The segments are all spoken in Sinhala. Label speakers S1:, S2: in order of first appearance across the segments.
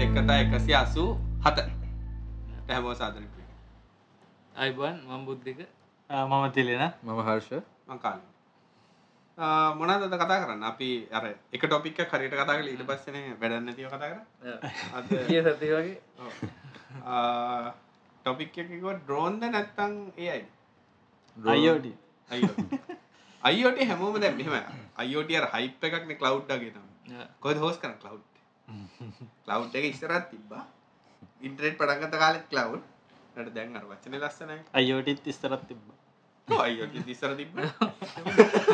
S1: එකසි අසු හත පැහැබෝ සාදන
S2: අයිබන් මම් බුද්ධික
S3: මම තිලෙන
S4: මම හර්ෂ
S1: මංකාල මොනද අද කතා කරන්න අපි අර එක ටොපික් කරයට කතා කල ඉට පස්සන වැඩන්න තිය කතා කර අද
S2: කිය සති වගේ
S1: ටොපික් එකක ඩ්‍රෝන්ද නැත්තං ඒයි
S3: අයෝඩ
S1: අයිෝට හැමෝම දැ මෙම අයෝටර හයිප් එකක්න කලව්ඩගේ තම කොද හෝස් කන කලව් ලව් එක ඉස්සරත් තිබ්බා ඉන්ට්‍රේට් පටන්ගත කාලෙත් කලව් ට දැන් අර වචන ලස්සනයි
S3: අයෝටිත් ඉස්තරත් තිබ්බ
S1: අයෝට ඉස්සර තිබ්බ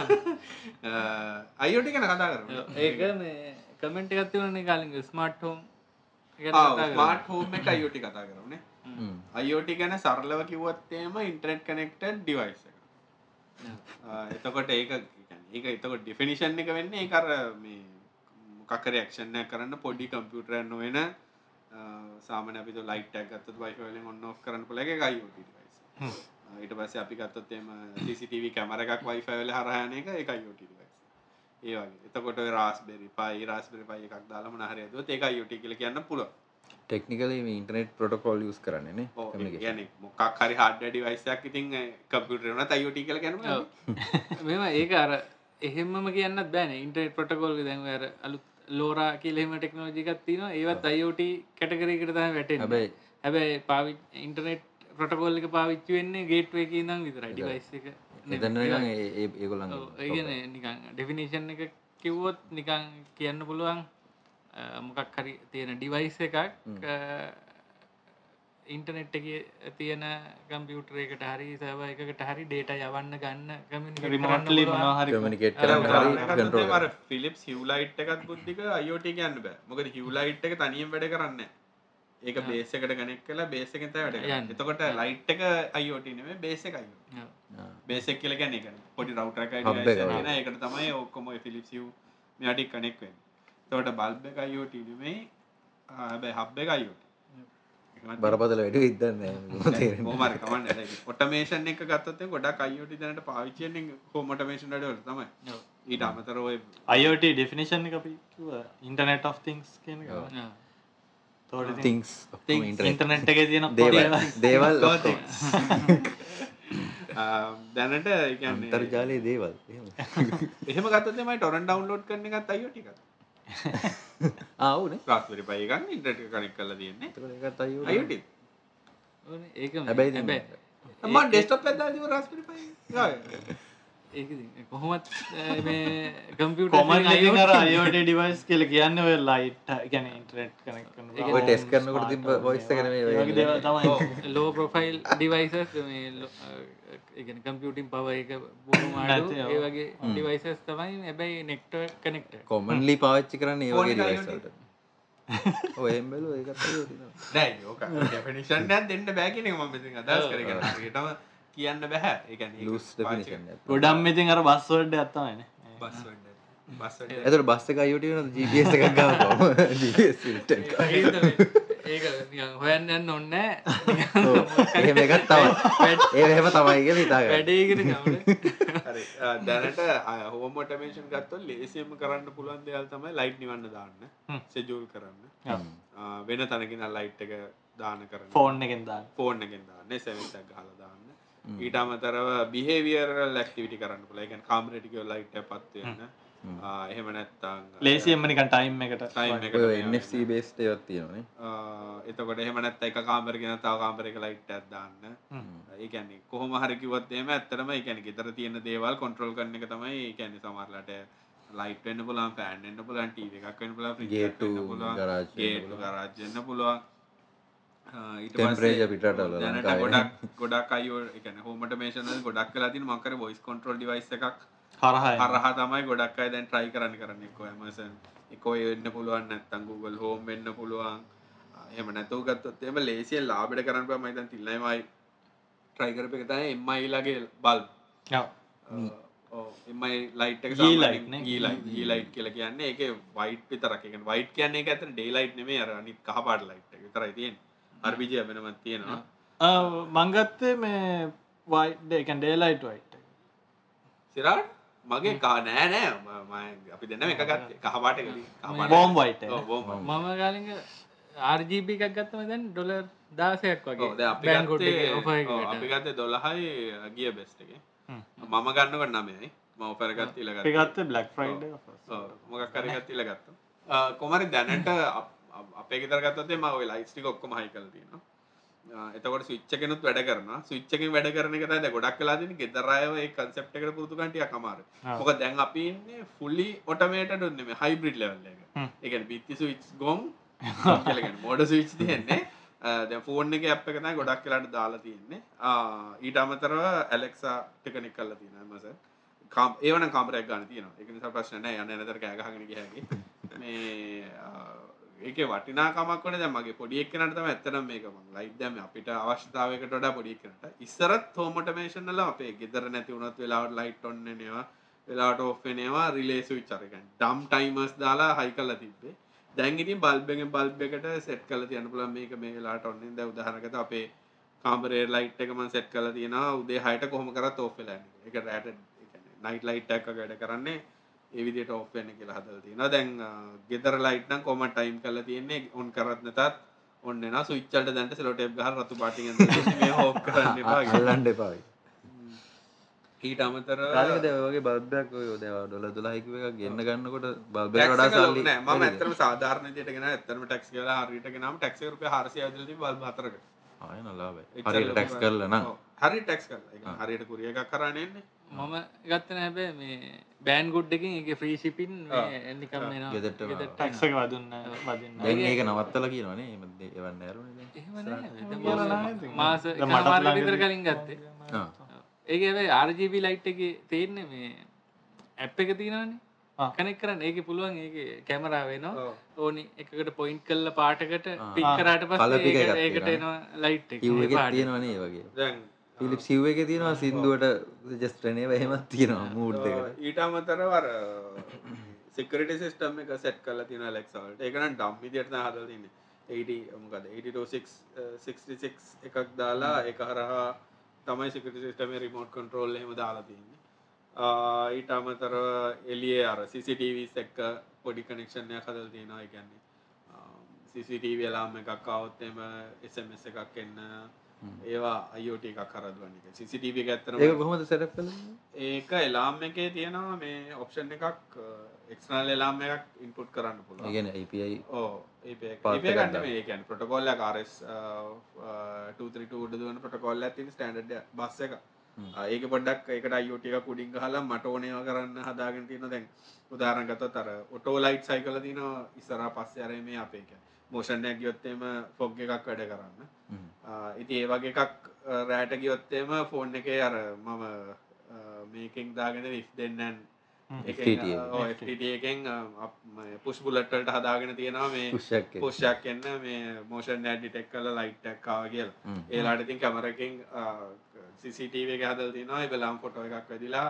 S1: අයෝටි කන කතා කරන
S2: ඒක මේ කමෙන්ට් එකත්තිවන කාලින් ස්මර්ට් හෝම්
S1: මාට් හෝම එක අයෝටි කතා කරන අයෝටි ගැන සරලව කිවත්තේම ඉන්ට්‍රට් කනෙක්ට ඩිවයිස එතකොට ඒක ඒ එතකොට ඩිෆිනිෂන් එක වෙන්න එකර මේ මොකක්කරයක්ෂණය කරන්න පොඩි කම්පියුටරය නොවෙන සාමන අපි ලයිටක් ගත්ත වයිවලින් ඔන්න ඔක් කරන්න පුල එක අයෝටි ඩිවයිස ඊට පස්ස අපි ගත්තත්තේම CCTV කැමර එකක් වයිෆවල හරහයන එක එක අයෝටි ඩිවයිස ඒ වගේ එතකොට රාස්බෙරි පයි රාස්බෙරි පයි එකක් දාලම නහරයතුව ඒක අයෝටි කියල කියන්න පුළුව
S4: ටෙක්නිකල ඉන්ටනෙට් පොටකොල් ස් කරන්නේ
S1: ගැන මොකක් හරි හඩ ඩිවයිසයක් ඉතින් කම්පියුටරන අයෝටි කල ගැන
S2: මෙම ඒක අර එහෙමම කියන්න බෑන ඉන්ටරෙට් පොටකොල් දැන් අර අලු ලෝරා කියලෙම ටෙක්නෝජිකත්තින ඒවත් අයෝට කැටකරකට තම වැට
S4: හැබැයි
S2: හැබැයි පාවි ඉන්ටනෙට් පොටකොල් එක පාවිච්චි වෙන්නේ ගේට්වේ එක නම් විතර ඩිවයිස් එක
S4: එතන්න ඒගොලන්
S2: ඒගන නිකං ඩෙෆිනේෂන් එක කිව්වොත් නිකං කියන්න පුළුවන් අ, මොකක් හරි තියෙන ඩිවයිස් එකක් ඉන්ටනෙට් එක තියෙන කම්පියුටර එකට හරි සැව එකකට හරි ඩේට යවන්න ගන්න
S3: රිමෝට්ලි මනහරි
S4: කමිනිකේට් කරන්න
S1: මර ෆිලිප් හිවලයිට් එකත් බුද්ධික අයෝටි කියන්න බෑ මොකද හිවලයිට් එක තනියම් වැඩ කරන්න ඒක බේසකට ගනෙක් කලා බේසකත වැඩ
S2: යන්න.
S1: එතකොට ලයිට් එක අයෝටිනේ බේසකයි බේසක් කියල ගැන එක පොඩි රවටරකයි
S4: Hub එක වගේ.
S1: එකට තමයි ඔක්කොම ෆිලිප්සිව් මෙටි කනෙක්වෙන් තවට බල්බ එක අයෝටිනේ හැබැයි හබ්බ එක අයෝට
S4: බරපතල වැඩ ඉදන්න
S1: මෝමර කමන්න ඔටමේෂන් එක ගත්තේ ගොඩා කයිෝටි දැනට පාවිච්චයෙන් හෝමටමේෂන් ඩවල තමයි
S2: ඔව්.
S1: ඊට අමතරෝය
S3: අයෝට ඩිෆිනිෂන් එක අපි ඉන්ටනෙට් of තිංස් කියන thought
S4: things
S1: Things.
S4: Internet
S3: internet එක තියෙන
S4: දේවල් දේවල් ඔක්කොම.
S1: දැනට එකන්න
S4: අන්තර්ජාලය දේවල්
S1: එහෙම ගත්තමයි ටොරන් ඩවන්ලෝඩ් කරන එකත් අයෝටික
S4: ආවන
S1: ප්‍රස්වරි පයගන්න ඉන්ටට කනෙක් කල තියන්නේ අයෝට
S2: ඒක
S4: හැබැයි ඉතින්
S2: හැබැයි
S1: ම ඩෙස්ටප් පැදාව රස්පරි පයි
S2: ඒක ඉතින් කොහොමත් අ, මේ කම්පියුට
S3: කොමන් අර අයෝට ඩිවයිස් කියල කියන්න ඔය ලයිට් ගැන ඉන්ටරෙට්
S2: ඒක
S4: ඔය
S3: කනෙක්
S4: test කරනකොට තිබ්බ voice එක නෙමෙයි ඔය ඉන්නේ.
S2: ලෝ ප්‍රොෆයිල් ඩිවයිස එකන කම්පියටින් පව එක පුරුමාඩ
S3: නැති ඔව්.
S2: ඒ වගේ ඩිවයිසස් තමයි හැබැයි නෙක්ට කනෙක්ට
S4: කොමන්ලි පාච්චි කරන්න
S1: Phone
S4: ඒවගේ
S1: එක
S4: ඩිවයිස්ට ඔයම්බල
S1: දැ යෝක ෆිනිෂන් ැ දෙන්න බෑගෙන ම අදස් කරගටම කියන්න බැහැ එක
S4: ලස්
S3: ගොඩම් ඉතින් අර බස්වල්ඩ ඇත්තමන
S1: බස් බස්
S4: ඇතට බස්ස එක අයුට වෙන ජීපස එකක් ගාව
S2: ඒක නිකන් හොයන්න යන්න ඔන්න
S4: එහෙම එකත් තමයි ඒ එහෙම තමයිග හිතාග
S2: වැඩේගෙන
S1: හරි. අ, දැනට හෝම ටමේෂන් ගත්ත ලේසිම කරන්න පුළුවන් දෙයල් තමයි ලයිට් නිවන්න දාන්න සෙජූල් කරන්න
S3: ඔව්.
S1: අ, වෙන තනගෙන ලයිට් එක දාන කරන
S3: ෆෝන් එකෙන්දා
S1: ෆෝන් එකෙන් දාන්න සැවිතක් හල දාන්න ඊට අමතරව බිහේවියර ලක්ටිවිටි කරන්න පුළ එකන් කාමරටිකෝ ලයිට් පත්වයන්න එහෙම නැත්තං
S3: ලේසියම්මනිකන් ටයිම් එකට
S1: time එකට මේ
S4: එFC බේස්ට යොත්තියනේ
S1: අ, එතකොට එහෙම නැත්ත එක කාමරගෙන තාව කාමරක ලයිට් ඇත් දාන්න ඒකැන්නේ කොහොම හරිකිවත්ේම ඇත්තරම එකැන ෙතර තියෙන දේවල් කොන්ට්‍රල් කරන එක තමයි ඒකැන සමරලට ලයිට් වෙන්න පුලන් පෑන්න්න පුලන් ටී එකක් වෙන පුලා
S4: ගේට ගරාජ්
S1: රාජන්න පුළුවන් අ, ඊට
S4: Temperature
S1: පස්සේ
S4: පිටරට වල
S1: දැනට
S4: ලංකාවේ.
S1: ගොඩක් ගොඩක් අයෝ එක හෝමට මේෂන ගොඩක් කලා තින මකර බොයිස් කොට්‍රල් ඩිවයිස් එකක්
S3: හරහා
S1: හරහ තමයි ගොඩක් අයි දැන් ට්‍රයි කරන්න කරන්න එක්ක ඇමසන් එකෝය වෙන්න පුළුවන් නැත්තං Google හෝම් වෙන්න පුළුවන් එම නැතව ගත්තොත් එම ලේසිය ලාබට කරන්න පම තන් තිල්ලමයි ට්‍රයිකරප එක තයි එමයි ලගේ බල් එමයි ලයිට්
S3: Yee light නේ.
S1: ගී ලයිට් කියල කියන්න එක වයිට් පිතරකෙන් වයිට් කියන්නේ එක ඇතන ඩේලයිට් නෙමේ අරනි කහපාට ලයිට් එක තරයි තියෙන් අර්විජය වෙනමත් තියෙනවා
S3: මංගත්තේ මේ වයිඩ්කන් ඩේලයිට් වයිට්
S1: සිරාට් මගේ කා නෑ නෑ ම- මම- අපි දෙන්න එක ගත් කහපාට
S3: බෝම් වයිට
S1: බෝම
S2: මම ගාලිග RGB එකක් ගත්තම දැන් ඩොලර් දාසයක් වගේ
S1: ඔව්, දැන් අපි
S2: බැංකුවට
S1: ගත්තේ-
S2: ඔෆර්
S1: ඔව්,
S2: එකකට.
S1: අපි ගත්තේ දොළහයි ගිය බෙස්ට එක
S3: හ්ම්.
S1: මම ගන්නකට නමයයි මම පරගත් ඉලගත්
S3: පිගත්ත බ්ලක් ෆ්‍රයිඩ
S1: මොකක් කරගත් ඉලගත්ත කොමරි දැනට අප- අප- අපේ ගෙතරගත්තේ මව ලයිස්ටික ඔක්කොම හයි කලතින එතකොට සිච්චකෙනුත් වැඩ කරන සිච්චකින් වැඩ කරන එක ද ගොඩක් කලාදන ගෙදරයව කන්සප්ට එකට පුරතු කටිය කමාර
S3: ආ.
S1: මොක දැන් අපි ඉන්නේ ෆුල්ලි ඔටමේට ඩොන්නෙම හයිබ්‍රිඩ් ලෙවල්ල
S3: හ්ම්.
S1: එක එක බිත්ති සවිච් ගොම් මොඩ සවිච් තියෙන්නේ දැ ෆෝර්න් එක අප් එකතයි ගොඩක් කලාට දාලා තියෙන්නේ ආ, ඊට අමතරව ඇලෙක්සා ටකනික් කල්ල තියෙන මස කාම් ඒවන කාමරයක් ගන්න තියෙනවා එක නිසා ප්‍රශ්න නෑ යන නතර කෑගහගෙන ගියගේ මේ ආ, ඒක වටිනාකමක්න දැමගේ පොඩියක් නටම ඇත්තනම් මේකම ලයිදම අපිට අවශ්‍යතාවකට ොඩා පොඩික් කනට ඉස්සරත් හෝමටමේෂන්ල අපේ ගෙදර නැති වුණත් වෙලාවට ලයිට් ඔන්නනවා වෙලාට ඔෆෙනවා රිලේසු විචරකන් ඩම් ටයිමර්ස් දාලා හයි කල්ල තිබ්බේ දැන්ගිතින් බල්බෙන් බල්බ එකට සෙට් කල තියන පුලන් මේක මේ වෙලාට ඔන්නේ ද උදාහරකත අපේ කාම්රේ ලයිට් එකම සෙට් කල තියෙන උදේ හයට කොහොම කරත් ඔෆෙල එක රෑට නයිට ලයිට් එක වැඩ කරන්නේ ඒවිදිට ඔෆ්ෙන කියලා හදල තියෙන දැන් ගෙතර ලයිට්නම් කොම ටයිම් කල තියෙන්නේ ඔන් කරත්නතත් ඔන්න න සුච්චල්ට දැන්ට සෙලොටේ ගහ රතු පාටි හෝ කරන්න
S4: අල්ලන්ඩ එපායි
S1: ඊට අමතර
S4: කාලක දැවගේ බල්බයක් යෝදවා ඩොල දුලාහිකව එකක් ගන්න ගන්නකොට බල්බ
S1: ටැක්ස්
S4: වඩා
S1: එක ලොකු
S4: සල්ලි
S1: නෑ. මම ඇත්තටම සාධාරණයටගෙන ඇත්තම ටැක්ස් කියලා හරියට ගෙනම ටැක්ස් එක රුපියල් 400 ඇතුළත බල්බ හතරකට.
S4: ආය නලාබයි
S1: එච්චර
S4: හරි
S1: ලොකු
S4: ටැක්ස් කරලන
S1: ඔව්. හරි ටැක්ස් කරලා. ඒ
S4: ආ.
S1: කියන්නේ හරියට කුරිය එකක් කරානේ එන්නේ.
S2: මම ගත්තන හැබැයි මේ බෑන් ගුඩ් එකින් එක ෆ්‍රීසිපින්
S1: ආ.
S2: එනිකම් වෙනවා
S4: ගෙදරට එනවා.
S2: ගෙදරට එනවා.
S3: ටක්සක වදන්න වදන්න
S4: දැන් ඒක නවත්තල කියනවනේ එ එවන්න ඇරුණ
S2: එහෙම නෑ. දැන්
S3: එහෙම
S2: මාස-
S3: නෑ ඉතින්.
S2: මාස
S3: දැන්
S2: එකම
S3: මටත්
S2: මාසෙක
S3: ළඟදී-
S2: විතර කලින් ගත්තේ ඒක ඇබයි RGB ලයිට් එක තියෙන්නේ මේ ඇප් එක තියෙනවනේ
S3: ආ.
S2: කනෙක් කරන්න ඒක පුළුවන් ඒක කැමරාවෙනවා
S1: ඔව්.
S2: ඕනි එකකට පොයින්් කල්ල පාටකට
S4: ආ.
S2: පික්
S3: ආ.
S2: කරාට
S4: colour
S2: පස්සේ
S4: pick
S2: ඒක-
S4: එකක්
S2: ඒකට
S4: තියෙනවා.
S2: එනවා ලයිට් එක
S4: කිව්
S2: ඒ
S4: එක
S2: පාට.
S4: තියෙනවනේ ඒ වගේ
S1: දැන්
S4: පිලිප් සිව් එක තියෙනවා සින්දුවට ජස්ට්‍රනේව එහෙමත් තියෙනවා මූඩ් දෙකට
S1: ඊට අමතරව අර සිකරිටි සිස්ටම් එක සෙට් කරලා තියෙන ඇලෙක්සාවලට. ඒක නම් ඩම් විදියට තමයි හදලා තියෙන්නේ. 80 මොකද 8266 එකක් දාලා ඒක හරහා තමයි සිකරිටි සිස්ටම් එකේ රිමෝට් කන්ට්‍රෝල් එහෙම දාලා තියෙන්නේ. ආ, ඊට අමතරව එළියේ අර CCTVs එක්ක පොඩි කනෙක්ෂන් එකක් හදලා තියෙනවා. ඒ කියන්නේ ආ, CCTV alarm එකක් આવොත් එම SMS එකක් එන්න ඒවා IoT එකක් හරදුවන එක. CCTV එක ඇත්තටම
S4: ඒක කොහොමද සැටප් කල
S1: ඒක එලාම් එකේ තියෙනවා මේ ඔප්ෂන් එකක් එක්නල් එලාම් එකක් ඉන්පුට් කරන්න පුළුවන්
S4: ඒගැන IPයි
S1: ඕ ඒ
S4: Path එකක්
S1: ගන්න
S4: ගන්න.
S1: මේකන් පොටකොල්ල කාරස් uh, ඩ දුවන පොටකොල්ල ඇතින් ස්ටන්ඩ් බස්ස එක
S4: හ්ම්.
S1: ආ, ඒක පොඩක් එකට අයෝටික පුඩින් හලා මට ඕනයවා කරන්න හදාගෙන තියෙන දැන් උදාරගත තර ඔටෝ ලයිට් සයිකල තින ඉස්සර පස්ස අරේ මේ අපේක මෝෂණයක් ගියොත්තේම ෆොග් එකක් වැඩ කරන්න ආ, ඉතින් ඒ වගේ එකක් අ, රෑට ගියොත්තේම ෆෝන් එකේ අර මම අ, මේකෙන් දාගෙන ඉස් දෙන්නන්
S3: හ්ම්.
S4: FTT එක.
S1: එකෙන් පුස් බුලට්ටලට හදාගෙන තියෙනවා මේ
S4: පුෂ්ෂක්
S1: පුෂ්යක් එන්න මේ මෝෂන් ඩිටෙක් කල ලයිට්ටක්කාව කියලා ඒලාට ඉතින් කැමරකින් සිටව එක හදල් තිනවා එබලාම් ෆොටෝ එකක් වැදිලා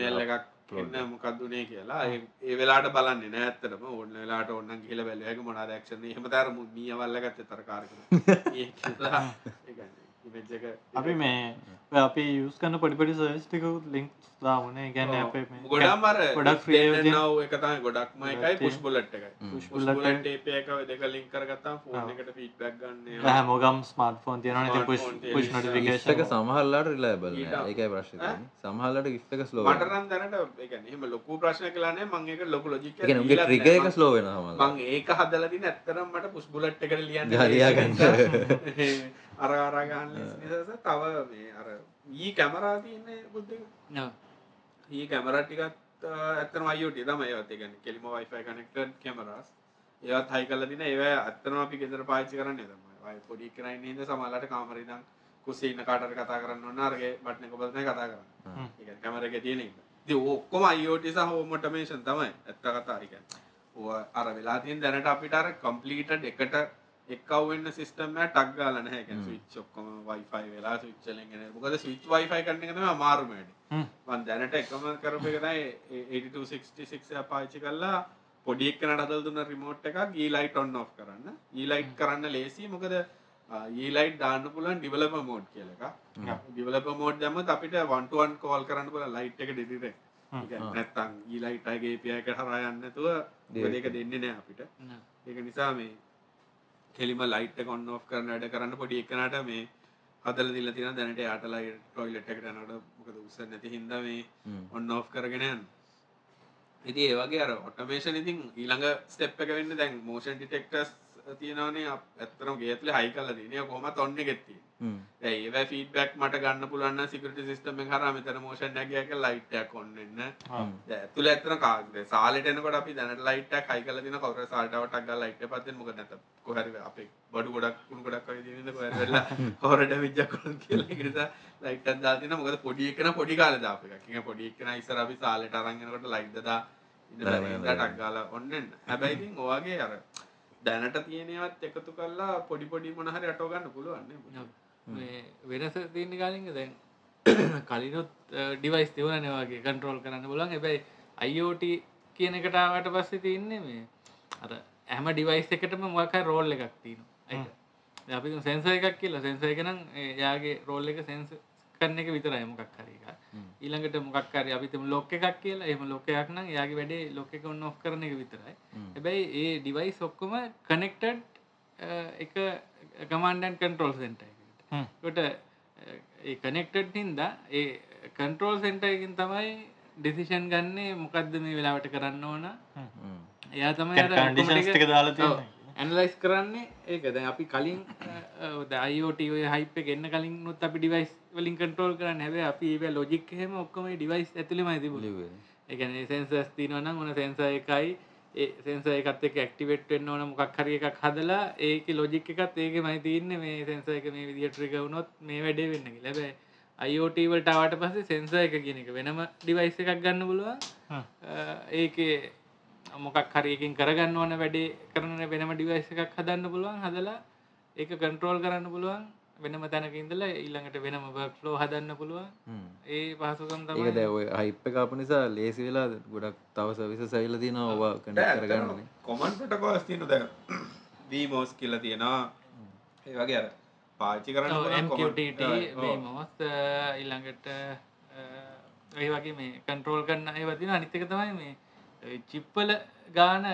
S1: මේල් එකක්
S4: upload
S1: එන්න මොකක්දුනේ කියලා ඒ- ඒ වෙලාට බලන්න නෑත්තරම ඔන්න වෙලාට ඔන්න කියල බැලයක මොනාදක්ෂණ හමතරම මියවල්ලගත්ත තරකාරක
S3: අපි මේ ඔය අපි යස් කන්න පොඩිපඩි සර්ස්ටිකුත් ලින්ක් දාමන ගැන
S1: ඔව්.
S3: අපේ මේ
S1: ගොඩක් මර
S3: ගොඩක් free version.
S1: නව එකතයි ගොඩක්ම එකයි
S3: ගොඩක්
S1: පුෂ් බුලට් එකයි
S4: හ්ම්.
S1: පුෂ්
S3: Push bullet
S1: බුලට් ඒපයක දෙක ලින්ක් කරගත්තා ෆෝන්
S3: ඔව්.
S1: එකට ෆීඩ්බැක් ගන්න
S3: හැ මොගම් ස්මර්ට ෆෝන් තියන
S1: Smartphone
S3: පුෂ්
S1: තියෙන
S3: පුෂ්
S1: නිසා.
S4: ඉස්සක
S3: නොටිකේෂන්
S4: සමහල්ලාට රිලයබල
S1: ඊට අප-
S4: ඒකයි ප්‍රශ්න සමහල්ලට ඉස්සක ස්ලෝ
S1: මටරන් දැනට එක එහම ලොකු ප්‍රශ්න කලානේ මංඒක ලොක ලොජික
S4: එක උගේ ට්‍රික එක ස්ලෝ වෙන හමල
S1: මං ඒක හදලති නැත්තරම් මට පුස් බුලට් එකට ලියන්න
S4: ජරයාගන්න
S1: අර අරගන්න නිසස තව මේ අර ඊ කැමරා තියන්නේ බුද්ධ
S2: ඔව්.
S1: ඒ කැමරටිකත් ඇතන අයෝට තම ඒවත් ගැන කෙලිම වයිෆයි කනෙක්ට කැමරස් ඒවත් හයි කල දින ඒව ඇත්තන අපි ගෙදර පාචි කරන්න තමයි පොඩි කරන්න ද සමල්ලට කාමරරිදම් කුසේන කාටර කතා කරන්න ඔන්නර්ගේ බට්න කොබලන කතා
S3: හ්ම්.
S1: කරන්න ඒ කැමර එක තියෙන එක ද ඔක්කොම අයෝට සහ හෝමටමේෂන් තමයි ඇත්ත කතාරික අර වෙලා තින් දැනට අපිටර කම්පලීටඩ් එකට එක්වන්න සිිටම ටක් ගලන හැක විච් ඔක්කොම වයිෆයි වෙලා විච්චලගෙන මොකද විච් වයිෆයි කරන්නගම මාර්මයට මන් දැනට එකම කරපු එක තමයි 8266 පාවිච්චි කළා පොඩි එක්කනට හදලා දුන්න රිමෝට් එකක් e-light on off කරන්න e-light කරන්න ලේසි මොකද අ, e-light දාන්න පුළුවන් developer mode කියලා එකක් developer mode දැම්මත් අපිට one to one call කරන්න පුළුවන් light එක direct
S3: හ්ම්.
S1: ඒ කියන්නේ නැත්තම් e-light එකේ API එකට හරහා යන්න නැතුව මොකද ඒක දෙන්නේ නැහැ අපිට
S2: නෑ.
S1: ඒක නිසා මේ හෙලිම ලයිට් කොන්න ඔ් කරන වැඩ කරන්න පොඩි එකනට මේ හදල දිල තින දැනට යාටලයි ටොයිලට් එකටනට මොකද උස නැති හින්ද මේ ඔන්න ඔ් කරගෙනයන් ඉති ඒවගේ අර ඔටමේෂන් ඉතින් ඊළඟ ස්ටප් එක වෙන්න දැන් මෝෂන් ටිටෙක්ටස් තියෙනවනේ අප- ඇත්තටම ගේතුල හයි කල්ල දිනය කොමත් ඔන්න ගෙත්ති ඒව ෆීඩබක් මට ගන්න පුලන්න සිකට සිස්ටම හර මෙතර මෝෂන් නැගයක ලයිට්ටයක් කොන්නන්න ඇතුළ ඇතන කාග සාලටනකොට අපි දැනට ලයිට්ට හයි කල තින කවර සාටවටක් ගල් ලයිට පත මොක නැත කොහර අපේ බඩු ගොඩක් කුණු ගොඩක් දද කොරවෙල්ලා හොරට විජ්ජකොල කියලෙස ලයිට දාතින මොකද පොඩික්න පොඩි කාල දාපක කියන පොඩික්න ඉස්සර අපි සාලට අරගෙනකොට ලයිටදා ටක්ගාල ඔන්නන්න හැබැයිති ඔවාගේ අර දැනට තියනවත් එකතු කල්ලා පොඩි පොඩි මොනහරි අටෝගන්න පුළුවන්න
S2: මේ වෙනස තියන කාලින්ග දැන් කලිනුත් ඩිවයිස් තිවන නවාගේ කන්ට්‍රෝල් කරන්න පුලන් එබැයි අයිෝට කියන එකටාවට පස්සේ තියන්නේ මේ අර ඇම ඩිවයිස් එකටම මොකයි රෝල් එකක් තියනවා අපි සැන්ස එකක් කියලා සැන්සයකනම් යාගේ රෝල් එක සැන්ස කරන එක විතරයි මොකක් හරික ඊළඟට මොක්කර අපිතම ලොක එකක් කියලා එම ලොකයක් නම් යාගේ වැඩේ ලොක එක ඔන්න ඔක් කරන එක විතරයි හැබැයි ඒ ඩිවයිස් ඔක්කොම කනෙක්ටඩ් එක ගමන්ඩන් කන්ටරෝල් සෙන්ට
S3: හ්ම්.
S2: ට කනෙක්ටඩ් හින්ද ඒ කන්ටරෝල් සෙන්ටයකින් තමයි ඩිසිෂන් ගන්නේ මොකක්ද මේ වෙලාවට කරන්න ඕන එයා
S3: කන්ඩිෂන්ස් එක
S2: තමයි
S3: දාලා තියෙන
S2: ඇනලයිස් කරන්නේ ඒක දැන් අපි කලින් දයිෝට හයිප ගන්න කලින් නොත් අපි ඩිවයිස් වලින් කටරෝල් කරන්න හැබ අපි ඒ ලොජික් හෙම ඔක්කම ඩිවයිස් ඇතුලම ඇතිබල එකන සෙන්සස් තිනවන ඕන සෙන්ස එකයි ඒ සෙන්ස එකත් එක ඇක්ටිවේට් වෙන්න ඕන මොකක් හරි එකක් හදලා ඒක ලොජික් එකත් ඒක මයි තියන්න මේ සෙන්ස එක මේ විදිහ ට්‍රිකවුණොත් මේ වැඩේ වෙන්න ලැබයි අයිෝටවලට අවට පස්සේ සෙන්ස එක කියන එක වෙනම ඩිවයිස් එකක් ගන්න
S3: හ්ම්.
S2: පුළුව ඒක මොකක් හරිකින් කරගන්න ඕන වැඩේ කරන වෙනම ඩිවයිස් එකක් හදන්න පුළුවන් හදලා ඒක කන්ට්‍රෝල් කරන්න පුළුවන් වෙනම තැනක ඉඳලා ඊළඟට වෙනම බක් ලෝ හදන්න පුළුවන් ඒ පහසුකම්
S4: ඒක
S2: තමයි
S4: දැ ඔය හයිප් එකපු නිසා ලේසි වෙලා ගොඩක් තව සවිස සැවිල තියෙන ඔවා කඩක් කරගන්නනේ
S1: කොමන් පටකොස් තියන දැ වීමෝස් කියල තියෙනවා ඒවගේ අර පාචි කරන්න පුළුවන් command-
S2: MQTT
S1: ඔව්, ඔව්.
S2: මේමොස් ඉළඟට ඒ වගේ මේ කන්ට්‍රෝල් කරන්න ඒ වතින අනිත්තක තමයි මේ චිප්පල ගාන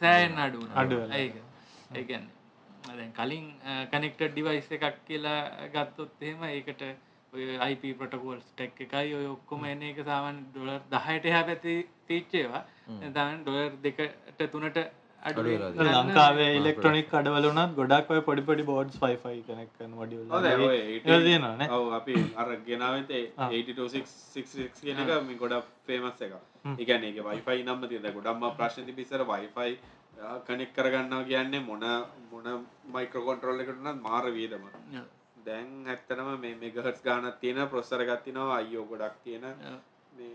S2: සෑයෙන් අඩුවන
S3: අඩු වෙලා.
S2: ඒක ඒගැන්න දැන් කලින් කනෙක්ට ඩිවයිස් එකක් කියලා ගත්තොත් එහෙම ඒකට IP පටකෝල්ස් ටැක් එකයි ඔය ඔක්කොම එන එක සාමන් ඩොලර් දහයට එහා පැති තීච්චේවා දාන් ඩොලර් දෙකට තුනට අඩු
S4: අඩු වෙලා
S3: එක ලංකාවේ ඉලෙක්ට්‍රොනික් අඩවලුනත් ගොඩක් ඔය පොඩි පොඩි බෝඩ්ස් ෆයිෆයි කනෙක්කන්
S1: ඔව් දැන්
S3: වඩියල
S1: ඔය
S3: තියෙනවා නේ?
S1: ඔව් අපි අර ගෙනාවෙත 8266 කියන එක මේ ගොඩක් ෆේමස් එක. ඒ කියන්නේ ඒක Wi-Fi නම්ම තියෙන. දැන් ගොඩක්ම ප්‍රශ්න තිබි ඉස්සර Wi-Fi කනෙක්ට් කරගන්නවා කියන්නේ මොන මොන මයික්‍රෝ කන්ට්‍රෝල් එකකට උනත් මාර වියදම. දැන් ඇත්තටම මේ මෙගහර්ට්ස් ගානක් තියෙන ප්‍රොසෙසර් එකක් තියෙනවා IO ගොඩක් තියෙන මේ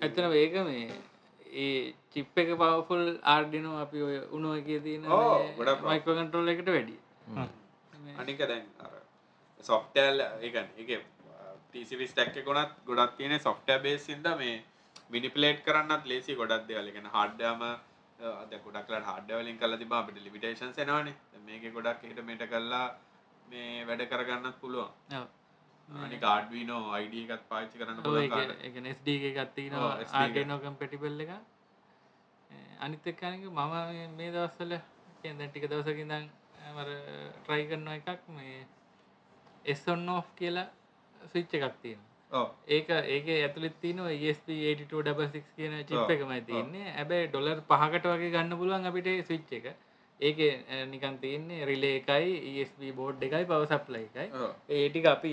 S2: ඇත්තන ඒක මේ ඒ චිප් එක පවෆුල් ආර්ඩිනෝ අපි ඔය උනුව එක තියෙන
S1: ඔව්, ගොඩක් powerful.
S2: මයිකෝකන්ටරෝල් එකට වැඩි
S1: අනික දැන් අර සොෆ්ටල් ඒකන් එක ටීසිවිස් ටැක්ක ගොනත් ගොඩක් තියෙන සොෆ්ට බේසින්ද මේ මිනිපලේට් කරන්නත් ලේසි ගොඩක් දෙවලගෙන හඩ්ඩම අද ගොඩක්ල හඩවලින් කල තිබ අපිට ලිමිටේෂන් සෙනවානේ මේක ගොඩක් හිට මෙට කල්ලා මේ වැඩ කරගන්නත් පුළුවන් අනි ගාඩ්වීනෝ අයිඩ එකත් පාච්චි කරන්න පුළුවන්
S2: එකස්ඩ ගත්තිනවා
S1: ඔව්, SD එක.
S2: ආර්ඩනෝ කම්පැටිබල් එක අනිත්තකානක මම මේ- මේ දවස්සල කියද ටික දවසකිදම් මර ට්‍රයි කරන එකක් මේ එස් ඔන්න ඔ් කියලා ස්විච්ච එකක් තියෙන
S1: ඕ
S2: ඒක ඒක ඇතුළත් තින ස්ක් කියන
S1: ඔව්,
S2: චිප් එකමයි තියන්නේ ඇබැයි ඩොලර් පහකට වගේ ගන්න පුළුවන් අපිට ස්විච් එක ඒක නිකන් තියන්නේ රිලේ එකයි E ESB බෝඩ් එකයි පවසප්ලයි එකයි
S1: ඕ
S2: ඒටික අපි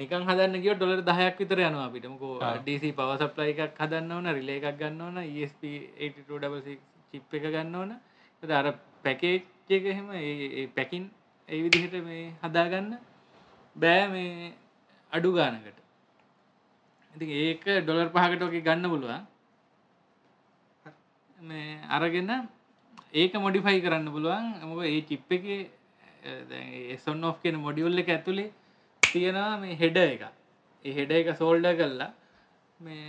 S2: නිකන් හදන්න ගිය ඩොලර් දහයක් විතර යන අපිටමකෝ ඩC පවසප්ලයි එකක් හදන්න ඕන රිලේ එකක් ගන්න ඕන E ESP 82 චිප් එක ගන්න ඕන එතකොට අර පැකේජ් එක එහෙම ඒ ඒ පැකින් ඒ විදිහට මේ හදාගන්න බෑ මේ අඩු ගානකට ඉති ඒක ඩොලර් පහකට වගේ ගන්න පුළුවන් මේ අරගෙන ඒක මොඩිෆයි කරන්න පුළුවන් මොක ඒ චිප් එක එසොන් ඔ් කියෙන මොඩියුල්ල එක ඇතුළේ තියෙනවා මේ හෙඩ එක ඒ හෙඩ එක සෝල්ඩ කරලා මේ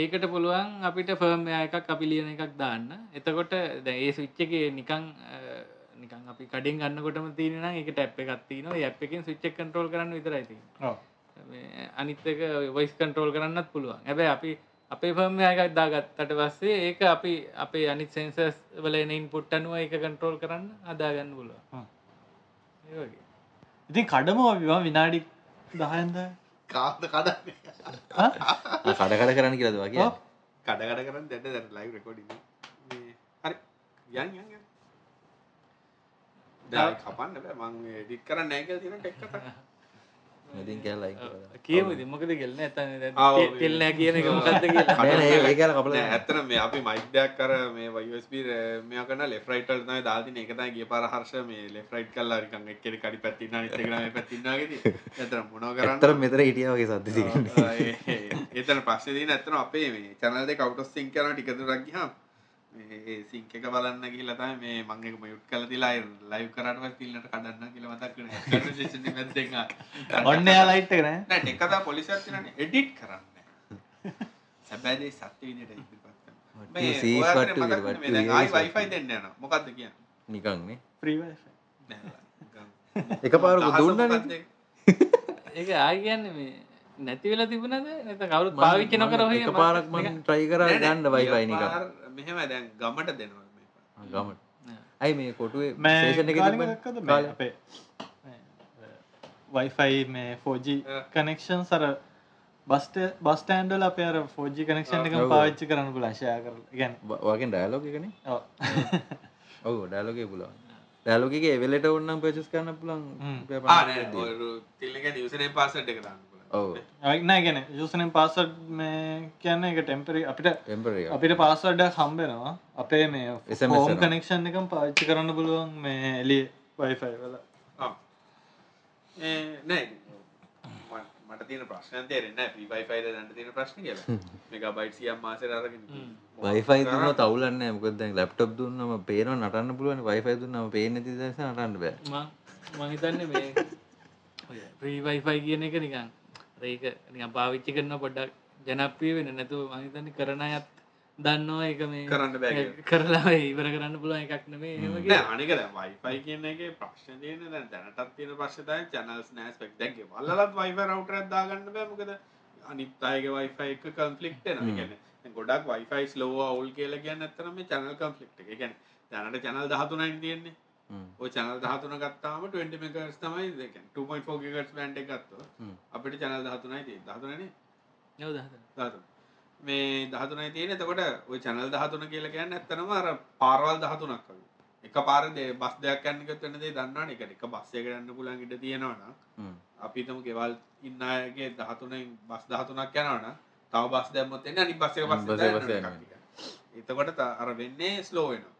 S2: ඒකට පුළුවන් අපිට ෆර්ම් එකක් අපි ලියන එකක් දාන්න එතකොට දැ ඒ සුච්ච එක නිකං අ, නිකන් අපි කඩින් ගන්නකොටම තියෙන එක ටැප් එකත්ති න ඇ් එකෙන් සුච්ච කටරල් කරන්න විතරයිති අනිත්තක වයිස් කන්ට්‍රෝල් කරන්නත් පුළුවන් ඇබැ අපි අපේ ෆර්ම එකක් දාගත්තට පස්සේ ඒක අපි අපේ අනිත් සෙන්සස් වල එනයින් පුට්ටනුව එක කන්ට්‍රෝල් කරන්න අදාගන්න පුළුවන් ඒ වගේ.
S3: ඉතින් කඩම විවා විනාඩි දහන්ද
S1: කාද කඩ
S4: කඩ කඩ කරන්න කියලද වගේ
S3: ඔව්.
S1: කඩ කඩ කරන්න දැන්න දැන ලයි රෙකොඩි හරි යන් යන් යන්. දැන් කපන්න බෑ මං එඩිට් කරන්න නැහැ කියලා තියෙන ටෙක් කතා
S4: ඉතින් කැල්ලයි
S2: කියමු ඉතින් මොකද කියලා නෑ
S1: ආ, ඔව්.
S2: එතන තෙල් නෑ කියන එක මොකද්ද කියලා.
S1: කඩ-
S4: ඒ කියල කපල
S1: නෑ, ඇත්තටම මේ අපි මයික් දෙයක් කර මේ USB මෙයා කරන left right වලට තමයි දාලා තියෙන්නේ. ඒක තමයි ගිය පාර හර්ෂ මේ left right කරලා නිකන් එක්කෙනෙක් කඩි පැත්තේ ඉන්නා අනිත් එකන මේ පැත්තේ ඉන්නා වගේදී. ඇත්තටම මොනව
S4: ඇත්තර
S1: කරන්නේ?
S4: මෙතර හිටිය වගේ සද්ධ තියන්නේ
S1: ආ, ඒ- ඒ- ඒතන පස්සේ දින ඇත්තටම අපේ මේ channel දෙක out of sync කරන ටික දුරක් ගියාම මේ ඒ sync එක බලන්න ගිහලා තමයි මේ මම ඒක mute කරලා තියලා live කරාට පස්සේ පිල්ලට කඩන්න කියලා මතක් වෙනවා. conversation එක මැද්දෙන් ආ.
S3: ඔන්න එයා ලයිට් එක නෑ
S1: නෑ ටෙකදා පොලිසියක් තියනනේ එඩිට් කරන්න සැබෑදේ සත්‍ය විදියට ඉදිරිපත් කරන්න
S4: What
S1: මේ
S4: you see is
S1: ඔයාලට
S4: what you
S1: මතක්
S4: get, what
S1: වෙන්නේ
S4: you
S1: දැන්
S4: hear
S1: ආයි
S4: is what you
S1: wifi
S4: get.
S1: දෙන්න යනවා මොකක්ද කියන්නේ
S4: නිකන්නේ
S3: ප්‍රීවයි
S4: එක පාර දුන්නන
S2: ඒක ආයි කියන්නේ මේ නැති වෙලා තිබුණද නැත්නම් කවුරුත් පාවිච්චි නොකර ඔය
S4: එක පාරක් මන් ට්‍රයි කර ගන්න වයිවයි නික
S1: මෙහෙම දැන් ගමට දෙනවා මේ පාර.
S4: ගමට ඇයි මේ කොටුවේ සේෂණ එක
S3: මෑ අපේ වයිෆයි මේ ෆෝජි
S1: ආ.
S3: කනෙක්ෂන් සර බස්ට බස්ටන්ඩල් අප අර ෆෝජි කනෙක්ෂන් එක
S4: ඔව්.
S3: පාච්චි කරන්න පුලශයා කර ගැන
S4: වගෙන් ඩයලෝග එකන ඔහු ඩයලෝගේ පුලන් ඩයලෝගේ වෙලට ඔන්නම් පචස් කරන්න පුලන්
S3: හ්ම්.
S1: ආ Ah, නෑ ඔය රු- තිල්ලක යුසනේ පාසට් එක දාන්න පුළුවන්.
S4: ඔව
S3: න ගැන යසනෙන් පාසට් මේ කියන්න එක ටෙම්පරි අපිට
S4: එම්පර
S3: අපිට පාසඩ්ඩ හම්බෙනවා අපේ මේ
S4: SMS
S3: ෆෝම්
S4: එනවා.
S3: කනෙක්ෂන් එකම් පාච්චි කරන්න පුළුවන් මේ එලිය වයිෆයි වල
S1: ආ. ඒ නෑ මට- මට තියෙන ප්‍රශ්නයක් තේරෙන්නේ නෑ free wifi ද දැන් තියෙන ප්‍රශ්නේ කියලා. megabyte 100ක් මාසෙට අරගෙන
S4: වයිෆයි දුන්න තවුලන්න මොකදැන් ලප්ටප් දුන්නම පේන නටන්න පුළුවන් වයිෆයි දුන්නම පේන ති දස නටන්න බෑ
S2: මහිතන්න මේ ප්‍රීවයිෆයි කියන එක නිකන් ඒක නිකන් පාවිච්චි කරන පොඩ්ඩක් ජනප්‍රිය වෙන නැතු මහිතන්න කරන අයත් දන්නවා ඒක මේ
S1: කරන්න බෑ කියලා.
S2: කරලා ඉවර කරන්න පුළුවන් එකක් නෙමේ එහෙම
S1: නෑ අනික දැන් වයිෆයි කියන එක ප්‍රශ්න තියෙන දැන් දැනටත් තියෙන ප්‍රශ්න තමයි channels නෑ spec දැන් ගෙවල්ලලත් wifi router එකක් දාගන්න බෑ මොකද අනිත් අයගේ wifi එක conflict වෙනවා ඒ කියන්නේ දැන් ගොඩක් wifi slow අවුල් කියලා කියන්නේ ඇත්තටම මේ channel conflict එක. ඒ කියන්නේ දැනට channel 13යි තියෙන්නේ.
S4: හ්ම්.
S1: ඔය channel 13 ගත්තාම 20 megahertz තමයි ඒ කියන්නේ 2.4 gigahertz band එක ගත්තොත්
S4: හ්ම්.
S1: අපිට channel 13යි තියෙන්නේ. 13 නේ?
S2: නේද හතර
S1: 13. මේ 13යි තියෙන්නේ. එතකොට ওই channel 13 කියලා කියන්නේ ඇත්තටම අර පාරවල් 13ක් වගේ. එක පාර දේ බස් දෙයක් යන්න ගියොත් වෙන දේ දන්නවනේ ඒකට එක බස් එකකට යන්න පුළුවන් ඉඩ තියෙනවා නම්
S4: හ්ම්.
S1: අපි හිතමු ගෙවල් ඉන්න අයගේ 13න් බස් 13ක් යනවා නම් තව බස් දැම්මොත් එන්නේ අනිත් බස් එක
S4: අනිත්
S1: පස්සේ
S4: බස් එක
S1: දැන්
S4: පස්සේ
S1: යනවා
S4: යනවා.
S1: එකක් ටිකක්. එතකොට ත- අර වෙන්නේ slow වෙනවා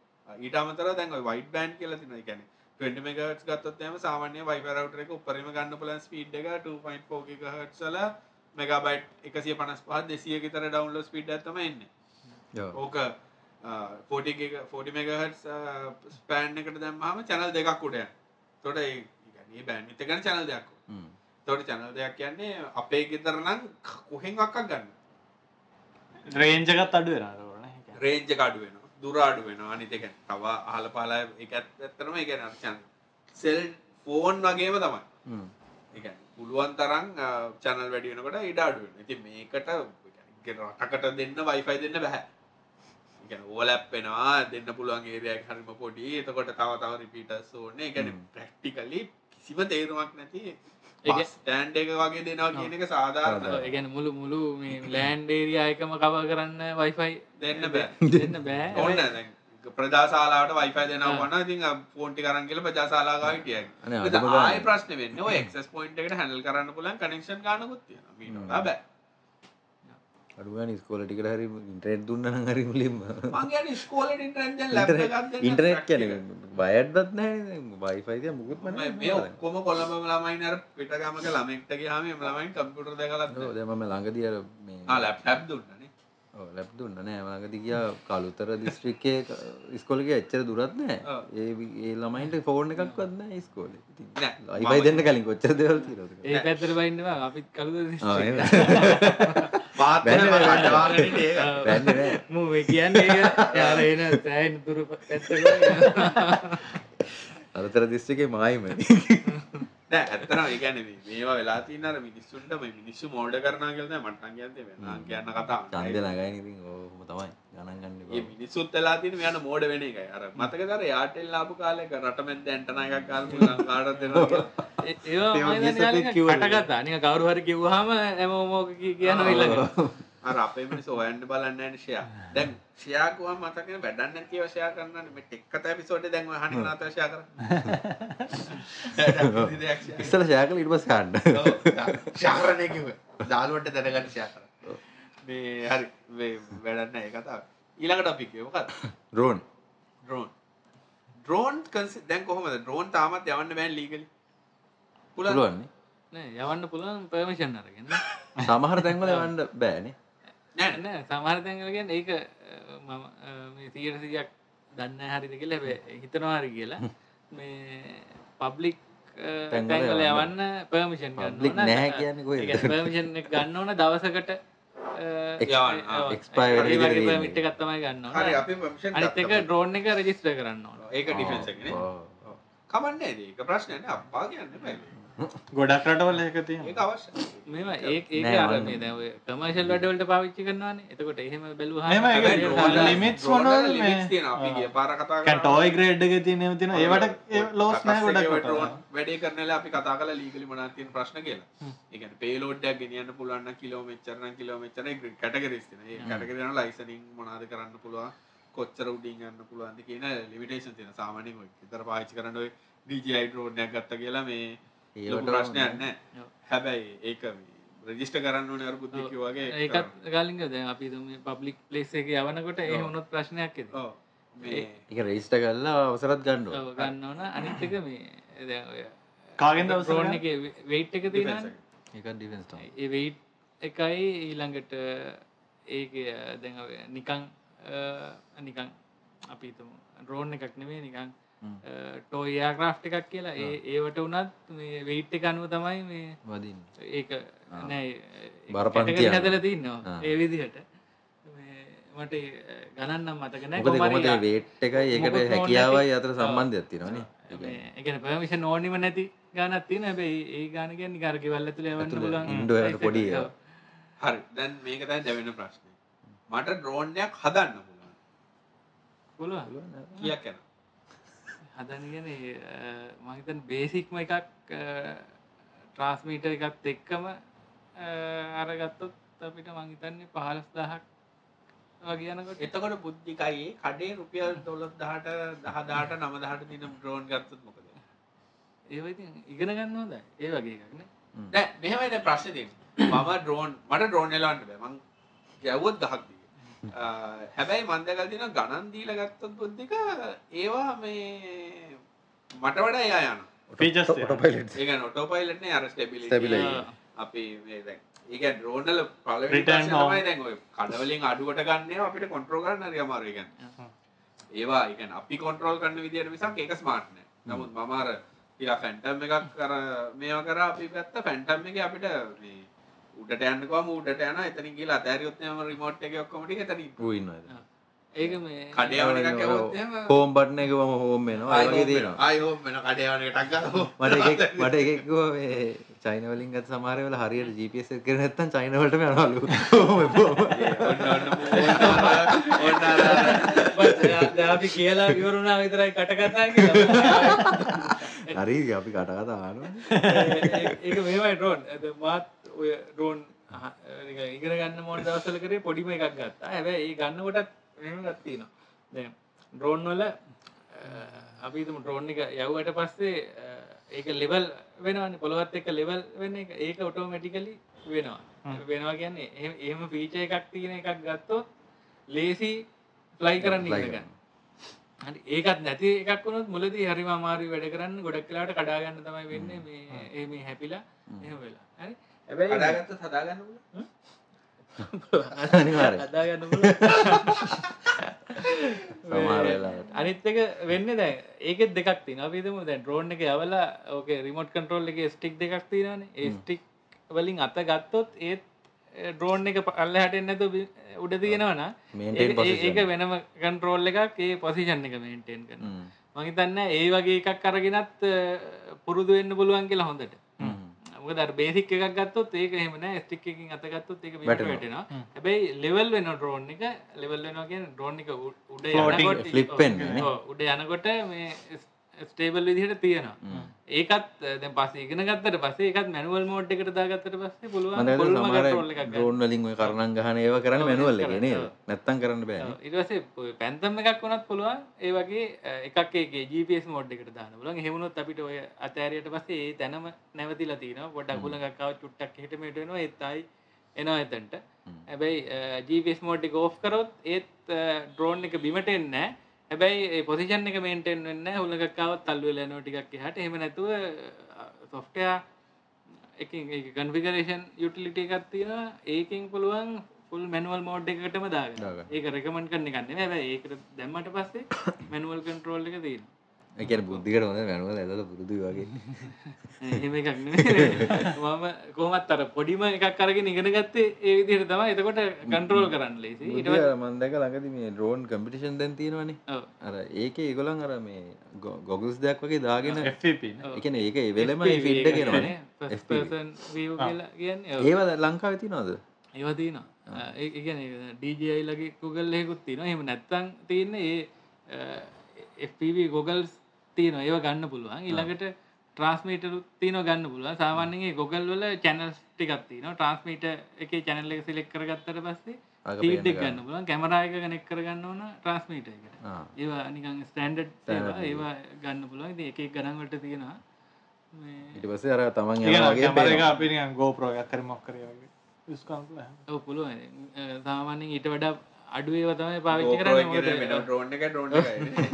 S1: ඊට අමතරව දැන් ওই wide band කියලා තියෙනවා ඒ කියන්නේ 20 MHz ගත්තොත් එහෙම සාමාන්‍ය Wi-Fi router එක උඩරිම ගන්න පුළුවන් speed එක 2.4 GHz වල megabyte 155 200 ක විතර download speed එකක් තමයි එන්නේ
S4: ඔව්.
S1: ඕක පොටි පොටි මෙගහට් ස්පෑන් එකට දැම්මහම චැනල් දෙකක් උඩය තොට ඒ බෑන් තකන චැනල් දෙයක්
S4: හ්ම්.
S1: තොට චැනල් දෙයක් කියන්නේ අපේ ගෙතරනම් කොහෙන් අක්කක් ගන්න
S3: රේන්ජගත් අඩුවෙනරන
S1: රේජ කඩු වෙන දුරාඩු වෙන අනිතක තවා අහල පාලා එක ඇත්තරම එක චන් සෙල් ෆෝන් වගේම තමයි
S4: හ්ම්.
S1: ඒ පුළුවන් තරම් චැනල් වැඩි වෙනකොට ඉඩ අඩු වෙනවා. ඉතින් මේකට ඒ රටකට දෙන්න Wi-Fi දෙන්න බෑ. ඒ කියන්නේ ඕලැප් වෙනවා දෙන්න පුළුවන් ඒරියා එක හරිම පොඩි. එතකොට තව තව රිපීටර්ස් ඕනේ. ඒ කියන්නේ
S4: හ්ම්.
S1: ප්‍රැක්ටිකලි කිසිම තේරුමක් නැති
S2: ඒ කිය-
S1: ස්ටෑන්ඩ් එක වගේ දෙනවා කියන එක
S4: සාධාරණයි.
S1: සාධාරණයි.
S2: ඒ කියන්නේ මුළු මුළු මේ ලෑන්ඩ් ඒරියා එකම කවර් කරන්න Wi-Fi
S1: දෙන්න බෑ.
S2: දෙන්න බෑ
S1: ඕනේ නැහැ දැන්. ප්‍රජාශාලාවට Wi-Fi දෙනවා වුණා. ඉතින් ෆෝන් ටික අරන් ගිහලා ප්‍රජාශාලාව ගාව හිටියයි.
S4: අනේ අදම
S1: ඉතින්
S4: ගානේ.
S1: ආයෙ ප්‍රශ්නේ වෙන්නේ ඔය access point එකට handle කරන්න පුළුවන් connection ගන්නකුත් තියෙනවා. මීනෝලා බෑ.
S4: අඩුගන ස්කෝලටිකට හරි ඉන්ට්‍රේට් දුන්නන හරි මුලින්ම
S1: මගේ ස්කෝල ඉන්ටරන්ජන් ලැබ
S4: ඉන්ටනෙට් කැන බයට්දත් නෑ වයිෆයිය මුකුත් ම
S1: මේ ඔක්කොම කොළඹ ළමයින් අර පිටගමක ළමෙක්ටගේ හම ළමයින් කම්පියුටර් දෙකලත්
S4: දම ලඟදිය
S1: ලැප්ටප් දුන්නනේ
S4: ලැප් දුන්න නෑ ලඟදි කිය කලුතර දිස්ත්‍රික්කය ස්කොලක එච්චර දුරත් නෑ
S1: ඔව්.
S4: ඒ ඒ ළමයින්ට ෆෝර්න එකක් වන්න ස්කෝල
S1: නෑ,
S4: ලයිබයි දෙන්න කලින් කොච්චර දෙවල් තිරක
S2: ඒ පැත්තට බයින්නවා අපිත් කලුද
S1: පාත්න
S4: බැන්න බැන්න. වැන්න
S2: මු මේ කියන්නේ ඒක. යාර එන සෑහෙන දුර පැත්තක
S4: අරතර දිස්ත්‍රිකේ මයිම
S1: නෑ ඇත්තනම් ඒ කියන්නේ මේ- මේවා වෙලා තියෙන අර මිනිස්සුන්ට මේ මිනිස්සු මෝඩ කරනවා කියලා නෑ මට නම් කියන්නේ වෙනවා කියන්න කතාව
S4: චන්ද නගයින ඉතින් ඕහොම තමයි ගණන් ගන්න
S1: ඒ
S4: එපා.
S1: මිනිස්සුත් වෙලා තියෙන මෙයාට මෝඩ වෙන එකයි අර මතකදර යාටෙල් ආපු කාලයක රටමැද්ද ඇන්ටනා එකක් කාලේ ලංකාවට දෙනවා කියලා.
S4: ඒවා ගිසපෙක්
S2: ඒවා
S4: කිව්වනේ.
S2: කටගතා නික කවරු හරි කිව්වහම හැමෝමෝක කියන ඉල්ලග
S1: අර අපේ මිනිස්සු හොයන්න බලන්නේ නෑනේ ෂෙයා. දැන් ෂෙයා ගුවන් මතකනේ වැඩක් නැතිව ෂෙයා කරනවානේ මේ ටෙක් කතා එපිසෝඩ් එක දැන් ඔය හනින් නාතව ෂෙයා කරා.
S4: ඉස්සල ෂයා කළා ඊට පස්සේ කාණ්ඩ.
S1: ෂෙයා කරන්නේ කිව්වේ. දාලුවට දැනගන්න ෂෙයා කරා. මේ හරි මේ වැඩක් නෑ ඒ කතාව. ඊළඟ ටොපික් එක මොකක්ද?
S4: ඩ්‍රෝන්.
S1: ඩ්‍රෝන් ඩ්‍රෝන් කන්සි දැන් කොහොමද ඩ්‍රෝන් තාමත් යවන්න බෑන් ලීගලි පුල
S4: පුළුවන් නේ.
S2: යවන්න පුළුවන් පර්මිෂන් අරගෙන
S4: සමහර තැන්වල යවන්න බෑනේ.
S1: නෑ
S2: නෑ සමාරතැන්ගලගෙන් ඒක අ, මම අ, මේ තීරසියක් දන්න හරිද කියලා හැබැයි හිතනවාරි කියලා මේ පබ්ලික්
S4: තැන්වල
S2: තැන්ගල
S4: යවන්න.
S2: යවන්න පර්මිෂන්
S4: Public නැහැ කියන්නේ කොහෙද?
S2: පර්මිෂන් ගන්න ඕන දවසකට
S1: යවන්න. ආ,
S4: expire වෙන විදිහට දෙන්නේ.
S2: මිට් එකක් තමයි ගන්න
S1: හරි
S2: ඕන
S1: අපි පමිෂන්
S2: අනිත් එක ඩ්‍රෝන් එක රෙජිස්ටර් කරන්න ඕන
S1: ඒක ඩිෆෙන්ස් එකනේ
S4: ඔව්.
S1: කමන්නේ ඒක ප්‍රශ්නයන අපා කියන්න බෑ
S3: ගොඩක් රටවල ඒක තියෙනවා
S1: ඒක අවශ්‍ය
S2: මෙම ඒ ඒ
S4: නෑ,
S2: අර
S4: වන්න.
S2: මේ දැව කමර්ශල් වැඩවලට පාවිච්චි කරනවානේ එතකොට එහෙම බැලුව
S3: මෙහෙම ඒක drone limit limits වනවල මේ-
S1: තියෙන අපි ගිය පාර කතා
S3: කැන් ටෝයි ග්‍රේඩ් එක තියෙන ඒවා තියෙනවා ඒවට ලෝස් නෑ ගොඩක්
S1: ඩ්‍රෝන්
S3: රටවල.
S1: වැඩේ කරනලා අපි කතා කළා ලීගලි මොනවද තියෙන ප්‍රශ්න කියලා. ඒ කියන්නේ පේලෝඩ් එකක් ගෙනියන්න පුළුවන් නම් කිලෝමීටර නම් කිලෝමීටර ඒ කැටගරිස් තියෙනවා. ඒ කැටගරි යන ලයිසනින් මොනවද කරන්න පුළුවන් කොච්චර උඩින් යන්න පුළුවන්ද කියන ලිමිටේෂන් තියෙනවා. සාමාන්‍යයෙන් ඔය විතර පාවිච්චි කරන ඔය DJI drone එකක් ගත්තා කියලා මේ ලොකු
S4: ඒවට
S1: ප්‍රශ්නයක් නැහැ.
S2: ඔව්.
S1: හැබැයි ඒක රෙජිස්ටර් කරන්න ඕනේ අර බුද්ධි කිව්වා වගේ
S2: ඒකත්
S1: කරන්න.
S2: ගලින්ග දැන් අපි පබ්ලික් ලේස් එක යවනකොට ඒ හොනොත් ප්‍රශ්නයක් ඇති
S1: ඔව්. මේ
S4: ඒක රෙජිස්ටර් කරලා අවසරත් ගන්න ඕන.
S2: ගන්න ඕන අනිත්තක මේ දැන් ඔය
S3: කාගෙන්ද අවසර
S2: drone එකේ weight එක
S1: defense
S2: තියෙනවා
S1: එක.
S4: ඒකත් ඩිෆෙන්ස් තමයි.
S2: ඒ weight එකයි ඊළඟට ඒක දැන් ඔය නිකන් අ, නිකන් අපි හිතමු drone එකක් නෙමෙයි නිකන් toy aircraft එකක් කියලා ඒ ඒවට උනත් මේ weight එක අනුව තමයි මේ
S4: වදින්න.
S2: ඒක නෑ
S4: බරපන්ති යනවා.
S2: හැදල තින්නවා
S4: ආ.
S2: ඒ විදිහට මේ මට ගණන්නම් මතකනෑ
S4: මොකද කොහමද වේට් එකයි ඒකට හැකියාවයි අතර සම්බන්ධයක් තියෙනවා නේ.
S2: එකන පමිෂ නෝනිම නැති ගානත් තින හැබයි ඒ ගාන ගැන ගරකිවල්ල තුළ වන්න
S4: ඇතුළේ
S2: පුලන්
S4: ඉන්ඩෝ එකට පොඩි ඒවා.
S1: හරි. දැන් මේක තමයි දෙවෙනි ප්‍රශ්නේ. මට ඩ්‍රෝන් එකක් හදන්න පුළුවන්.
S2: පුල
S1: කීයක් යනවා?
S2: හදනගෙන මහිතන් බේසික්ම එකක් ට්‍රස්මීට එකත් එක්කම අ, අරගත්තොත් අපිට මංහිතන්නේ පහලස් දහක් වගේනකොට
S1: එතකොට බුද්ධිකයි කඩේ රුපියල් දොලොස් දහට දහදාට නමදාට දින ද්‍රෝන් ගත්තත් මොකද
S2: ඒ ඉගෙන ගන්නවද ඒ වගේ එකක්න
S1: දැ මෙහමයිද ප්‍රශ්තිය මම ද්‍රෝන් මට ද්‍රෝන් එලන්න බෑ මං ගැව්වොත් දහක් දිග හැබැයි මන්දකල් දින ගණන් දීල ගත්තත් බුද්ධික ඒවා මේ මට වඩා එයා යන
S3: Features
S4: ඔටෝ-
S3: තියෙනවා.
S4: ඔටෝපයිලට්ස්.
S1: ඒක නොටෝපයිලටනේ අර ස්ටැබිලි
S4: Stability.
S1: අපි මේ දැන් ඒක ද්‍රෝනල පල
S3: Return home.
S1: තමයි දැන් ඔය කඩවලින් අඩුවට ගන්න අපිට කොන්ට්‍රෝ ගන්න හරි අමාරු ගැන ඒවා එකන අපි කොන්ට්‍රෝල් කරන්න විදිහට මිසක් ඒක ස්මාර්ට් නෑ නමුත් මම අර ටිකක් ෆැන්ටම් එකක් කර මේවා කර අපි ගත්ත ෆැන්ටම් එක අපිට මේ උඩට යන්නකම උඩට යන එතනින් ගිහලා අතෑරියොත් එම රිමෝට් එක ඔක්කොම ටික එතනින්
S4: ඌ ඉන්නවද?
S2: ඒක මේ
S1: කඩේ යවන එකක් ඇහුවොත් එහෙම
S4: හෝම් බටන් එක මම හෝම් වෙනවා. ඒ වගේ තියෙනවා.
S1: ආයි හෝම් වෙන කඩේ යවන එකක් ගන්නවා
S4: මට එකෙක් මට එකෙක් කිව්වා මේ චයින වලින් ගත්ත සමහර වෙලාව හරියට GPS එක කරේ නැත්තම් චයින වලටම යනවලු. ඔහොම එපොම.
S1: ඔන්න ඔන්න මූ- ඔන්න අර-
S2: අපි කියලා විවරුණා විතරයි කටකතා කියලා.
S4: හරි අපි කට කතා ආනවා.
S2: ඒ- ඒක මේමයි රෝන් ඇද මාත් ඔය රෝන් ඉගෙන ගන්න මෝඩ දවසල කරේ පොඩිම එකක් ගත්තා ඇබ ඒ ගන්නකොටත් මෙම ගත්තිනවා ඩ්‍රෝන් වල අපි ඩ්‍රෝන් එක යව්වට පස්සේ අ, ඒක ලෙවල් වෙනවාන පොළොවත් එක ලෙවල් වෙන එක ඒක ඔටෝමැටිකලි වෙනවා වෙනවා කියන්නේ එහෙම- එහෙම පීච එකක් තියෙන එකක් ගත්තොත් ලේසි ෆ්ලයි කරන්න
S4: Fly
S2: ඉගෙන හරි ඒකත් නැති එකක් වුණොත් මුලදී හරිම අමාරු වැඩ කරන්න ගොඩක් කලාට කඩාගන්න තමයි වෙන්නේ මේ ඒ මේ හැපිලා එහෙම වෙලා හරි
S1: හදාගත්තත් හදාගන්න පුළුවන්.
S4: අනිවාර්යයෙන්.
S2: කඩාගන්න පුළුවන්
S4: සමහර වෙලාවට.
S2: අනිත් එක වෙන්නේ දැන් ඒකෙත් දෙකක් තියෙනවා අපි හිතමු දැන් ඩ්‍රෝන් එක යවලා ඕකේ රිමෝට් කන්ට්‍රෝල් එකේ ස්ටික් දෙකක් තියෙනවානේ ඒ ස්ටික් වලින් අත ගත්තොත් ඒත් ඩ්‍රෝන් එක පල්ලෙහාට එන්නේ නැතුව බි- උඩ තියෙනවනම්
S4: Maintain
S2: ඒක- ඒ-
S4: position.
S2: ඒක වෙනම කන්ට්‍රෝල් එකක් ඒ පොසිෂන් එක මේන්ටේන් කරනවා
S4: හ්ම්.
S2: මම මහිතන්න ඒ වගේ එකක් අරගෙනත් අ, පුරුදු වෙන්න පුළුවන් කියලා හොඳට මොක දර බේසික් එකක් ගත්තොත් ඒක හෙමන ස්ටික් එකින් අතගත්තොත් ඒක බිට
S4: වැටෙනවා.
S2: වැටෙනවා හැබැයි ලෙවල් වෙන ඩ්‍රෝන් එක ලෙවල් වෙනවා කියන ඩ්‍රෝන් එක උ- උඩ
S3: Floating,
S2: යනකොට
S4: flip
S2: ඔව්,
S4: වෙන්නේ නේ.
S2: ඔව්, උඩ යනකොට මේ ස්ටේබල් විදිහට තියෙනවා ඒකත් අ, දැන් පස්සේ ඉගෙන ගත්තට පස්සේ ඒකත් මැනුවල් මෝඩ් එකට දාගත්තට පස්සේ පුළුවන්
S4: මතක
S2: කොල්ම
S4: සමහර
S2: control එකක් ගන්න.
S4: ඩ්‍රෝන් වලින් ඔය කරණම් ගහන ඒවා කරන්න
S2: ඔව්,
S4: මැනුවල් එකේ
S2: කරන්න,
S4: නේද?
S2: ඔව්.
S4: නැත්තම් කරන්න බෑනේ.
S2: ඉටවසේ පැන්තම් එකක් වනත් පුළුවන් ඒ වගේ අ, එකක් ඒගේ ජීපස් මෝඩ් එකට දාන පුලන් හෙමුණොත් අපිට ඔය අතෑරයට පස්සේ ඒ තැනම නැවතිලා තින ගොඩ ගුලගක්කාව චුට්ටක් හිටමටනවා එත්තයි එනවා එතැන්ට හැබැයි ජීපස් මෝඩ් ගෝ් කරොත් ඒත් ඩ්‍රෝන් එක බිමට එන්න හැබැයි පොසිෂන් එක මේන්ටෙන් වෙන්න හුලගක්කාවත් තල්වෙල නෝටිකක් හට හෙම නැතුව සොෆ්ටයා එක කන්ෆිගරේෂන් යුටිලිට එකක් තියෙන ඒකින් පුළුවන් ෆුල් මැනුවල් මෝඩ් එකටම දාග
S4: දාගන්න.
S2: ඒක රෙකමන් කරන්න ගන්න හැබැ ඒක දැම්මට පස්සේ මැනුවල් කන්ට්‍රෝල් එක තියෙන
S4: ඒ කියන්නේ බුද්ධිකට හොඳ මැනුවල් ඇදලා පුරුදු වගේ.
S2: එහෙම එකක් නෙමෙයි. මම කොහොමත් අර පොඩිම එකක් අරගෙන ඉගෙන ගත්තේ ඒ විදිහට තමයි එතකොට කන්ට්‍රෝල් කරන්න ලේසි ඊට
S4: බුද්ධිය මම දැක ළඟදී මේ ඩ්‍රෝන් කම්පිටිෂන් දැන් තියෙනවනේ.
S2: ඔව්.
S4: අර ඒකේ ඒගොල්ලන් අර මේ ගොගල්ස් දෙයක් වගේ දාගෙන ඒ
S3: FVP නේ.
S4: කියන්නේ ඒක ඒ වෙලෙම
S2: FPV
S4: ෆීඩ්
S2: එකක්
S4: කරනවනේ.
S2: නේ. First person view කියලා කියන්නේ ඔව්.
S4: ඒවා දැන් ලංකාවේ තියෙනවද?
S2: ඒවා තියෙනවා අ, ඒ ගැන ඩජයි ලගේ කුගල් හෙකුත් තියෙන හෙම නැත්තං තියන්න ඒ FPV ගොගල්ස් තියන ඒව ගන්න පුළුවන් ඉළඟට ට්‍රස්මීටරුත් තියන ගන්න පුළුව සාමාන්‍යයේ ගොගල් වල චැනල්ස් ටිකත්ති න ට්‍රස්මීට එක චැනල්ල එක සිලෙක් කරගත්තට පස්සේ
S4: අග පේන්න
S2: පීට් ගන්න පුළුවන් කැමරායක කනෙක් කරගන්න ඕන ට්‍රස්මීට එකට
S4: ආ.
S2: ඒවා නිකන් ස්ටන්ඩඩ් ඒවා ගන්න පුළුවන් ඉතින් එක ගණන්වට තියෙනවා මේ
S4: ඊට පස්සේ අර තමන් යන
S3: ඒ
S4: වගේ
S3: කැමර එක අපි නිකන් GoPro එකක් හරි මොකක් හරි වගේ use කරන්න පුළුවන්.
S2: ඔව් පුළුවන් අ, සාමාන්‍යයෙන් ඊට වඩා අඩුවේව තමයි පාවිච්චි කරන්නේ මොකද
S1: ්‍රෝන් එක ්‍රෝන් එක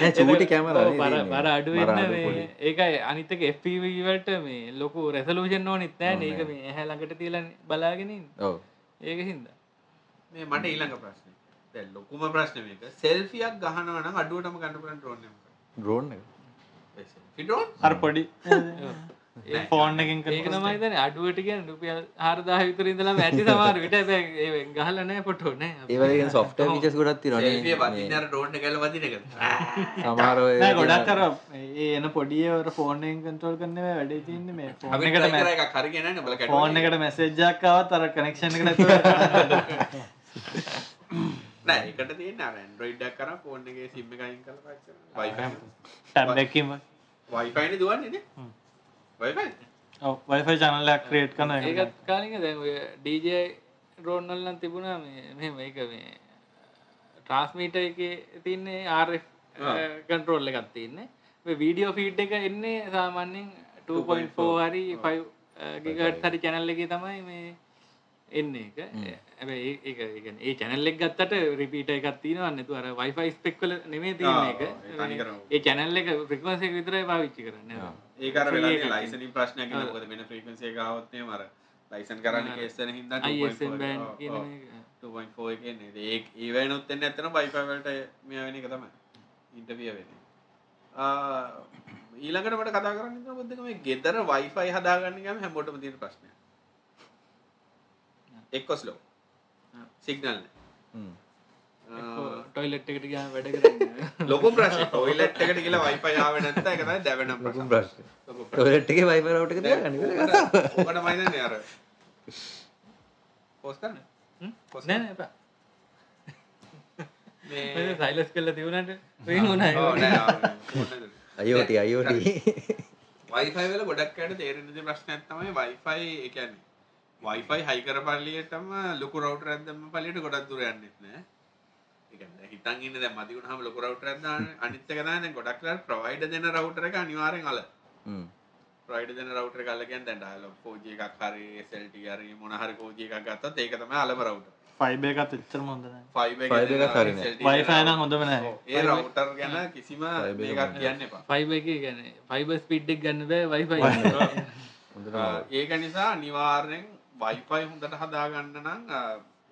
S4: නෑ චූටි කැමරා
S2: ඔව්, බර බර අඩුවෙන්න මේ ඒකයි අනිතක FPVවලට මේ ලොකු රැසලූෂන් ඕනෙත් නෑ ඒක මේ ඇහැ ළඟට තියලා බලාගෙන ඉන්න.
S4: ඔව්
S2: ඒක හින්දා
S1: මේ මට ඊළඟ ප්‍රශ්න දැ ලොකුම ප්‍රශ්න මේක සෙල්ෆියක් ගහනවන අඩුවටම ගඩුපන ්‍රෝන්
S4: ඩ්‍රෝන් එක
S1: ෆිඩෝන්
S3: අර පොඩි ෆෝන් එකෙන්
S2: ඒක තමයි දැන් අඩුවට කියන්නේ රුපියල් 4000 විතර ඉඳලා ඇති සමහර විට හැබැයි ඒ ගහලා නෑ ෆොටෝ නෑ.
S4: ඒවලෙන් සොෆ්ට විචස් ගොඩක්
S1: සෙල්ිය
S4: තිරනේ
S1: වතිනර ඩෝන්න කැල වදිනක
S4: සමාරය
S3: නෑ ගොඩක් අර ඒ එන පොඩිය ඔර ෆෝන් එකෙන් control කරන්න බෑ වැඩේ තියෙන්නේ මේ ෆෝන්
S1: අපි
S3: එකට
S1: කරක කරගෙන බල
S3: ෆෝන්
S1: කට
S3: එකට message එකක් ආවත් අර connection එක නැතුව
S1: නෑ එකට තියන්න රන්ඩ්‍රයිඩ්ඩක් කර ෆෝන්ගේ සිම්ම එකයින් කල පක්ෂ
S3: tab එකකින්ම
S1: වයිෆයින දුවන්නේද වයිෆයි
S3: ඔව් wifi channel එකක් create කරන එක.
S2: ඒකත් කාලික දැන් ඔය DJ රෝනල් නම් තිබුණා මේ මෙහෙම ඒක මේ ට්‍රාන්ස්මීටර් එකේ තියන්නේ RF කන්ට්‍රෝල් එකක් තියන්නේ. මේ වීඩියෝ ෆීඩ් එක එන්නේ සාමාන්‍යයෙන් 2.4 හරි 5 ගිගහට් හරි channel එකේ තමයි මේ එන්නේ එක. හැබැයි ඒ- ඒක ඒ කියන්නේ ඒ channel එක ගත්තට repeater එකක් තියෙනවා නැතු අර Wi-Fi spec වල නෙමෙයි තියෙන්නේ
S1: ආ, ඒක තනි
S2: ඒක.
S1: කරම.
S2: ඒ channel එක frequency එක විතරයි පාවිච්චි කරන්නේ.
S1: ඒකර වෙලා ලයිසනින් ප්‍රශ්නයක ොද වෙන ්‍රීකන්සේ ගවත්නය මර ලයිසන් කරන්න කේස්සන හිද
S2: ISM band කියන එක.
S1: 2.4 කියන්නේ ඒ ඒවැ නොත්තෙන් ඇතන බයිපවලට මෙයවෙන එක තමයි ඉන්ටපිය වෙන ඊළඟටට කතා කරන්න බොද්ධක මේ ගෙදර වයිෆයි හදාගන්න ගම හැමෝටම තියෙන ප්‍රශ්නය එක්කොස් ලෝ සිගනල්
S2: ටොයිලට් එකට ගියාම වැඩ කරන්නේ.
S1: ලොකු ප්‍රශ්න ඔයිලට් එකට කියලා වයිපයාව නැත්ත එකත දැවනම් ප්‍රශ
S4: ප්‍රශ් ටගේ වයිපරවට එක ගන්න
S1: ඕකට මයිදන්නේ අර පෝස් කරන්න
S2: නෑ නෑ එපා. මේ සයිලස් කරලා තිබුණාට වෙන් වුණා ඒක.
S4: අයෝට අයෝට
S1: වයිෆයි වල ගොඩක් අයට තේරෙනද ප්‍රශ්නයක් තමයි වයිෆයි එකන්නේ වයිෆයි හයිකර පල්ලියටම ලොකු රවට ඇදම පලියට ගොඩක් දුර යන්නෙත් නෑ ඒ හිතන් ඉන්න දැ මතිකුණ හම ලොකු රවට ඇද අනිත්තක දාන ගොඩක්ල ප්‍රවයිඩ දෙන රවටර එක අනිවාරෙන් අල ප්‍රයිඩ දෙන රවට කල්ලගෙන් දැන් ඩයිලොක් පෝජය එකක් හරි සෙල්ටි හරි මොනහරි කෝජය එකක් ගත්තත් ඒක තමයි අලම රවට
S3: fiber එකත් එච්චරම හොඳ නෑ.
S1: ෆයිබ
S4: Fiber එකක් හරි නෑ.
S3: wifi නම් හොඳම නෑ.
S1: ඒ රවටර් ගැන කිසිම මේකක් කියන්න එපා
S2: ෆයිබර් එකේ කියන්නේ ෆයිබර් ස්පීඩ් එක ගන්න බෑ Wi-Fi එකේ.
S1: අ, ඒක නිසා අනිවාර්යෙන් වයිෆයි හොඳට හදාගන්න නම් අ,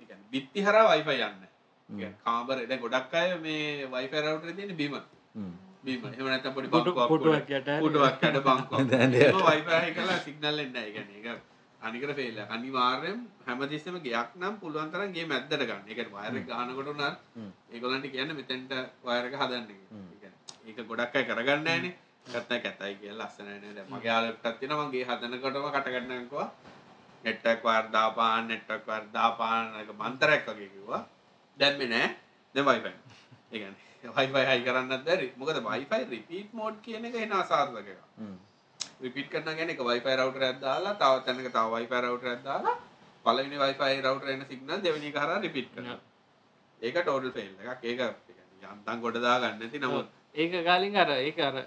S1: ඒ කියන්නේ බිත්ති හරා වයිෆයි යන්න ඒ කියන්නේ කාමර එද ගොඩක් අය මේ වයිෆයි රවුටර් එකේ තියෙන බිම බිම එහෙම නැත්නම් පොඩි බංකුවක්
S2: කොටුවක් යට හරි.
S1: කොටුවක් යට බංකුවක්
S4: දැන්
S1: ඒක වයිෆයි කියලා සිග්නල් එන්නේ නැහැ. ඒ කියන්නේ ඒක අනිකට ෆේල් එකක්. අනිවාර්යෙන් හැමතිස්සෙම ගයක් නම් පුළුවන් තරම් ගේ මැද්දට ගන්න. ඒ කියන්නේ වයර් එක ගහනකොට උනත් ඒගොල්ලන්ට කියන්නේ මෙතෙන්ට වයර් එක හදන්න කියලා. ඒ කියන්නේ ඒක ගොඩක් අයි කරගන්නන කරන කැතයි කිය ලස්සනන මගේ යාලටත්තින මගේ හදනකොටම කටගන්නකවා නෙට්ටක් වර්දාපාන් නෙට්ටක් වර්දාපානක මන්තරැක් වගේ කිවා දැම්මි නෑ දෙවයිපන් ඒ වයිෆයි හයි කරන්න දැරි මොකද වයිෆයි රිපීට් මෝඩ් කියන එක එන අසාර්ථකවා
S4: හ්ම්.
S1: විපිට කරන ගැන එක වයිෆයි රවට ඇදදාලා තව තැනක තව වයිෆයි රවට ඇදදාලා පලවිනි වයිෆයි රවට එන සිගන දෙවනි කර රිපිට් කර
S2: Yeah.
S1: ඒක ටෝඩල් ෆෙල් එකක් ඒක යන්තන් ගොඩදා ගන්නති නමුත්
S2: ඒක ගාලින් අර ඒක අර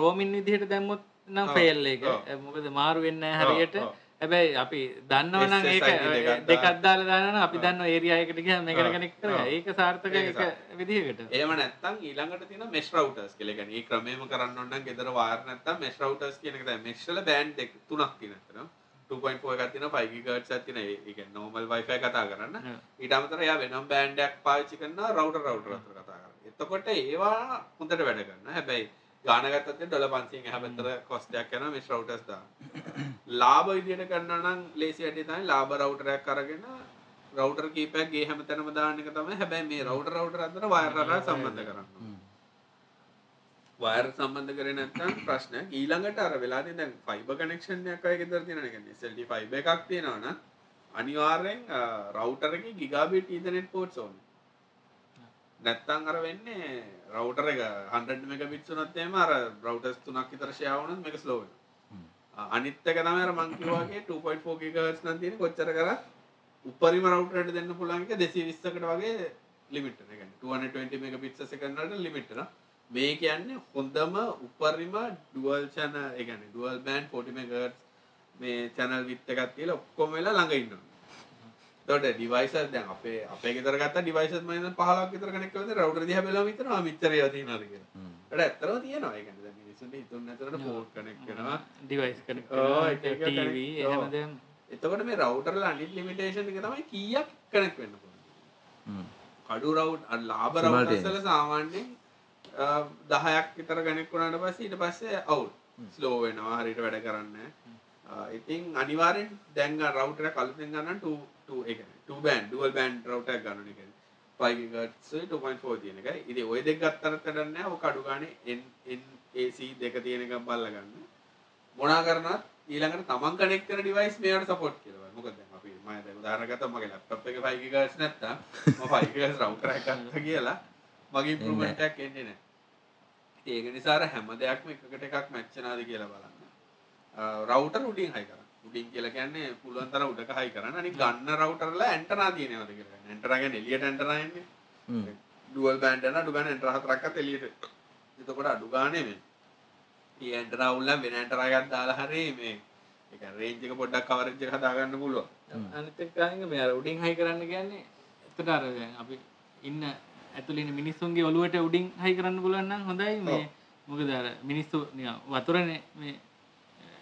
S2: රෝමින් විදිහට දැම්මොත් නම්
S1: ඔව්,
S2: ෆෙල් එක
S1: ඔව්.
S2: මොකද මාරු වෙන්න හරියට
S1: ඔව්.
S2: හැබැයි අපි දන්නවනම්
S1: SSID
S2: ඒක
S1: දෙකක්
S2: දෙකක්
S1: දාලා.
S2: දාලා දානවා අපි දන්න ඒරියායකට ගියා මේකට
S1: ඔව්,
S2: කනෙක් කරා
S1: ඔව්.
S2: ඒක සාර්ථක
S1: ඒක
S2: එක විදිහකට
S1: ඒම නැත්තන් ඊළඟට තින මෙස් රවටර්ස් කෙලෙගන ඒ ක්‍රමේම කරන්න ඔන්න ගෙදර වාර නැත්තම් මෙස් රවටර්ස් කියනකද මෙක්ෂල බෑන්් දෙක් තුනක් තිනතන 2.4 එකක් තින 5 ගිගට් ඇතින ඒක නෝමල් වයිෆයි කතා කරන්න
S2: Yeah.
S1: ඊට අමතර එයා වෙනම් බෑන්්ඩක් පාච්චි කරන්න රවට රවට රතර කතා කර එතකොට ඒවා හොඳට වැඩ කරන්න හැබැයි ගානගතත් ඩොල පන්සිෙන් හැබතර කොස්ටයක් යන මෙස් රවටස් දා ලාබ විදියට කරන්න නම් ලේසි වැඩේ තමයි ලාබ රවටරයක් කරගෙන රවටර් කීපයක් ගේ හැම තැනම දාන්න එක තමයි හැබැයි මේ රවටර් රවටර් අතර වයර් අතර සම්බන්ධ කරන්න
S4: හ්ම්.
S1: වයර් සම්බන්ධ කරේ නැත්නම් ප්‍රශ්නයක් ඊළඟට අර වෙලාදී දැන් ෆයිබර් කනෙක්ෂන් එකක් අය ගෙදර තියෙන එක SLT ෆයිබර් එකක් තියෙනවා නම් අනිවාර්යෙන් රවුටර් එකේ ගිගාබයිට් ඊතර්නෙට් පෝට්ස් ඕනේ නැත්තම් අර වෙන්නේ රවුටර් එක 100 මෙගාබිට්ස් වුණත් එහෙම අර රවුටර්ස් තුනක් විතර ෂෙයා වුණොත් මේක ස්ලෝ
S4: හ්ම්.
S1: වෙනවා අනිත් එක තමයි අර මං කිව්වා වගේ 2.4 GHz නම් තියෙන කොච්චර කරත් උපරිම රවුටර් එකට දෙන්න පුළුවන් එක 220කට වගේ ලිමිට් එක يعني 220 මෙගාබිට්ස් සෙකන්ඩ් වලට ලිමිට් එක මේ කියන්නේ හොඳම උපරිම ඩුවල් චැන එකන ඩුවල් බෑන්් 40 මෙගට් මේ චැනල් විත් එකත් කියලා ඔක්කොම වෙලා ළඟ ඉන්නවා තොට ඩිවයිස දැන් අපේ අපේ ගෙතර ගත්ත ඩිවයිස මන පහලක් විතර කනෙක්වද රවටර දිහ බැලා විතර මිචරය තියනද කියලා
S4: හ්ම්.
S1: ට ඇත්තරම තියෙනවා එක මිනිසුන් ඉතුන්න ඇතරට පෝට් කනෙක් කරනවා
S2: ඩිවයිස් කනෙක්
S1: ඔව්, එක එක
S2: කරනවා
S1: connect-
S2: ටීවී
S1: ඔව්.
S2: එහෙම දැන්
S1: එතකොට මේ රවටරල අනිත් ලිමිටේෂන් එක තමයි කියක් කනෙක් වෙන්න පුළුවන්
S4: හ්ම්.
S1: කඩු රව් ලාබ
S4: Small train.
S1: රවටසල සාමාන්‍යෙන් දහයක් විතර ගැනෙක් වුණට පස්ස ඊට පස්සේ අවු් ස්ලෝ වෙනවා හරිට වැඩ කරන්න අ, ඉතින් අනිවාරෙන් දැන්ග රවටර කල්පෙන් ගන්න බන් ඩුවල් බන්් රවට ගන්න එක පයිගටස් 2.4 තියෙන එක ඉති ඔය දෙක් ගත්තර තරන්න ඔ කඩුගානඒC දෙක තියෙනක බල්ලගන්න මොනා කරනත් ඊළඟට තමන් කනෙක්ටර ඩිවයිස් මේට සපෝට් කියලා මොකද අපි මම උදාරගත මගේ ලැප්ටප් එක 5 GHz නැත්තම් මම 5 GHz රවුටර් එකක් ගත්තා කියලා මගේ ඉම්ප්‍රූව්මන්ට් එකක් එන්නේ නැහැ. ඉතින් ඒක නිසා අර හැම දෙයක්ම එකකට එකක් මැච් වෙනවද කියලා බලන්න. රවුටර් උඩින් හයි කරන්න. උඩින් කියලා කියන්නේ පුළුවන් තරම් උඩක හයි කරන්න. අනික ගන්න රවුටර් වල ඇන්ටනා තියෙනවද කියලා ගන්න. ඇන්ටනා කියන්නේ එළියට ඇන්ටනා එන්නේ.
S4: හ්ම්.
S1: ඩුවල් බෑන්ඩ් යන අඩු ගන්න ඇන්ටර හතරක්වත් එළියට. එතකොට අඩු ගානේ මේ. මේ ඇන්ටර අවුල්ලා වෙන ඇන්ටර එකක් දාලා හරි මේ ඒක රේන්ජ් එක පොඩ්ඩක් කවරේජ් එක හදා ගන්න පුළුවන්.
S2: අනිත් එක ගාලින් මේ අර උඩින් හයි කරන්න කියන්නේ එතන අර දැන් අපි ඉන්න ඇතුළේ ඉන්න මිනිස්සුන්ගේ ඔළුවට උඩින් හයි කරන්න පුළුවන් නම් හොඳයි මේ මොකද අර මිනිස්සු නිකන් වතුරනේ මේ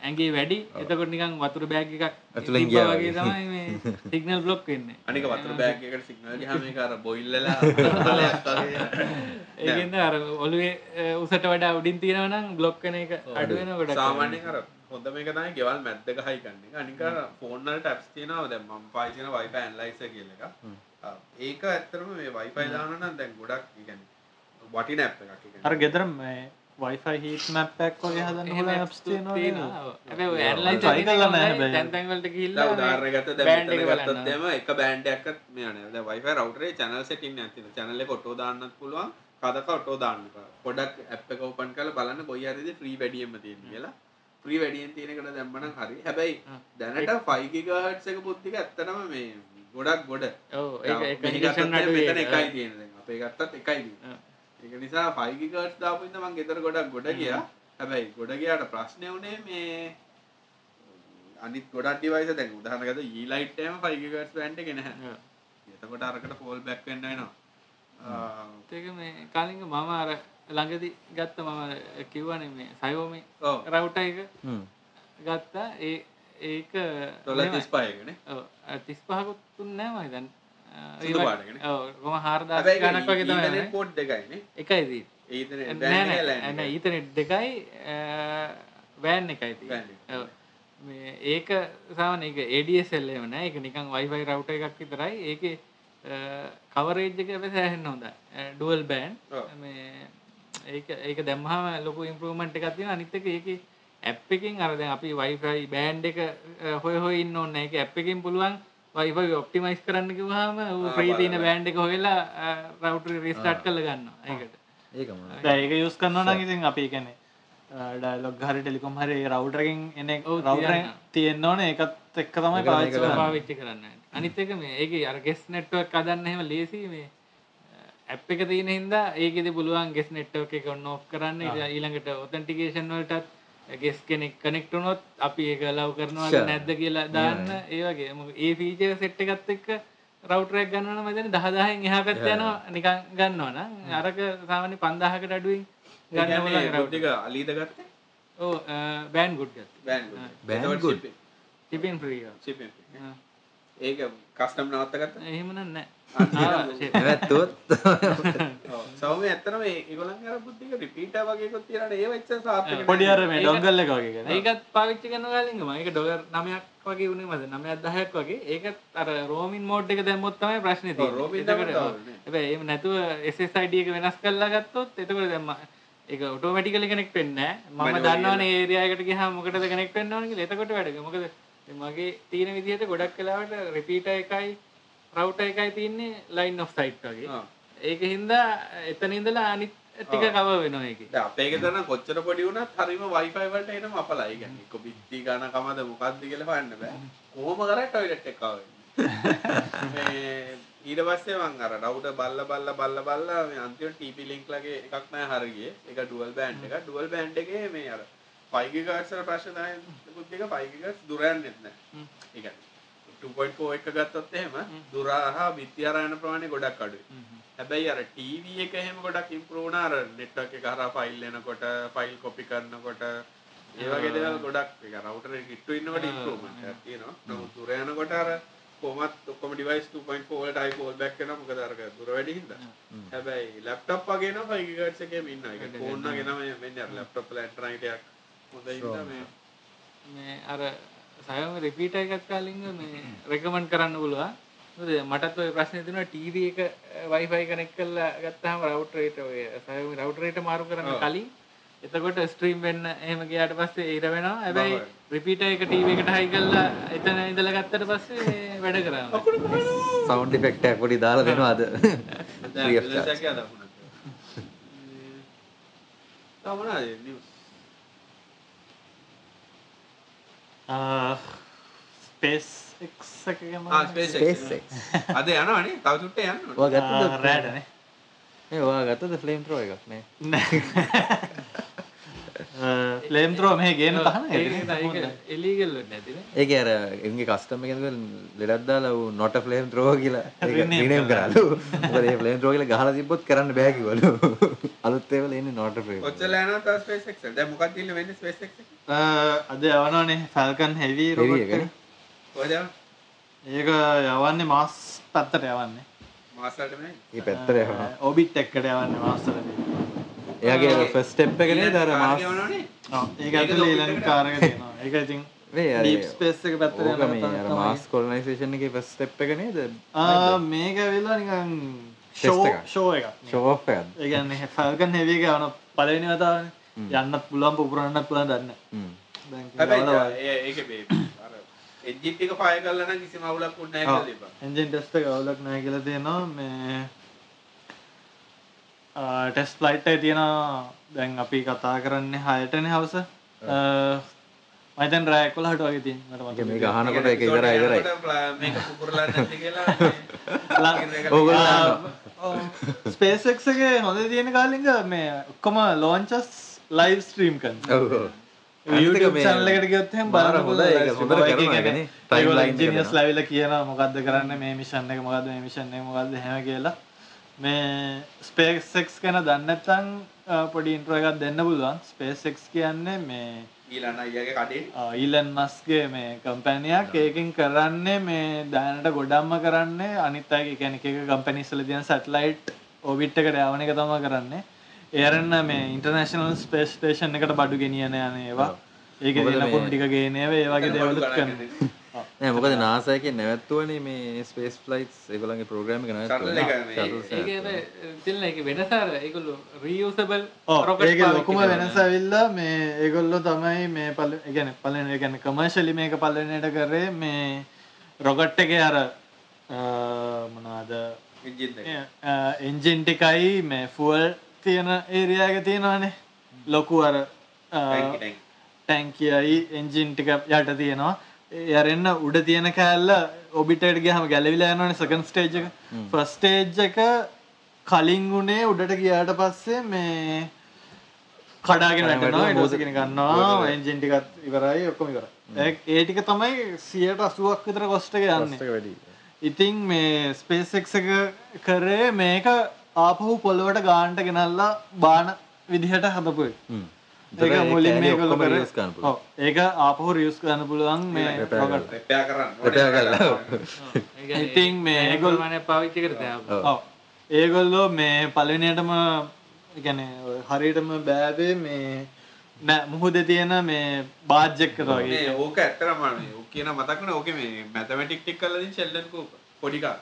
S2: ඇඟේ වැඩි එතකොට නිකන් වතුර බෑග් එකක්
S4: ඇතුලෙන්
S2: තිබ්බා
S4: ගියා
S2: වගේ තමයි මේ සිග්නල් බ්ලොක් වෙන්නේ
S1: අනික වතුර බෑග් එකකට සිග්නල් ගියාම ඒක අර බොයිල් වෙලා තලයක් වගේ යනවා.
S2: ඒකෙන්ද අර ඔළුවේ අ, උසට වඩා උඩින් තියෙනවා නම් බ්ලොක් වෙන එක අඩු වෙන ගොඩක්
S1: සාමාන්‍යයෙන් අර හොඳ මේක තමයි ගෙවල් මැද්ද එක හයි ගන්න එක. අනික අර ෆෝන් වල ටැප්ස් තියෙනවා දැන් මම පාවිච්චි කරන Wi-Fi analyzer කියලා එක. අ, ඒක ඇත්තටම මේ Wi-Fi දානවා නම් දැන් ගොඩක් කියන්නේ වටින app එකක්. ඒ කියන්නේ
S3: අර ගෙදරම් මේ වයිෆයි හිට මැප්පැක් වගේ හදන්න
S2: එහෙම
S3: හොල
S2: apps තියෙනවා. හැබැයි ඔය analyzer
S3: try
S2: එකෙන්
S3: කරලා නැහැ
S2: හොඳයි.
S3: හැබැයි.
S2: තැන් තැන් වලට ගිහිල්ලා
S1: දැන්
S2: මේ
S1: උදාහරණ ගත්ත දැන්
S2: band
S1: මෙතන
S2: එක බලන්න.
S1: ගත්තොත් එහෙම එක බෑන්ඩ් එකක් මේ නෑ. දැන් Wi-Fi router එකේ channel setting එකක් තියෙනවා. channel එක ඔටෝ දාන්නත් පුළුවන්. කඩක ඔටෝ දාන්න පුළුවන්. පොඩක් app එක open කරලා බලන්න කොයි හරිද free වැඩියෙන්ම තියෙන්නේ කියලා. free වැඩියෙන් තියෙන එකට දැම්මනම් හරි. හැබැයි
S2: හ්ම්.
S1: දැනට 5 GHz එක පුද්දික ඇත්තටම මේ ගොඩක් ගොඩ.
S2: ඔව් ඒක
S1: දැන්
S2: ඒක
S1: මෙහි ගත්තොත්
S2: condition
S1: දැන්
S2: අඩුයි
S1: මෙතන
S2: ඒක.
S1: එකයි තියෙන්නේ දැන්. අපේ ගත්තත් එකයි තියෙන්නේ.
S2: හ්ම්.
S1: ඒක නිසා 5 GHz දාපු ඉඳන් මම ගෙදර ගොඩක් ගොඩ ගියා. හැබැයි ගොඩ ගියාට ප්‍රශ්නේ උනේ මේ අනිත් ගොඩක් ඩිවයිස දැන් E උදාහරණකට ඊලයිට්ටම 5 GHz බෑන්ඩ් එක නැහැ.
S2: ඔව්.
S1: එතකොට අරකට ෆෝල් බෑක් වෙන්න වෙනවා. ආ,
S2: ඒක මේ කලින් මම අර ළඟදි ගත්ත මම කිව්වනේ මේ Xiaomi
S1: ඔව්.
S2: router එක
S4: හ්ම්.
S2: ගත්තා ඒ ඒක
S1: ඩොලර්
S2: මෙහෙමයි.
S1: 35 කනේ.
S2: ඔව් 35කුත් දුන්නේ නැහැ මම හිතන්නේ. අ,
S1: සුදු
S2: ඒ
S1: පාට
S2: වගේ-
S1: එකනේ.
S2: ඔව් කොහොම 4000 ගණක්
S1: හැබැයි E
S2: වගේ තමයි
S1: ඉන්ටර්නෙට්
S2: නේ.
S1: පෝට් දෙකයිනේ.
S2: එකයි
S1: E
S2: තියෙන්නේ.
S1: ඒතන බෑන්ඩ් එක
S2: නෑ නෑ,
S1: ලෑන්
S2: නෑ
S1: එක.
S2: ඊතනෙට් දෙකයි වෑන් එකයි තියෙන්නේ.
S1: WAN එක.
S2: ඔව්. මේ ඒක සාමාන්‍ය ඒක ADSL එහෙම නෑ. ඒක නිකන් Wi-Fi router එකක් විතරයි. ඒකේ කවරේජ් එක හැබැයි සෑහෙන්න හොඳයි. ඩුවල් බෑන්ඩ්
S1: ඔව්.
S2: මේ ඒක ඒක දැම්මහම ලොකු ඉම්පරූමන්ට් එකක් තියෙනවා අනිත් එක ඒකේ ඇප් එකෙන් අර දැන් අපි Wi-Fi බෑන්ඩ් එක අ, හොය හොය ඉන්න ඕනේ නැහැ. ඒක ඇප් එකෙන් පුළුවන් Wi-Fi ඔප්ටිමයිස් කරන්න කිව්වහම ඌ
S1: ආ,
S2: free තියෙන
S1: බලන්න.
S2: බෑන්ඩ් එක හොයලා රවුටර් රීස්ටාර්ට් කරලා ගන්නවා. ඒකට.
S4: ඒකම
S3: ඒක යස් කරන්න නම් ඉතින් අපි කියන්නේ ඩයිලොග් හරි ටෙලිකොම් හරි රවුටරකින් එන
S2: ඔව්
S3: රවුටර
S2: තියන්න.
S3: තියෙන්න ඕන ඒකත් එක්ක තමයි
S4: ඒක
S3: පාවිච්චි
S4: කරන්න.
S3: කරන්නේ.
S2: පාවිච්චි කරන්න. අනිත් එක මේ ඒකේ අර ගෙස් network හදන්න එහෙම ලේසි මේ ඇප් එක තියෙන හින්දා ඒකෙදි පුළුවන් ගෙස් network එක on off කරන්න ඊට- ඊළඟට authentication වලටත් ගෙස් කෙනෙක් connect වුණොත් අපි ඒක allow කරනවද
S4: Sure.
S2: නැද්ද කියලා දාන්න ඒ වගේ මොකද ඒ feature set එකත් එක්ක router එකක් ගන්නවා නම් මම 10000න් එහා පැත්ත යනවා නිකන් ගන්නවා නම් අරක සාමාන්‍ය 5000කට අඩුවෙන් ගන්න
S1: ගන්න
S2: පුළුවන් router.
S1: ටික අලීද ගත්තේ
S2: ඔව් eh, bandwidth ගත්තා.
S1: බෑන්
S4: Bandgood.
S2: shipping free. එකක්. ආ.
S1: ඒක කස්ටම් නවත්ත ගත්ත
S2: එහෙම නම් නැහැ.
S4: නැවැත්තුවොත්
S1: සවම ඇත්තනම ඒගොලන් අර බුද්ධික රිපීට වගේකොත් තිරට ඒ වෙච්ච සාර්ථක
S3: පොඩි අර මේ
S2: ඒක-
S3: ඩොග්ගල් එක වගේ කරන.
S2: ඒකත් පාවිච්චි කරන කාලින්ගම ඒක ඩොලර් නමයක් වගේ වුණේ මද නමයක් දහයක් වගේ ඒකත් අර රෝමින් මෝඩ් එක දැම්මොත් තමයි ප්‍රශ්නේ තියෙන්නේ.
S1: රෝමින්
S2: එතකොට
S1: තමයි
S2: ඔව්.
S1: තවන්නේ.
S2: හැබැයි එහෙම නැතුව SSID එක වෙනස් කරලා ගත්තොත් එතකොට දැන් මම- ඒක ඔටෝමැටිකලි කනෙක්ට් වෙන්නේ නැහැ. මම
S1: මනුවරි
S2: දන්නවනේ ඒ ඒරියා එකට ගියාම මොකටද කනෙක්ට් වෙන්න ඕන කියලා. එතකොට වැඩක. මොකද මගේ තියෙන විදිහට ගොඩක් වෙලාවට රිපීටර් එකයි රවුටර් එකයි තියෙන්නේ line of sight වගේ. ඒක හින්දා එතන ඉඳලා අනිත් ටික cover වෙනවා ඒකේ.
S1: අපේ තරන කොච්චර පොඩි වුණත් හරිම වයිෆයි වලට එනම අපලයි ගැන එක බිත්ති ගන කමද මොකක්ද කියලා හොයන්න බෑ කොහොම කර ටොයිලට් එකක් ආවෙ. මේ ඊට පස්සේ මං අර රවුටර් බල්ල බල්ල බල්ල බල්ල මේ අන්තිමට TP link ලගේ එකක් නෑ හරියේ ඒක ඩුවල් බෑන්ඩ් එක ඩුවල් බෑන්ඩ් එකේ මේ අර 5 GHz වල ප්‍රශ්න තමයි මුත් එක 5 GHz දුර යන්නේ නැහැ. ඒ කියන්නේ 2.4 එක ගත්තොත් එහෙම දුරහා විත්‍යාරායන ප්‍රමාණය ගොඩක් අඩුයි. හැබැයි අර ටීවී එක එහෙම ගොඩක් ඉම්ප්‍රූව්නා අර network එක හරහා ෆයිල් එනකොට ෆයිල් කොපි කරනකොට ඒ වගේ දේවල් ගොඩක් ඒක රවුටර් එක කිට්ටු ඉන්නකොට ඉම්ප්‍රූව්මන්ට් එකක් තියෙනවා. නමුත් දුර යනකොට අර කොහොමත් ඔක්කොම device 2.4 වලට ආයි call back වෙනවා මොකද අර දුර වැඩි හින්දා. හැබැයි laptop වගේ නම් 5 GHz එකේම ඉන්නවා. ඒක phone වගේ නම් වෙන්නේ අර laptop වල antenna එකක් හොඳයි ඉන්නවා මේ
S2: මේ අර සයම රිපීට එකක් කාලින්ග මේ රෙකමන්ඩ් කරන්න පුළුවන් මොකද මටත් ඔය ප්‍රශ්නේ තියෙනවා ටීවී එක වයිෆයි කනෙක්ට් කරලා ගත්තාම රවුටර් එකට ඔය සයම රවුටර් එකට මාරු කරන්න කලින් එතකොට ස්ට්‍රීම් වෙන්න එහෙම ගියාට පස්සේ ඊර වෙනවා හැබැයි රිපීටර් එක ටීවී එකට හයි කරලා එතන ඉඳලා ගත්තට පස්සේ වැඩ කරනවා
S4: සවුන්් ෆෙක්ට පොඩි දාලා දෙනවාද Free of charge.
S1: තමනාද නිවස්
S3: ස්පේස් එක් එක ගැන
S1: ස්පේස්
S4: SpaceX.
S1: අද යනවනේ තව චුට්ට යන්න
S4: ඔයා ගත්තද
S3: රෑඩනේ
S4: මේ ඔයා ගත්තද ෆ්ලේම් ත්‍රෝ එකක් මේ
S3: ලේම් ත්‍රෝ මේ ගේන තහන
S2: එලීගල් වෙන්නේ නැතිනේ
S4: ඒක අර එගේ කස්ටම එකක ලෙඩක් දාලා ඌ නොට ෆ්ලේම් ත්‍රෝ කියලා
S3: Rename
S4: රිනේම් කරලු මොකද ඒ ෆ්ලේම් ත්‍රෝ කියලා ගහලා තිබ්බොත් කරන්න බෑ කිවලු අලුත් ඒවල එන්නේ නොට ෆ්ලේම්
S1: ඔච්චල යනවා තව ස්පේස් එක්ස් දැන් මොකක්ද තියෙන්නේ වෙන්නේ ස්පේස් එක්ස් එක
S3: අද යවනනේ ෆැල්කන් හෙවී
S4: Heavy
S3: රොබට්
S4: එකනේ.
S1: කොහෙද යන්නේ?
S3: ඒක යවන්නේ මාස් පැත්තට යවන්නේ
S1: මාසලට මේ
S4: ඒ පැත්තට යනවා
S3: ඔබිත් එක්කට යවන්නේ මාස්තරද
S4: එයාගේ ෆස්ට් ස්ටෙප් එකනේ දර මාස්
S1: යනවනේ
S3: ඒක ඇතුලේ ඊළඟ කාරක තියෙනවා ඒක ඉතින්
S4: මේ අර
S3: ඩීප් ස්පේස් එක පැත්තට
S4: ඕක මේ අර
S3: යනවා
S4: මාස් කොලනයිසේෂන් එකේ ෆස්ට් ස්ටෙප් එක නේද
S3: මේක වෙලා නිකන්
S4: Test
S3: ෂෝ
S4: එකක්.
S3: ෂෝ එකක් නේ.
S4: ෂෝ ඔෆ් එකක්ද
S3: ඒ කියන්නේ ෆල්කන් හෙවි එක යවන පළවෙනි වතාවනේ යන්නත් පුළුවන් පුපුරන්නත් පුළුවන් දන්නේ නැහැ.
S4: හ්ම්.
S3: දැන්
S1: හැබැයි ඒ- ඒක මේ අර එන්ජින් එක ෆයර් කරලා නම් කිසිම අවුලක් උන්නේ නැහැ කියලා ඉබා
S3: එන්ජින් ටෙස්ට් එක අවුලක් නැහැ කියලා තියෙනවා මේ ටෙස්ට් ෆ්ලයිට් එකේ තියෙනවා දැන් අපි කතා කරන්නේ 6ටනේ හවස මම දැන් රෑ 11ට වගේ තියෙන මට
S4: ඒක
S3: මතක
S4: මේ ගහනකොට ඒක ඉවරයි ඉවරයි
S1: මේක කුකුරලා නැති කියලා මේ
S3: ස්පේසෙක් එකේ හොඳ තියෙන කාලින්ග මේ ඔක්කොම ලෝන්චස් ලයිව් ස්ට්‍රීම් කරනවා
S4: ඔව් ඔව්. අනිත් එක
S3: YouTube
S4: මේ
S3: channel එකට ගියොත් එහෙම
S4: මාර
S3: බලන්න
S4: හොඳයි, ඒක හොඳට කරනවා ඒකනේ. Timeline එක
S3: ඉන්ජිනියර්ස්
S4: දෙනවා.
S3: ලැබිලා කියනවා මොකද්ද කරන්න මේ මිෂන් එක මොකද්ද මේ මිෂන් එක මොකද්ද එහෙම කියලා මේ SpaceX ගැන දන්නේ නැත්නම් අ, පොඩි ඉන්ට්‍රෝ එකක් දෙන්න පුළුවන් SpaceX කියන්නේ මේ
S1: ඊළඟ අයියාගේ කඩේ
S3: ඊලන් මස්ගේ මේ කම්පැනියක් ඒකින් කරන්නේ මේ දැනට ගොඩම්ම කරන්නේ අනිත් අයගේ කැනෙක කම්පැනිස්සල තියන සැටලයිට් ඔබිට් එකට යවන එක තම කරන්නේ ඒරන්න මේ ඉන්ටර්නශනල් ස්පේස් ටේෂන් එකට බඩු ගෙනියන යන ඒවා ඒක
S4: මොකද
S3: දෙන
S4: මේ-
S3: පුුණටික ගේනව ඒවාගේ
S1: එතන බඩු
S3: දෙවලුත්
S1: ගණන්
S3: කරන
S4: නෑ මොකද නාසයක නැවැත්තුවන මේ ස්පේස් ෆ්ලයිස් එකලගේ ප්‍රෝග්‍රම
S1: Shuttle එක මේ-
S2: ඒක
S4: න
S2: හැබැයි තිල්න එක වෙනසාර ඒකුල්ලු රියෝසබල්
S3: ඔව්, ඒක ලොකුම වෙනස ඇවිල්ලා මේ ඒගොල්ලෝ තමයි මේ පල ගැන පලන ගැන කමර්ශලි මේක පලනයට කරේ මේ රොගට් එක අර අ, මොනාද
S1: එජිත් එක.
S3: එන්ජෙන්ටිකයි uh, මේ ෆුවල් තියෙන ඒරයාග තියෙනවානේ ලොකු අර uh,
S1: Tank, tank.
S3: ටැන්කියයි එන්ජින්ටික යට තියෙනවා යරන්න උඩ තියෙන කෑල්ල ඔබිටට ගහම ගැලවිලා යනන සකන් ස්ටේජ් එක ෆස්ටේජ් එක කලින් වුණේ උඩට ගියාට පස්සේ මේ කඩාගෙන වැටනවා ඩෝසගෙන ගන්නවා එන්ජෙන්ටිකත් ඉවරයි ඔක්කොම ඉවර ඒටික තමයි සියට අසුවක් විතර කොස්ට යන්නේ
S4: වැඩි
S3: ඉතින් මේ ස්පේසෙක් එක කරේ මේක ආපහු පොළොවට ගාන්ට ගෙනල්ලා බාන විදිහට හදපුයි ඒක මුලින් මේ ගොල්ලෝ කරේ. ඔව්. ඒක ආපහු රියස් කරන්න පුළුවන් මේ රොකට්
S1: Repair කරන්න.
S4: Repair කරලා.
S3: ඉතින් මේ ඒගොල්ලෝ
S2: ගොල්මන පාවිච්චි කර දෑ
S3: ඔව්. ඒගොල්ලෝ මේ පලනයටම ගැන හරියටම බෑවේ මේ නෑ මුහුද තියෙන මේ බාජ්ජක්කර වගේ
S1: මේ ඕක ඇත්තරම මේ ඕක කියන මතක්න ඕක මේ මැතමටික් ටික් කරලා දින් ෂෙල්ඩන් කූපර් පොඩි කා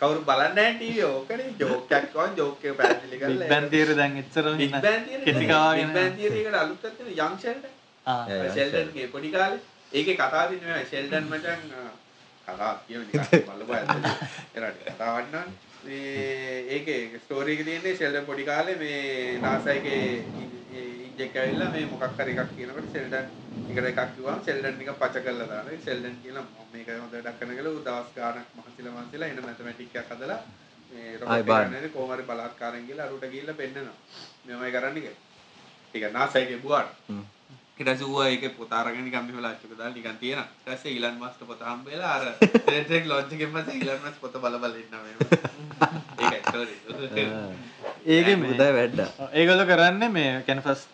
S1: කවුරු බලන්නේ නැහැ ටීවී ඕකනේ ජෝක් එකක් වන් ජෝක් එක පැහැදිලි
S3: බික්
S1: කරලා
S3: බැන් තීර දැන් එච්චර
S1: Big
S3: නෑ.
S1: Bang theory
S3: කෙටි
S1: නේ.
S3: කාගෙන
S1: Big Bang theory එකට අලුත් එකක් තියෙනවා, young Sheldon.
S3: ආ.
S4: Yeah, yeah,
S1: Sheldon ගේ පොඩි කාලේ ඒකේ කතාව තියෙන මෙහෙමයි, Sheldon මචං අ, කතාවක් කියව නිකන් බලපන් ඇත්තට. එරට කතාවක් නෝනේ. මේ ඒකේ ස්ටෝරි එක තියෙන්නේ ෂෙල්ඩන් පොඩි කාලේ මේ NASA එකේ ඉන්ජෙක් ඇවිල්ලා මේ මොකක් හරි එකක් කියනකොට ෂෙල්ඩන් එකට එකක් කිව්වම ෂෙල්ඩන් නිකන් පච කරලා දානවා. ෂෙල්ඩන් කියලා "මම මේක හොඳට දක්වන කියලා ඌ දවස් ගාණක් මහන්සිලා මහන්සිලා එන මැතමැටික් එකක් හදලා මේ
S4: ආයි
S1: රොකට් එක
S4: බාන්න.
S1: ගන්න හරි කොහොම හරි බලහත්කාරයෙන් කියලා අරුට ගිහිල්ලා පෙන්නනවා. මෙහෙමයි කරන්නේ කියලා. ඒක NASA එකේ බුවාට.
S4: හ්ම්.
S1: ඊට පස්සේ ඌ ඒක පොත අරගෙන නිකන් මෙහෙම ලාච්චුක දාලා නිකන් තියෙනවා. ඊට පස්සේ ඊලන් මාස්ටර් පොත හම්බ වෙලා අර ටෙන්ටෙක් ලොන්ච් එකෙන් පස්සේ ඊලන් මාස්ටර් පොත බල බල ඉන්නවා මෙහෙම. ඒකයි story.
S3: ඒකේ මේ
S4: මුදයි වැඩ්ඩා
S3: ඒගොල කරන්න මේ කැනෆස්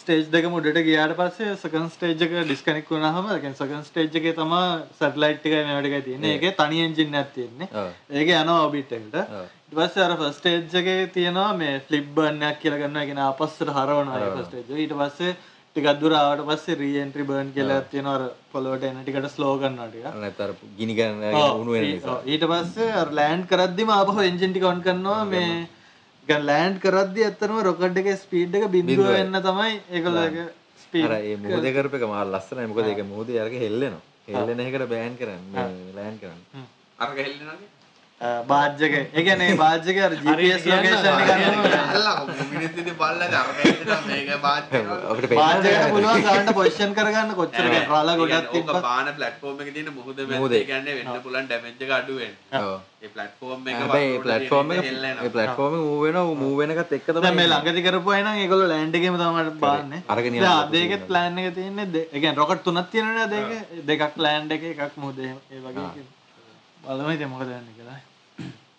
S3: ස්ටේජ් දෙක මුඩට ගියාට පස්සේ සකන් ස්ටේජ්ක ඩිස්කනෙක් වුණහම කැන් සකන් ස්ටේජ් එක තම සටලයිට්ික මේටක තියෙන ඒක තනි එන්ජින්න ඇතියෙන්නේ
S4: ඔව්.
S3: ඒක යන ඔබිට්ට ඉටවස් අර ෆස්ටේජ්ජගේ තියෙනවා මේ ෆලිබ්බර්නයක් කියලගන්න ගෙන අපස්සට හරවනවා ෆස්ටේජ ඊට පස්සේ ටිකක්දුරාවට පස්සේ රීෙන්ට්‍රි බර්න් කියලා තියෙනවර පොලොට එනටිකට ස්ලෝගන්නටික
S4: නැතර ගිනි කරන්න
S3: ඔව්.
S4: උුණුවෙන
S3: ඒ-
S4: නිසා
S3: ඔව්. ඊට පස්සේ ලෑන්ඩ් කරද්දිම ආපහු එන්ජින් ටික on කරනවා මේ ලෑන්ඩ් කරද්දි ඇත්තටම රොකට් එකේ ස්පීඩ් එක බිඳුව
S4: බිඳුවයි.
S3: වෙන්න තමයි ඒගොල්ලෝගේ ස්පීඩ්
S4: අර ඒ මුහද කරප එක මාර ලස්සනයි මොකද ඒක මුහද යරක හෙල්ලෙනවා හෙල්ලෙන එකට බෑන් කරන්න ලෑන් කරන්න
S1: අර ගහල්ලනගේ.
S3: බාජ්ජක ඒ කියන්නේ බාජ්ජක අර GPS ලොකේෂන් එක ගන්නවා
S1: අල්ලා මිනිස්සුනේ බල්ලා අර ගහල්ලන මේක බාත් කරනවා.
S4: අපිට
S3: බාජ්ජකට පුළුවන් ගන්න පොසිෂන් කරගන්න කොච්චර
S1: නෑ,
S3: ගන්න රාලා ගොඩක්
S1: ඕක
S3: තිබ්බා
S1: බාන platform එකේ තියෙන මුහුද
S4: මුහුද.
S1: මැද්ද ඒ කියන්නේ වෙන්න පුළුවන් damage එක අඩු වෙන.
S4: හැබයි
S1: ඒ platform එක
S4: පලටෆෝර්ම එක පලටෆෝර්ම මූවෙන මූවෙනකත් එක්ක
S3: දැන්
S4: තමයි
S3: මේ ළඟදී කරපුවා නම් ඒගොල්ලෝ ලෑන්ඩ් එකේම තමයි බාන්නේ
S4: අරගෙන යනවා.
S3: දැන් අද ඒකේ plan එක තියෙන්නේ දෙ- ඒ කියන්නේ rocket තුනක් තියෙනවනේ අද ඒකේ දෙකක් land එකේ එකක් මොකද ඒ වගේ බලමු ඉතින් මොකද වෙන්නේ කියලා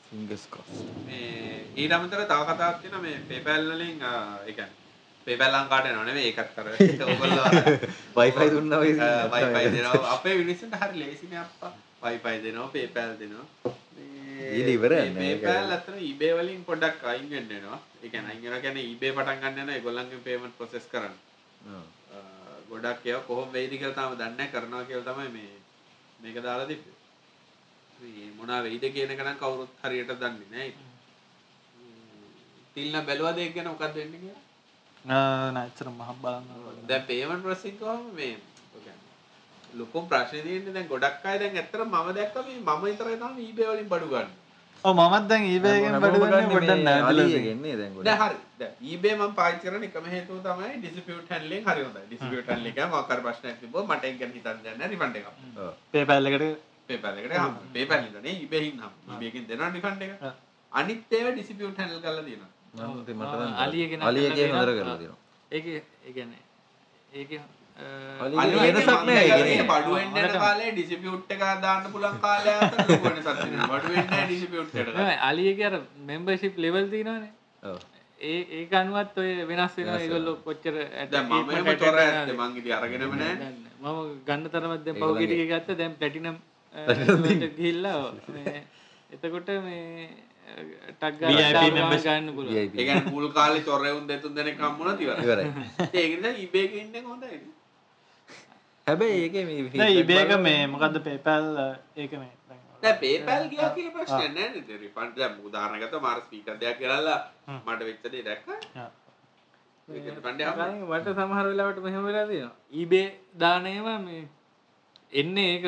S4: ෆිංගස් ක්‍රොස්
S1: මේ ඊට අමතර තව කතාවක් තියෙනවා මේ PayPal වලින් අ, ඒ කියන්නේ PayPal ලංකාවට එනවා නෙමෙයි ඒකත් අර ඔයගොල්ලෝ අර
S4: වයිෆයි දුන්න
S1: වයිපයි දෙනවා අපේ විනිසට හරි ලේසින අපා වයිපයි දෙනවා පේපැල් දෙනවා
S4: ඊට ඉවරයි නෑ ඒක.
S1: පේපැල් අතර ඉබේ වලින් පොඩක් අයින් වෙන්න වෙනවා ඒ කියන්නේ අයින් වෙනවා කියන්නේ ඉබේ පටන් ගන්න යනවා ඒගොල්ලන්ගේ පේමන්ට් ප්‍රොසෙස් කරන්න අ, ගොඩක් ඒවා කොහොම වෙයිද කියලා තාම දන්නේ නැහැ කරනවා කියලා තමයි මේ මේක දාලා තිබ්බේ මේ මොනා වෙයිද කියන එක නම් කවුරුත් හරියට දන්නේ නැහැ තිල්න බැලුවද ඒක ගැන මොකක්ද වෙන්නේ කියලා
S3: නෑචර මහ බලන්න
S1: දැන් පේමන්ට් ප්‍රොසෙසින් කොහොම මේ කියන්නේ ලොකුම ප්‍රශ්නේ තියෙන්නේ දැන් ගොඩක් අය දැන් ඇත්තට මම දැක්කා මේ මම විතරයි තමයි eBay වලින් බඩු ගන්න.
S3: ඕ මමත් දැන් ඊබේගෙන් බඩුගන්න ගොඩක් නෑ
S4: ගන්නේ දැන් ගොඩ
S1: දැන් හරි. දැන් eBay මම පාවිච්චි කරන එකම හේතුව තමයි dispute handling හරි හොඳයි. dispute handling එක මොකක් හරි ප්‍රශ්නයක් තිබ්බොත් මට ඒක ගැන හිතන්න දෙන්න refund එකක්.
S3: පේපැල් එකට
S1: PayPal එකට හම්. PayPal ඉදනේ eBay හින්න. eBay එකෙන් දෙනවා refund එක.
S3: ආ.
S1: අනිත් ඒවා dispute handle කරලා දෙනවා.
S4: අලියගෙන අලියගේ හොඳර කරලා දෙනවා
S2: ඒක ඒගැන ඒක
S4: අලියගේ වෙනසක් නෑ ඒ කියන්නේ.
S1: බඩු වෙන්න යන කාලේ dispute එක දාන්න පුළුවන් කාලය අතර ලොකු වෙනසක් තියෙනවා. බඩු වෙන්නේ නැහැ dispute එකට.
S2: අලියකර මෙම්බර්ශිප් ලෙවල් තිනවානේ
S4: ඔව්.
S2: ඒ ඒ අනුවත් ඔය වෙනස් වෙන ඒගොල්ලො කොච්චර ඇට
S1: දැන් මම එහෙම තොර ඇත්තේ මං ඉතින් අරගෙනම නැහැ.
S2: දන්න. මම ගන්න තරමත් දැන් පවගෙටික ගත්ත දැන් පැටිනම් ගිල්ලා එතකොට මේ ටක් ගන්න පුළුව
S4: VIP.
S1: ඒ කියන්නේ මුල් කාලේ තොර වුන් දෙතුන් දෙනෙක් හම්බුණා තිවරයි.
S4: ඉවරයි
S1: ඒක නිසා eBay එකේ ඉන්නේ හොඳයි.
S4: හැබැයි ඒක මේ feedback
S3: ඉබේක
S4: බලලා-
S3: මේ මොකද පේපැල් ඒක මේ දැන්
S1: දැන් PayPal ගියා කියලා ප්‍රශ්න නැහැ නේද? refund දැන් උදාහරණයක් ගත්තොම මාර speaker දෙයක් ගෙනල්ලා මට වෙච්ච දේ දැක්කා.
S3: ආ.
S1: ඒක refund එකක් ආවා.
S2: වට සමහර වෙලාවට මෙහෙම වෙලා තියෙනවා ඊබේ දානයම මේ එන්නේ ඒක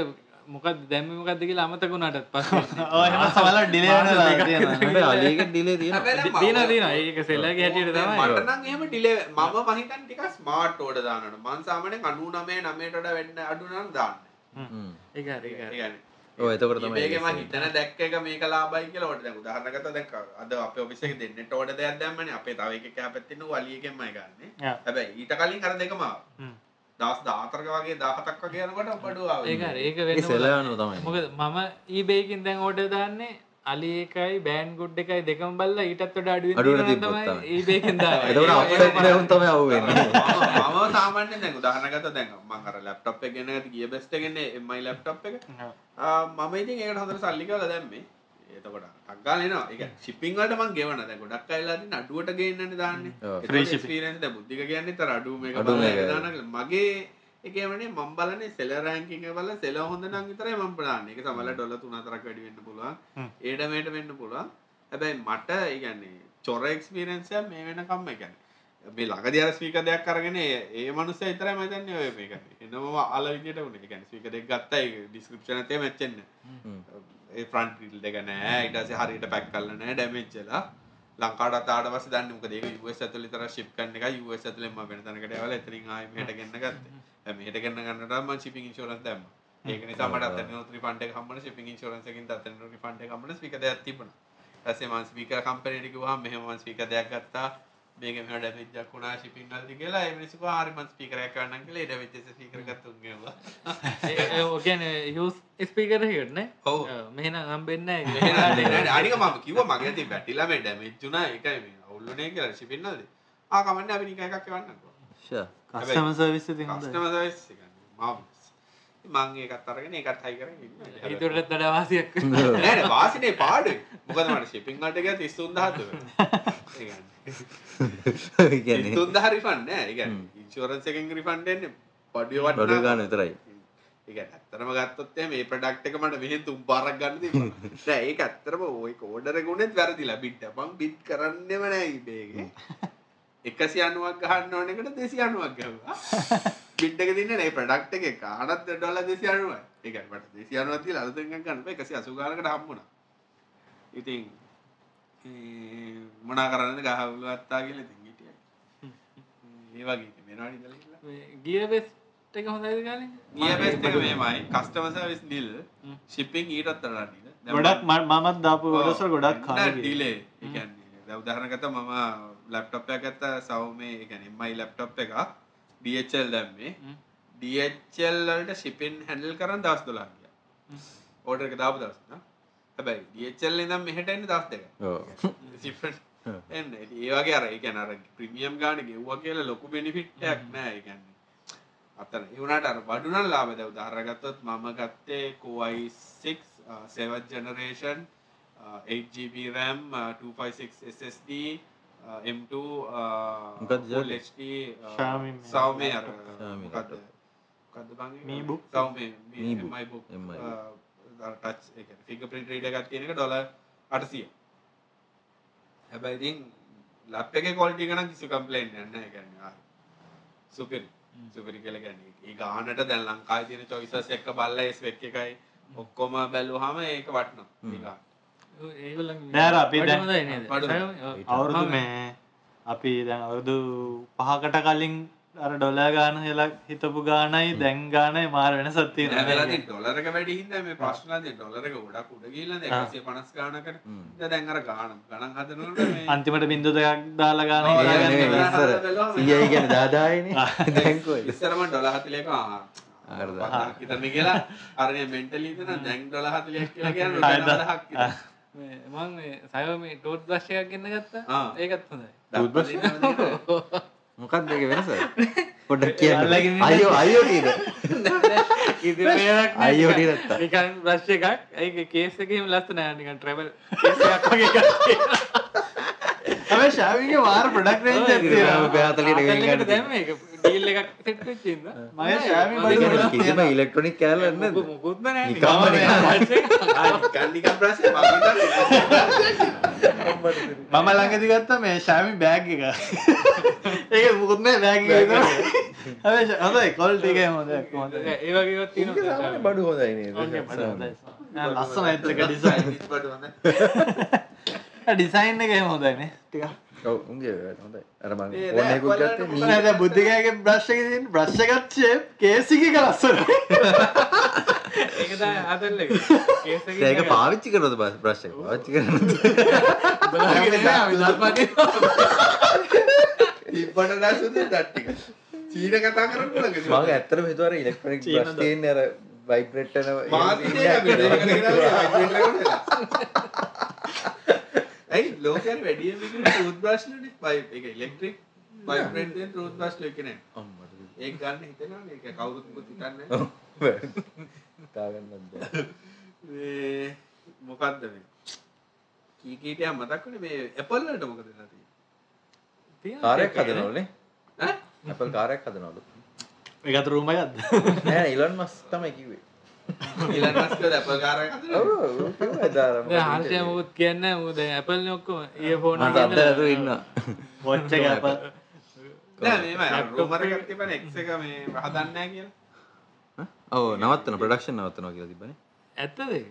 S2: මොකක් දැම්ම මොකක්ද කියලා අමතකුණටත් පස්සේ
S3: ඔය එහෙම සමහරවල් delay වෙනවා තියෙනවා.
S4: හැබැයි අලියක delay තියෙනවා.
S1: හැබැයි දැන් මම-
S2: තියෙනවා තියෙනවා ඒක සෙල්ලගේ හැටියට
S1: මට
S2: තමයි
S1: නම් එහෙම delay මම මහිතන් ටිකක් smart order දානවනේ. මං සාමාන්‍යයෙන් 99 9ට වඩා වෙන්න අඩු නම් දාන්නේ.
S4: හ්ම්.
S2: ඒක හරි
S1: ඒ
S2: ඒක හරි.
S1: කියන්නේ
S4: ඔව්, එතකොට තමයි
S1: මේකේ මං
S4: ඒක.
S1: හිතන දැක්ක එක මේක ලාභයි කියලා ඔයාලට දැන් උදාහරණ ගත්තා දැන් කව- අද අපේ office එකේ දෙන්නට order දෙයක් දැම්මනේ. අපේ තව එකෙක් කැපෙත් ඉන්න වලිය එකෙන්මයි ගන්නෙ.
S3: ආ.
S1: හැබැයි ඊට කලින් අර දෙකම ආවා.
S3: හ්ම්.
S1: දවස් 14ක වගේ 17ක් වගේ යනකොට බඩුව ආවා.
S2: ඒක හරි ඒක
S4: ඒක
S2: වෙන්න
S4: සෙලවනවා තමයි.
S2: මොකද මම ඊබේකින් දැන් ඕඩර් දාන්නේ අලි එකයි බෑන් ගුඩ් එකයි දෙකම බලලා ඊටත් වඩා අඩුවෙන්
S4: අඩුවට
S2: තියෙනවා නම්
S4: තිබ්බොත්
S2: තමයි
S4: තමයි.
S2: ඊබේකින් දාන්නේ.
S4: එතකොට
S2: ඒක-
S4: අපිට දැන් තමයි අහුවෙන්නේ.
S1: මම මම සාමාන්‍යයෙන් දැන් උදාහරණයක් ගත්තා දැන් මම අර ලැප්ටොප් එක ගෙනගත්ත ගිය බෙස්ට් එකනේ MI ලැප්ටොප් එක. ආ, මම ඉතින් ඒකට හොඳට සල්ලි කියලා දැම්මේ. එතකොට ටක් ගාලා එනවා. ඒක shipping වලට මම ගෙවන. දැන් ගොඩක් අය ලා තියෙන අඩුවට ගේන්නනේ දාන්නේ.
S4: ඔව්.
S1: ඒක
S3: Free shipping.
S1: experience දැන් බුද්ධික කියන්නේ තර අඩුව මේක
S4: අඩුම
S1: බලලා
S4: එක.
S1: ඒක දානවා කියලා. මගේ ඒ කියන්නේ මම බලන්නේ seller ranking එක බලලා seller හොඳ නම් විතරයි මම බලන්නේ. ඒක සමහරවල් ඩොලර් 3-4ක් වැඩි වෙන්න
S3: හ්ම්.
S1: පුළුවන්. ඒඩ මේට වෙන්න පුළුවන්. හැබැයි මට ඒ කියන්නේ චොර experience එක මේ වෙනකම්ම ඒ කියන්නේ මේ ලඟදි අර ස්පීක දෙයක් අරගෙන ඒ- ඒ මනුස්සය විතරයි මම දන්නේ ඔය මේක. එනම අල විදියට උනේ. ඒ කියන්නේ ස්පීක දෙක ගත්තා ඒ description එකේ match වෙන්නේ.
S4: හ්ම්.
S1: ඒ ෆ්‍රන්ට් ග්‍රිල් එක නෑ. ඊට පස්සේ හරියට පැක් කරලා නෑ ඩැමේජ් වෙලා. ලංකාවට ආවට පස්සේ දන්නේ මොකද ඒක US ඇතුළේ විතර ship කරන එක US ඇතුළෙන් මම වෙන තැනකට යවලා එතනින් ආයෙ මෙහෙට ගෙන්න ගත්තේ. දැන් මෙහෙට ගෙන්න ගන්නට මම shipping insurance දැම්මා. ඒක නිසා මට අතන refund එක හම්බුණා shipping insurance එකකින් අතන refund එක හම්බුණා ස්පීක දෙකක් තිබුණා. ඇසේ මං ස්පීකර කම්පනයට කිව්වා මෙහෙම මං ස්පීකර් දෙයක් ගත්තා මේක මෙහෙම ඩැමේජ් එකක් වුණා shipping වලදී කියලා ඒ මිනිස්සු කිව්වා හරි මං ස්පීකර් එකක් ගන්නම් කියලා ඒ ඩැමේජ් එක ස්පීකර් එකත් උන් ගෙවුවා
S2: ඒ- ඒ- ඔය කියන්නේ යූස් ස්පීකර් එකට නේ?
S1: ඔව්.
S2: මෙහෙනම් හම්බෙන්නේ නැහැ.
S1: එහෙනම් අනික- අනික මම කිව්වා මගේ ඇති වැටිලා මේ ඩැමේජ් වුණා ඒකයි මේ අවුල් වුණේ කියලා shipping වලදී ආ කමන්නේ අපි නිකන් එකක් එවන්නම්කෝ
S4: ෂා.
S3: කස්ටම සර්විස් ඉතින් හොඳයි.
S1: කස්ටමර් සර්විස් එක මම මං ඒකත් අරගෙන ඒකත් හයි කරගෙන ඉන්නවා
S2: හිතුවටත් වඩා වාසියක්.
S1: නෑ නෑ වාසිනේ පාඩුවේ මොකද මට shipping වලට ගියා 33000 ඒ කියන්නේ
S4: ඒ කියන්නේ
S1: තුන්ද හරිෆන්න ඒ ඉන්ශෝරන්ස එකෙන් රිෆන්ඩ එන්න පඩියවට
S4: බඩු ගන්න විතරයි.
S1: ඒ ඇත්තරම ගත්තොත්තේ මේ ප්‍රඩක්් එක මට මෙහෙ තුම් පාරක් ගන්න ද ඒ ඇත්තරම ඔයි කෝඩර ගුණෙත් වැරදිලා බිට්ට බං බිට් කරන්නෙම නෑ බේගේ එකසි අනුවක් ගහන්න ඕනකට දෙසි අනුවක් ගවා බිට්ක තින්න ඒ ප්‍රඩක්් එක කානත් ඩොල දෙසි අනුව ඒකට දෙසි අනුවති අලත ගන්න එකසි අසුගාලකට හම්බුණ ඉතින් ඒ මොනා කරන්න ගහවුලු අත්තාගෙන තිගිටිය ඒ වගේ මෙනවානි දලලා
S2: ගිය බෙස්ට් එක හොඳයිද ගානේ?
S1: ගිය බෙස්ට් එක මෙහෙමයි කස්ටමර් සර්විස් නිල් shipping ඊටත් වඩා නිල දැන්
S3: ගොඩක්
S1: මම-
S3: ම- මමත් දාපු
S1: ඔව්,
S3: ඔඩර්ස් ගොඩක්
S1: දැන්
S3: කාලේ ගියා.
S1: delay. ඒ කියන්නේ දැන් උදාහරණ ගත්තා මම ලැප්ටොප් එකක් ගත්තා Xiaomi ඒ කියන්නේ MI ලැප්ටොප් එකක් DHL දැම්මේ
S2: හ්ම්.
S1: DHL වලට shipping handle කරන් දවස් 12ක් ගියා order එක දාපු දවස් නා හැබැයි DHL ඉඳන් මෙහෙට එන්නේ දවස් දෙකක්
S4: ඔව්.
S1: සිපට
S4: හ්ම්.
S1: එන්න ඒවාගේ අර එකන අර ප්‍රිමියම් ගාන ගෙව්වා කියලා ලොකු බෙනිෆිට්ටයක්
S4: Mm.
S1: නෑ එකන්නේ අතන ඒවුණට අර බඩුනල් ලාබ දැව දරගත්තොත් මම ගත්තේ uh, කෝයි6 seventh generation uh, 8GB RAM uh, අ, 256 SSD අ, M2
S4: මොකද්ද
S1: uh, Full
S4: Xiaomi?
S1: HD
S3: Xiaomi මේ
S1: සවමේ අර
S4: Xiaomi
S1: මොකද්ද
S4: laptop.
S1: මොකද්ද බං ඒක?
S3: Mi book?
S1: Xiaomi Mi
S4: Mi book.
S1: Mi book
S4: MI
S1: touch ෆිගපින් ්‍රීඩ එකක් තියෙන එක ඩොල අටසිය හැබැයිතින් ලප් එක කොල්ටි ගන කිසි කම්පලේන් න්න ගන්න සුපිරි සුපිරි කල ගැන්නේ ඒ ගානට දැන් ලංකා තියන චොයිසස් එක්ක බල්ල ඒස් වෙක් එකයි ඔක්කොම බැලූහම ඒක
S4: හ්ම්.
S1: වටනවා
S2: ඒගොල්ලන්
S3: නෑර අපි
S2: වඩා
S3: දැන්-
S2: හොඳයි නේද?
S1: වඩා.
S2: සෑම- ඔව්.
S3: අවුරුදු
S2: මම-
S3: මේ අපි දැන් අවුරුදු පහකට කලින් අර ඩොලර් ගාන හෙලා හිතපු ගානයි දැන් ගානයි මාර වෙනසක් තියෙනවා.
S1: ඒලාති ඩොලරක වැඩි හිද මේ ප්‍රශ්නද ඩොලරක ගොඩක් උඩ කියල්ල එකසේ පනස් ගානකට
S4: හ්ම්.
S1: දැන්ර ගාන ගණන් හදනට මේ
S3: අන්තිමට බින්දු දෙකක් දාලා ගාන
S1: ඔව්,
S3: හිතා
S4: ඒ නෙමෙයි
S3: ගන්න.
S4: ඉස්සර. CI ගැන දාදායනේ. දැන් කොයි?
S1: ඉස්සරම ඩොලහතිලක
S4: හරිද?
S1: හිතන කියලා අරය මෙන්ටලීතන දැන් ඩොලහතිලයක් කියලා කියන්න
S3: හරිද?
S1: ඩොලහක් කියලා.
S2: මේ- මම මේ සෑම මේ ටෝට් බ්‍රෂ් එකක් ගෙන්න ගත්තා.
S1: ආ.
S2: ඒකත් හොඳයි.
S4: බුද්ධ මොකක්ද ඒක වෙනස? පොඩ්ඩක්
S3: අල්ලගෙන
S4: කියන්න.
S3: ඉන්න.
S4: අයියෝ අයියෝ නේද?
S2: ඉතින් මේකක් නෑ.
S4: අයියෝ ටිකක්.
S2: නිකන් බ්‍රෂ් එකක්. ඒක කේස් එකේම ලස්සනයි නිකන් ට්‍රැවල් කේස් එකක් වගේ එකක්.
S3: හැබැයි ශාවිගේ වාර ප්‍රොඩක්ට් රේන්ජ් එකක් තියෙනවා.
S2: ආතල්ලකට දැම්ම එක ඩීල් එකක් සෙට් වෙච්ච ඉන්න
S3: මගේ ශාවි බඩු ගොඩක්
S4: කිසිම
S3: තියෙනවා.
S4: ඉලෙක්ට්‍රොනික් කෑල්ල නැද්ද
S2: මුකුත්
S4: නිකම්ම
S1: ගන්නිකම් ප්‍රශ්නේ මම හිතන්නේ.
S3: මම ළඟදි ගත්තා මේ ශාවි බෑග් එක. ඒක මුකුත් නෑ බෑග් එක විතරයි. හැබැයි ශා- හොඳයි කොල්ටි එක හොඳයි කොහොමද?
S2: ඒවගේ
S4: ඒක සාමාන්‍ය
S2: තියෙන
S4: බඩු හොඳයි නේද
S3: ලස්සන ඇත් එක ඩිසයින්. ඩිසයින් එක එහෙම හොඳයි නේ. ටිකක්.
S4: ඔව් උන්ගේ වැඩ හොඳයි අර මම
S1: ඒ
S4: ෆෝන්
S1: දැන්
S4: එකකුත් ගත්තේ
S1: බලන්න
S4: මී
S3: නේද බුද්ධිකාගේ බ්‍රෂ් එකේ තියෙන බ්‍රෂ් එකත් ෂේප් කේසිකේ කරස්සන.
S2: ඒකද අදල්ල
S4: ඒක පාවිච්චි කරනවද බස් බ්‍රෂ් එක පාවිච්චි කරනවද
S1: ඉබ්බට දැසුද දට්ටික. චීන කතා කරන්න
S4: මම
S1: බලන්නේ.
S4: ඇත්තටම හිතුවා අර ඉලෙක්ට්‍රොනික් බ්‍රෂ් තියෙන අර ভাইබ්‍රේට් කරන ඒ
S1: මාත්‍රිය
S4: ඉන්නේ
S1: අපිට ඒක
S4: නැහැ.
S1: ඇයි ලෝකෙන් වැඩියෙන් විකින ටූත් බ්‍රෂ් නේ පයිප් එක ඉලෙක්ට්‍රික් පයිප් රෙන්ට් එකෙන් ටූත් බ්‍රෂ් ලෝකේ නෑ.
S4: අම්මට කිව්වා.
S1: ඒක ගන්න හිතෙනවනේ ඒක කවුරුත් මුත් හිතන්නේ
S4: ඔව්. තාගන්නත් බෑ.
S1: මේ මොකද්ද මේ කී කීටයක් මතක් වෙන්නේ මේ ඇපල් වලට මොකද වෙලා තියෙන්නේ
S4: කාර්යයක් හදනවලුනේ
S1: ඈ
S4: Apple කාර්යයක් හදනවලු
S3: ඒකත් රූම එකක්ද?
S4: නෑ නෑ, Elon Musk තමයි කිව්වේ
S1: ඊළඟ මාස්කේ ඇපල් කාර්යයක් හදනවා
S4: ඔව් ඔව්, ඔව්, කිව්වා එදා අර මොකද
S2: හල්ටය
S4: interview.
S2: මුකුත් කියන්න මුද ඇපල් ඔක්කොම ඒ ෆෝන
S4: මට අත්තරතු ඉන්නවා
S3: වොච් එක අප
S1: නෑ මේම රූමර් එකක් තිබ්බනේ X එක මේ හදන්නේ නැහැ කියලා
S4: ඔව් නවත්තන ප්‍රොඩක්ෂන් නවත්තනවා කියලා තිබ්බනේ
S2: ඇත්තද
S1: නෑ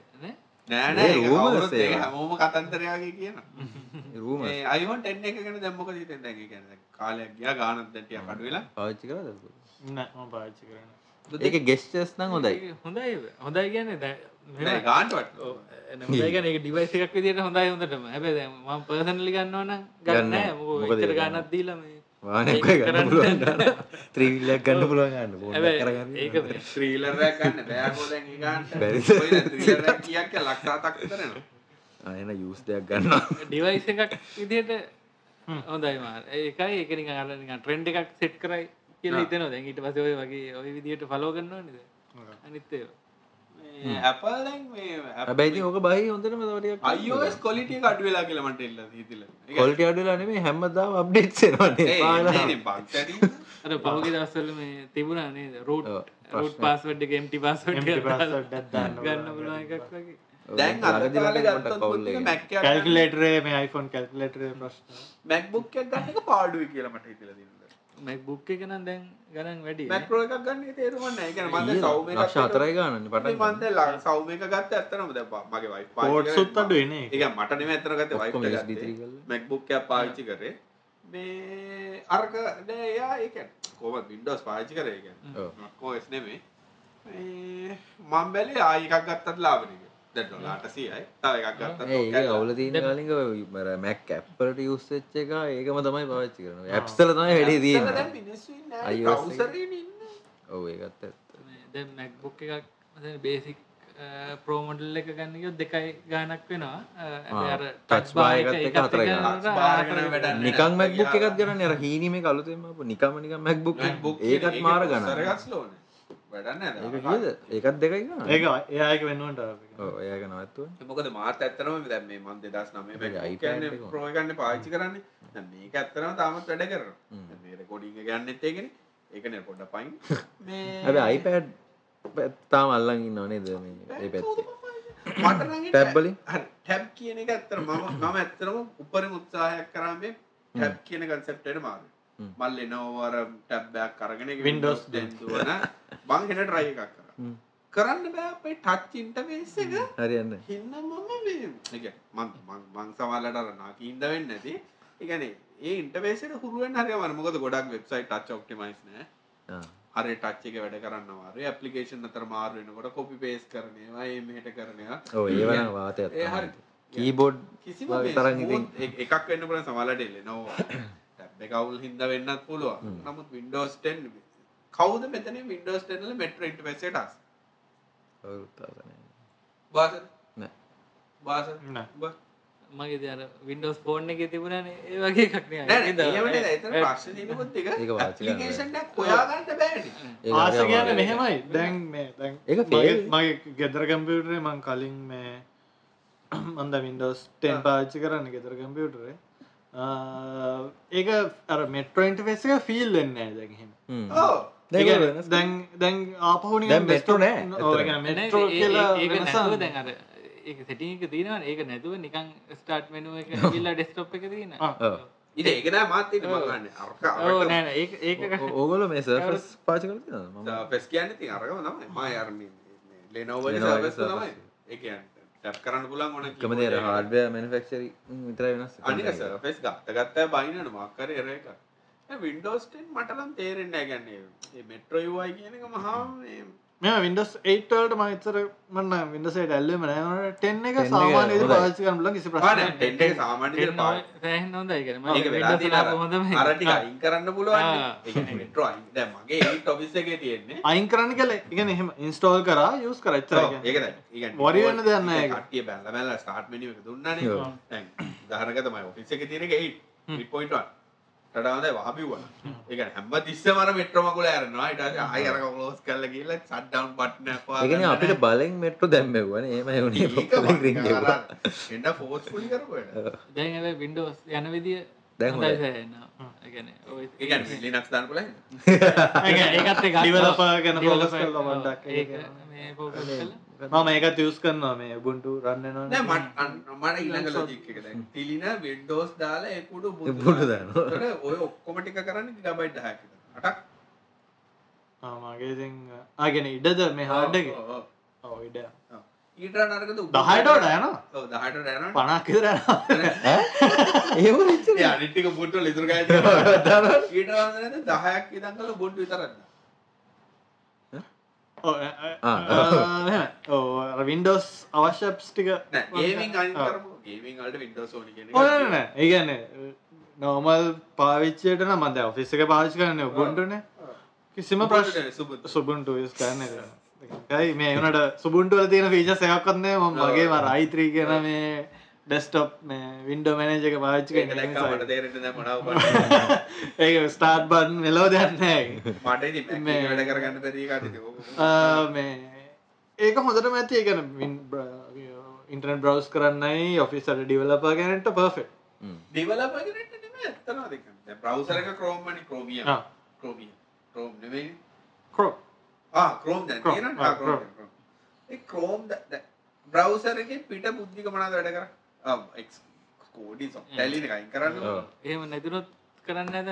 S4: ඒ
S1: නෑ ඒක
S4: rumors
S1: කවුරුත් ඒක
S4: ඒවා.
S1: හැමෝම කතන්දරය වගේ කියනවා
S4: රූම
S1: මේ iPhone 10 එක ගැන දැන් මොකද හිතෙන්නේ දැන් ඒ කියන්නේ දැන් කාලයක් ගියා ගානක් දැන් ටිකක් අඩු වෙලා
S4: පාවිච්චි කරාද
S3: නෑ මම පාවිච්චි කරන්නේ.
S4: ඒක ගෙස්චර්ස් නම් හොඳයි
S2: හොඳයි හොඳයි කියන්නේ දැ
S1: නෑ ගානටවත්
S2: ගැන ඩිවයිස එකක් විදිට හොඳයි හොඳටම හැබැයි ම පර්සනලි ගන්නවන
S4: ගන්න
S2: ගන්න
S4: නෑ. මොකද
S2: මොකතර
S4: ඒක
S2: ගන්නත් දීලම
S4: වාහනයක් ඔය ගන්න පුළුවන් ත්‍රීවිල්ලයක් ගන්න පුළුවන් ගන්න ෆෝනයක් කරගන්න
S2: ඒක මේ
S1: ත්‍රීලර් එකක් ගන්න බෑකෝ දැන් ඒ ගානට
S4: බැරිද?
S1: කොහෙද ත්‍රීලර් එකක් කියක් කියලා ලක්ෂ 7ක් විතර එනවා
S4: ආ, එන යූස් දෙයක් ගන්නවා
S2: ඩිවයිස එකක් විදියට හොඳයි මා ඒකයි ඒකනි අරනික ට්‍රෙන්ඩ් එකක් සෙට් කරයි කියල හිතන දැන් ඊට පස ඔය වගේ ඔය විදියට ෆලෝ කරන්නවා නිද අනිත්තය
S1: මේ Apple දැන් මේ Apple-
S4: හැබැයි ඉතින් ඕක බයි හොඳටම තවටියක්
S1: iOS quality එක අඩු වෙලා කියලා මට එල්ල හිතිලා ඒක
S4: කොල්ටි අඩුලා නෙමේ හැමදාම අප්ඩේට්ස් එනවනේ පාලා
S1: ඒ බක් ඇති
S2: අර පහුගේ දස්සල මේ තිබුණා නේද රෝට්
S4: ඔව්,
S2: රෝට් පාස්වඩ් එක එම්ටි පාස්වඩ්
S3: Empty password එකක් දාන්න
S2: ගන්න පුළුවන් එකක් වගේ
S1: දැන් අද කාලේ ගත්තොත් මුලික Mac එකක් ගන්න-
S3: කැල්කුලේටරේ මේ iPhone කැල්කුලේටරේ ප්‍රශ්න.
S1: MacBook එකක් ගන්න එක පාඩුයි කියලා මට හිතලා තියෙනවා
S2: මැක්බුක් එක නම් දැන් ගණන් වැඩි
S1: Mac Pro එකක් ගන්න එක තේරුම නැහැ. ඒ කියන්නේ මම දැන් සෞම්‍ය එකක්
S4: ලක්ෂ හතරයි ගානන්නේ
S1: මේ
S4: පටන්
S1: මම
S4: ගන්න.
S1: දැන් ලා- සෞම්‍ය එක ගත්තේ ඇත්තනම දැන් පා- මගේ wife පාවිච්චි
S3: Ports
S1: කරන්නේ
S3: උත් අඩුයි නේ
S1: මම.
S3: ඒක.
S1: ඒ කියන්නේ මට නෙමෙයි ඇත්තන ගත්තේ wife
S4: ඔක්කොම
S1: එක
S4: USB three
S1: ගත්තේ.
S4: කරලා.
S1: MacBook එකක් පාවිච්චි කරේ. මේ අරක දැන් එයා ඒ කියන්නේ කොහොමද Windows පාවිච්චි කරේ ඒ කියන්නේ.
S4: ඔව්.
S1: macOS නෙමෙයි. මේ මම බැලුවේ ආයි එකක් ගත්තත් ලාභනේ කියලා. දැන් ඩොලර් 800යි. තව එකක් ගත්තත්
S4: ඒ
S1: ඔක්කොම
S4: ඒක අවුල තියෙන කාලෙක මැක් ඇප් වලට යූස් වෙච්ච එක ඒකම තමයි පාවිච්චි කරන්නේ. ඇප්ස් වල තමයි වැඩි
S1: ඉස්සෙල්ලා දැන්
S4: තියෙන්නේ.
S1: මිනිස්සු ඉන්නේ නැහැ.
S4: iOS එකේ.
S1: browser එකේ ඉන්නේ.
S4: ඔව් ඒකත් ඇත්ත.
S2: මේ දැන් මැක්බුක් එකක් බේසික් ප්‍රෝමඩල් එක ගන්නයොත් දෙකයි ගානක් වෙනවා
S4: ආ,
S2: අර
S4: touch bar එකත් එක හතරයි ගානක්.
S1: touch bar එක නම් වැඩක් නෑ.
S4: නිකන් MacBook එකක් ගන්න අර හීනීම එක අලුතෙන්ම ආපු නිකම්ම නිකන් MacBook
S1: MacBook
S4: එක. ඒකත් මාර ගන්න.
S1: සරගස් ලෝන වැඩන්න
S4: ඒක කීයද? ඒකත් දෙකයි ගන්න.
S3: ඒක එයා එක වෙනුවට ආපේ.
S4: ඔව් එයා එක නවත්තුවනේ.
S1: මොකද මාත් ඇත්තනම දැන් මේ මන් 2009
S4: මේක
S1: MacBook
S4: iPad
S1: කියන්නේ
S4: එක.
S1: Pro එක ගන්න පාවිච්චි කරන්නේ. දැන් මේක ඇත්තනම තාමත් වැඩ කරනවා.
S4: හ්ම්.
S1: දැන් මේ රෙකෝඩින් එක ගන්නෙත් ඒකනේ. ඒකනේ පොඩ්ඩක් පයින්. මේ
S4: හැබැයි iPad පැත්ත තාම අල්ලන් ඉන්නව නේද මේ ඒ පැත්තේ.
S1: මට නම් ඒ
S4: Tab වලින්?
S1: හරි ටැබ් කියන එක ඇත්තට මම මම ඇත්තටම උපරිම උත්සාහයක් කරා මේ ටැබ් කියන concept එකට මාරු.
S4: හ්ම්.
S1: මල් Lenovo අර ටැබ් එකක් අරගෙන ඒක
S3: Windows
S1: දෙන්දුවන මං හෙට try එකක් කරා.
S4: හ්ම්.
S1: කරන්න බෑ අපේ touch interface එක
S4: හරියන්නේ.
S1: හින්න මම මේ එක මං මං මං සමහරලාට අර නාකීන්ද වෙන්න ඇති. ඒ කියන්නේ ඒ interface එකට හුරු වෙන්න හරියම අමාරු. මොකද ගොඩක් website touch optimize නෑ.
S4: ආ.
S1: හරිය touch එක වැඩ කරන්න අමාරුයි. application අතර මාරු වෙනකොට copy paste කරන ඒවා ඒ මෙහෙට කරන ඒවා
S4: ඔව් ඒව නම් වාතයක්
S1: ඒ
S4: තමයි.
S1: හරි.
S4: කීබෝඩ්
S1: කිසිම
S4: වගේ
S1: මේ
S4: තරම් ඉතින්
S1: smooth එක- එකක් වෙන්න පුළුවන් සමහරලාට එලෙනවා. ටැබ් එක අවුල් හින්දා වෙන්නත් පුළුවන්. නමුත් Windows 10 කවුද මෙතන Windows 10 වල metro interface එකට ආස?
S4: කවුරුත් ආවා නෑ.
S1: බාසද?
S4: නෑ.
S1: බාසද?
S3: නෑ.
S1: බා-
S2: මගේ දර වින්ඩෝස් ෆෝර්න් එක තිබුණන ඒ වගේ කක්නය
S1: නෑ නෑ එහෙම නෑ. එතන ප්‍රශ්න තියෙනකොත් ඒක
S4: ඒක වාචික නෑ.
S1: application එකක් හොයාගන්න බෑනේ.
S4: ඒක
S3: ආස
S4: හරි
S3: කියන්නේ
S4: අමාරුයි.
S3: මෙහෙමයි. දැන් මේ දැන්
S4: ඒක
S3: මගේ
S4: fail.
S3: මගේ ගෙදර කම්පියුටරේ මං කලින් මේ මම දැන් Windows 10 පාවිච්චි කරන්නේ ගෙදර කම්පියුටරේ. ඒක අර මෙට්‍රයින්ටෆෙස් එක ෆිල් වෙන්න දැන් එහෙම ඒ
S4: දැන්
S3: කියන්නේ දැන් දැන් ආපහු
S4: දැන් metro නෑ, ඇත්තටම.
S3: මෙට්‍රෝ කියලා
S2: ඒක
S3: වෙනස
S2: නැතුව දැන් අර ඒක සෙටික තියෙනවා ඒක නැතුව නිකන් ස්ටාර්ට් මෙනුව එක ඉල්ලා ඩෙස්ටොප් එක තියෙන
S3: ආ.
S1: Oh. ඉතින් ඒක නෑ මාත් ඉතින් මම ගන්න අරක
S2: ඕ
S1: අරක
S2: Oh, නෑ නෑ, ඒක ඒක
S4: ඕගොල මේ සර්ෆස් පාච කල මම
S1: ෆෙස් කියන්නේ ඉතින් අරකම තමයි මම අර මේ ලෙනෝවෝ
S4: Lenovo වගේ
S1: සර්වස් තමයි
S4: surface.
S1: ඒ කියන්නේ ටැප් කරන්න පුළුවන් ඕන
S4: කමදේ හාඩ්බය මනිෆෙක්ෂරි විතරයි වෙනස්
S1: අනික සර්ෆස් ගත්ත ගත්තා බයිනන මක්කර එර එක Eh, වින්ඩෝස් 10 මට නම් තේරෙන්නේ නැහැ කියන්නේ මේ මෙට්‍රෝ UI කියන එක මහා මේ
S3: මෙම විඩස් 8ට මහිතර මන්න විදසට ඇල්ලම නෑට ටෙන් එක
S4: 10 එක
S3: සාමානය
S4: හොඳයි.
S3: පාසිකරල කිසි
S1: පාන
S3: ප්‍රශ්න
S1: 10 එක සාමාන්‍ය විදිහට පාන.
S2: සෑහෙන් හොඳයි කියන
S1: ඒක වෙලා තියෙන අර- අර ටික
S2: හොඳම
S1: අයින් කරන්න පුළුවන් නේ.
S2: ආ.
S1: ඒ කියන්නේ මෙට්‍රෝ අයින් දැන් මගේ ඒත් ඔෆිස් එකේ තියෙන්නේ
S3: අයින් කරන්න කල එකන එහෙම ඉන්ස්ටෝල් කර යස් කරච්චර
S1: ඔව්, ඒක දැන් ඒ කියන්නේ
S3: worry වෙන්න දෙයක් නැහැ ඒක.
S1: කට්ටිය බැලලා බැලලා ස්ටාර්ට මෙනු එක දුන්නානේ
S4: ඔව්.
S1: දැන් උදාහරණයක් තමයි ඔෆිස් එකේ තියෙන එක 8 8.1 ටඩා හොඳයි වහබිව්වා ඒ කියන්නේ හැමතිස්සෙම අර මෙට්‍රෝ මගුල ඇරනවා ඊට පස්සේ ආයෙ අර ක්ලෝස් කරලා ගිහලා ෂට් ඩවුන් බටන් එක
S4: ඒකන අපිට බලෙන් මෙට්‍ර දැම්මවන ඒම හුණේ
S1: එන්න ෆෝස් පුලි කරපුට
S2: Ah. දැන් ඇ විඩෝස් යන විදිිය
S4: දැන් හොඳයි.
S1: ඒ කියන්නේ ලිනක්ස් දාන්න පුළුවන්
S2: ඒකත් එක
S3: developer ගැන focus කරලා වඩාක් ඒක කරනවා. මම ඒකත් යස් කරනවා මේ බුන්ටු රන්නනවා
S1: නෑ මට අන්න- මට ඊළඟ ලොජික් එක දැන් තිලින වින්ඩෝස් දාලා ඒ කුඩු බුදු
S4: බුදු
S1: දානවා.
S4: දානවා.
S1: ඒතකොට ඔය ඔක්කොම ටික කරන්නේ ගිගබයිට් 10ක් විතර. 8ක්
S3: මගේ ආගෙන ඉඩද මේ හාඩ්ඩගේ
S1: ඔව්, ඔව්.
S3: ඉඩ
S1: ඊට වඩා නරකද උබුදු
S3: දහයටට යන
S1: ඔව් 10ට යනවා
S3: පනක්කිර
S4: ඒ
S1: ඒ අනිත් ටික බුද්ධ ලිතුරු ගාය ඊට වඩා නේද 10ක් ඉඳන් කරලා බොඩ් විතරක් දාන්න.
S3: වින්ඩෝස් අවශ්‍යප්ස්ටික
S1: නෑ ගේමින් අයින් කරමු ගේමින් වලට වින්ඩෝස් ඕනි කියන
S3: ඕන ඒගැන නෝමල් පාවිච්චයට නම් මද ඔෆිස් එක පාවිච් කරන්න ඔබොන්ටන කිසිම ප්‍රශ්
S1: සුබුදු
S3: සුබුන්ටු යස් කරන්න යි මේ වනට සුබුන්ටුවල තියෙන ෆීච සයක් කන්නේ ම මගේ ම රයිත්‍රී කියන මේ ඩෙස්ටප් මේ වින්ඩෝ මැනජ එක පාච්චික
S1: ඒක දැක්කම මට තේරෙන්නේ නෑ මොනවා වුණත්.
S3: ඒක ස්ටාර්ට් බන් මෙලෝ දන්නෑ
S1: මට ඉතින්
S3: මේ-
S1: මැක් වැඩ කරගන්න බැරි කටද
S3: ආ, මේ ඒක හොඳට මැති ඒකන ඉන්ටර්නෙට් බ්‍රවස් කරන්නයි ඔෆිසට ඩිවලප ගැනට පර්ෆෙක්
S1: දෙවලප කරට නෙම ඇත්තනවා දෙක ප්‍රවසරක ක්‍රෝම්මනි ක්‍රෝමිය
S3: ආ.
S1: ක්‍රෝමිය ක්‍රෝම් නෙවෙයි
S3: කරෝ
S1: ක්‍රෝම් Ah, දැන්
S3: Chrome.
S1: තියෙනවනේ.
S3: ආ,
S1: ආ, Chrome, Chrome. ඒ ක්‍රෝම් බ්‍රවසරකින් පිට බුද්ධික මනාද වැඩ Ah, කර කෝඩි
S4: Mm.
S1: සොටැලි එකයින් කරන්න
S4: ඔව්.
S2: එහෙම නැතිනොත් කරන්න ඇත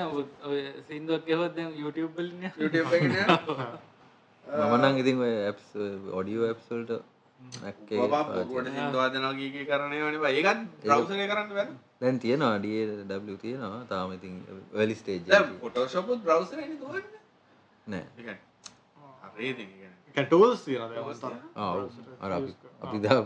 S2: ඔය සිින්දුවක් එහොත් යුටබලන
S1: YouTube Ah, එකට
S4: මමනං ඉතින් ඔය ඔඩියෝ ඇ්සල්ට නැක්කේ
S1: බබා පොකුවට සින්දවාදනගේගේ කරණය
S4: Ah.
S1: වනවා ඒකත් බ්‍රවසරය කරන්න වැ
S4: දැන් තියෙන අඩිය තියෙනවා තාම ඉතින් වැලි ස්ටේජ්
S1: දැන් පොටෝෂපුත් බ්‍රවසර දුවන්න
S4: නෑ
S1: හරේ
S3: කටෝල් සියන
S4: ආ, අර අපි- අපි දා-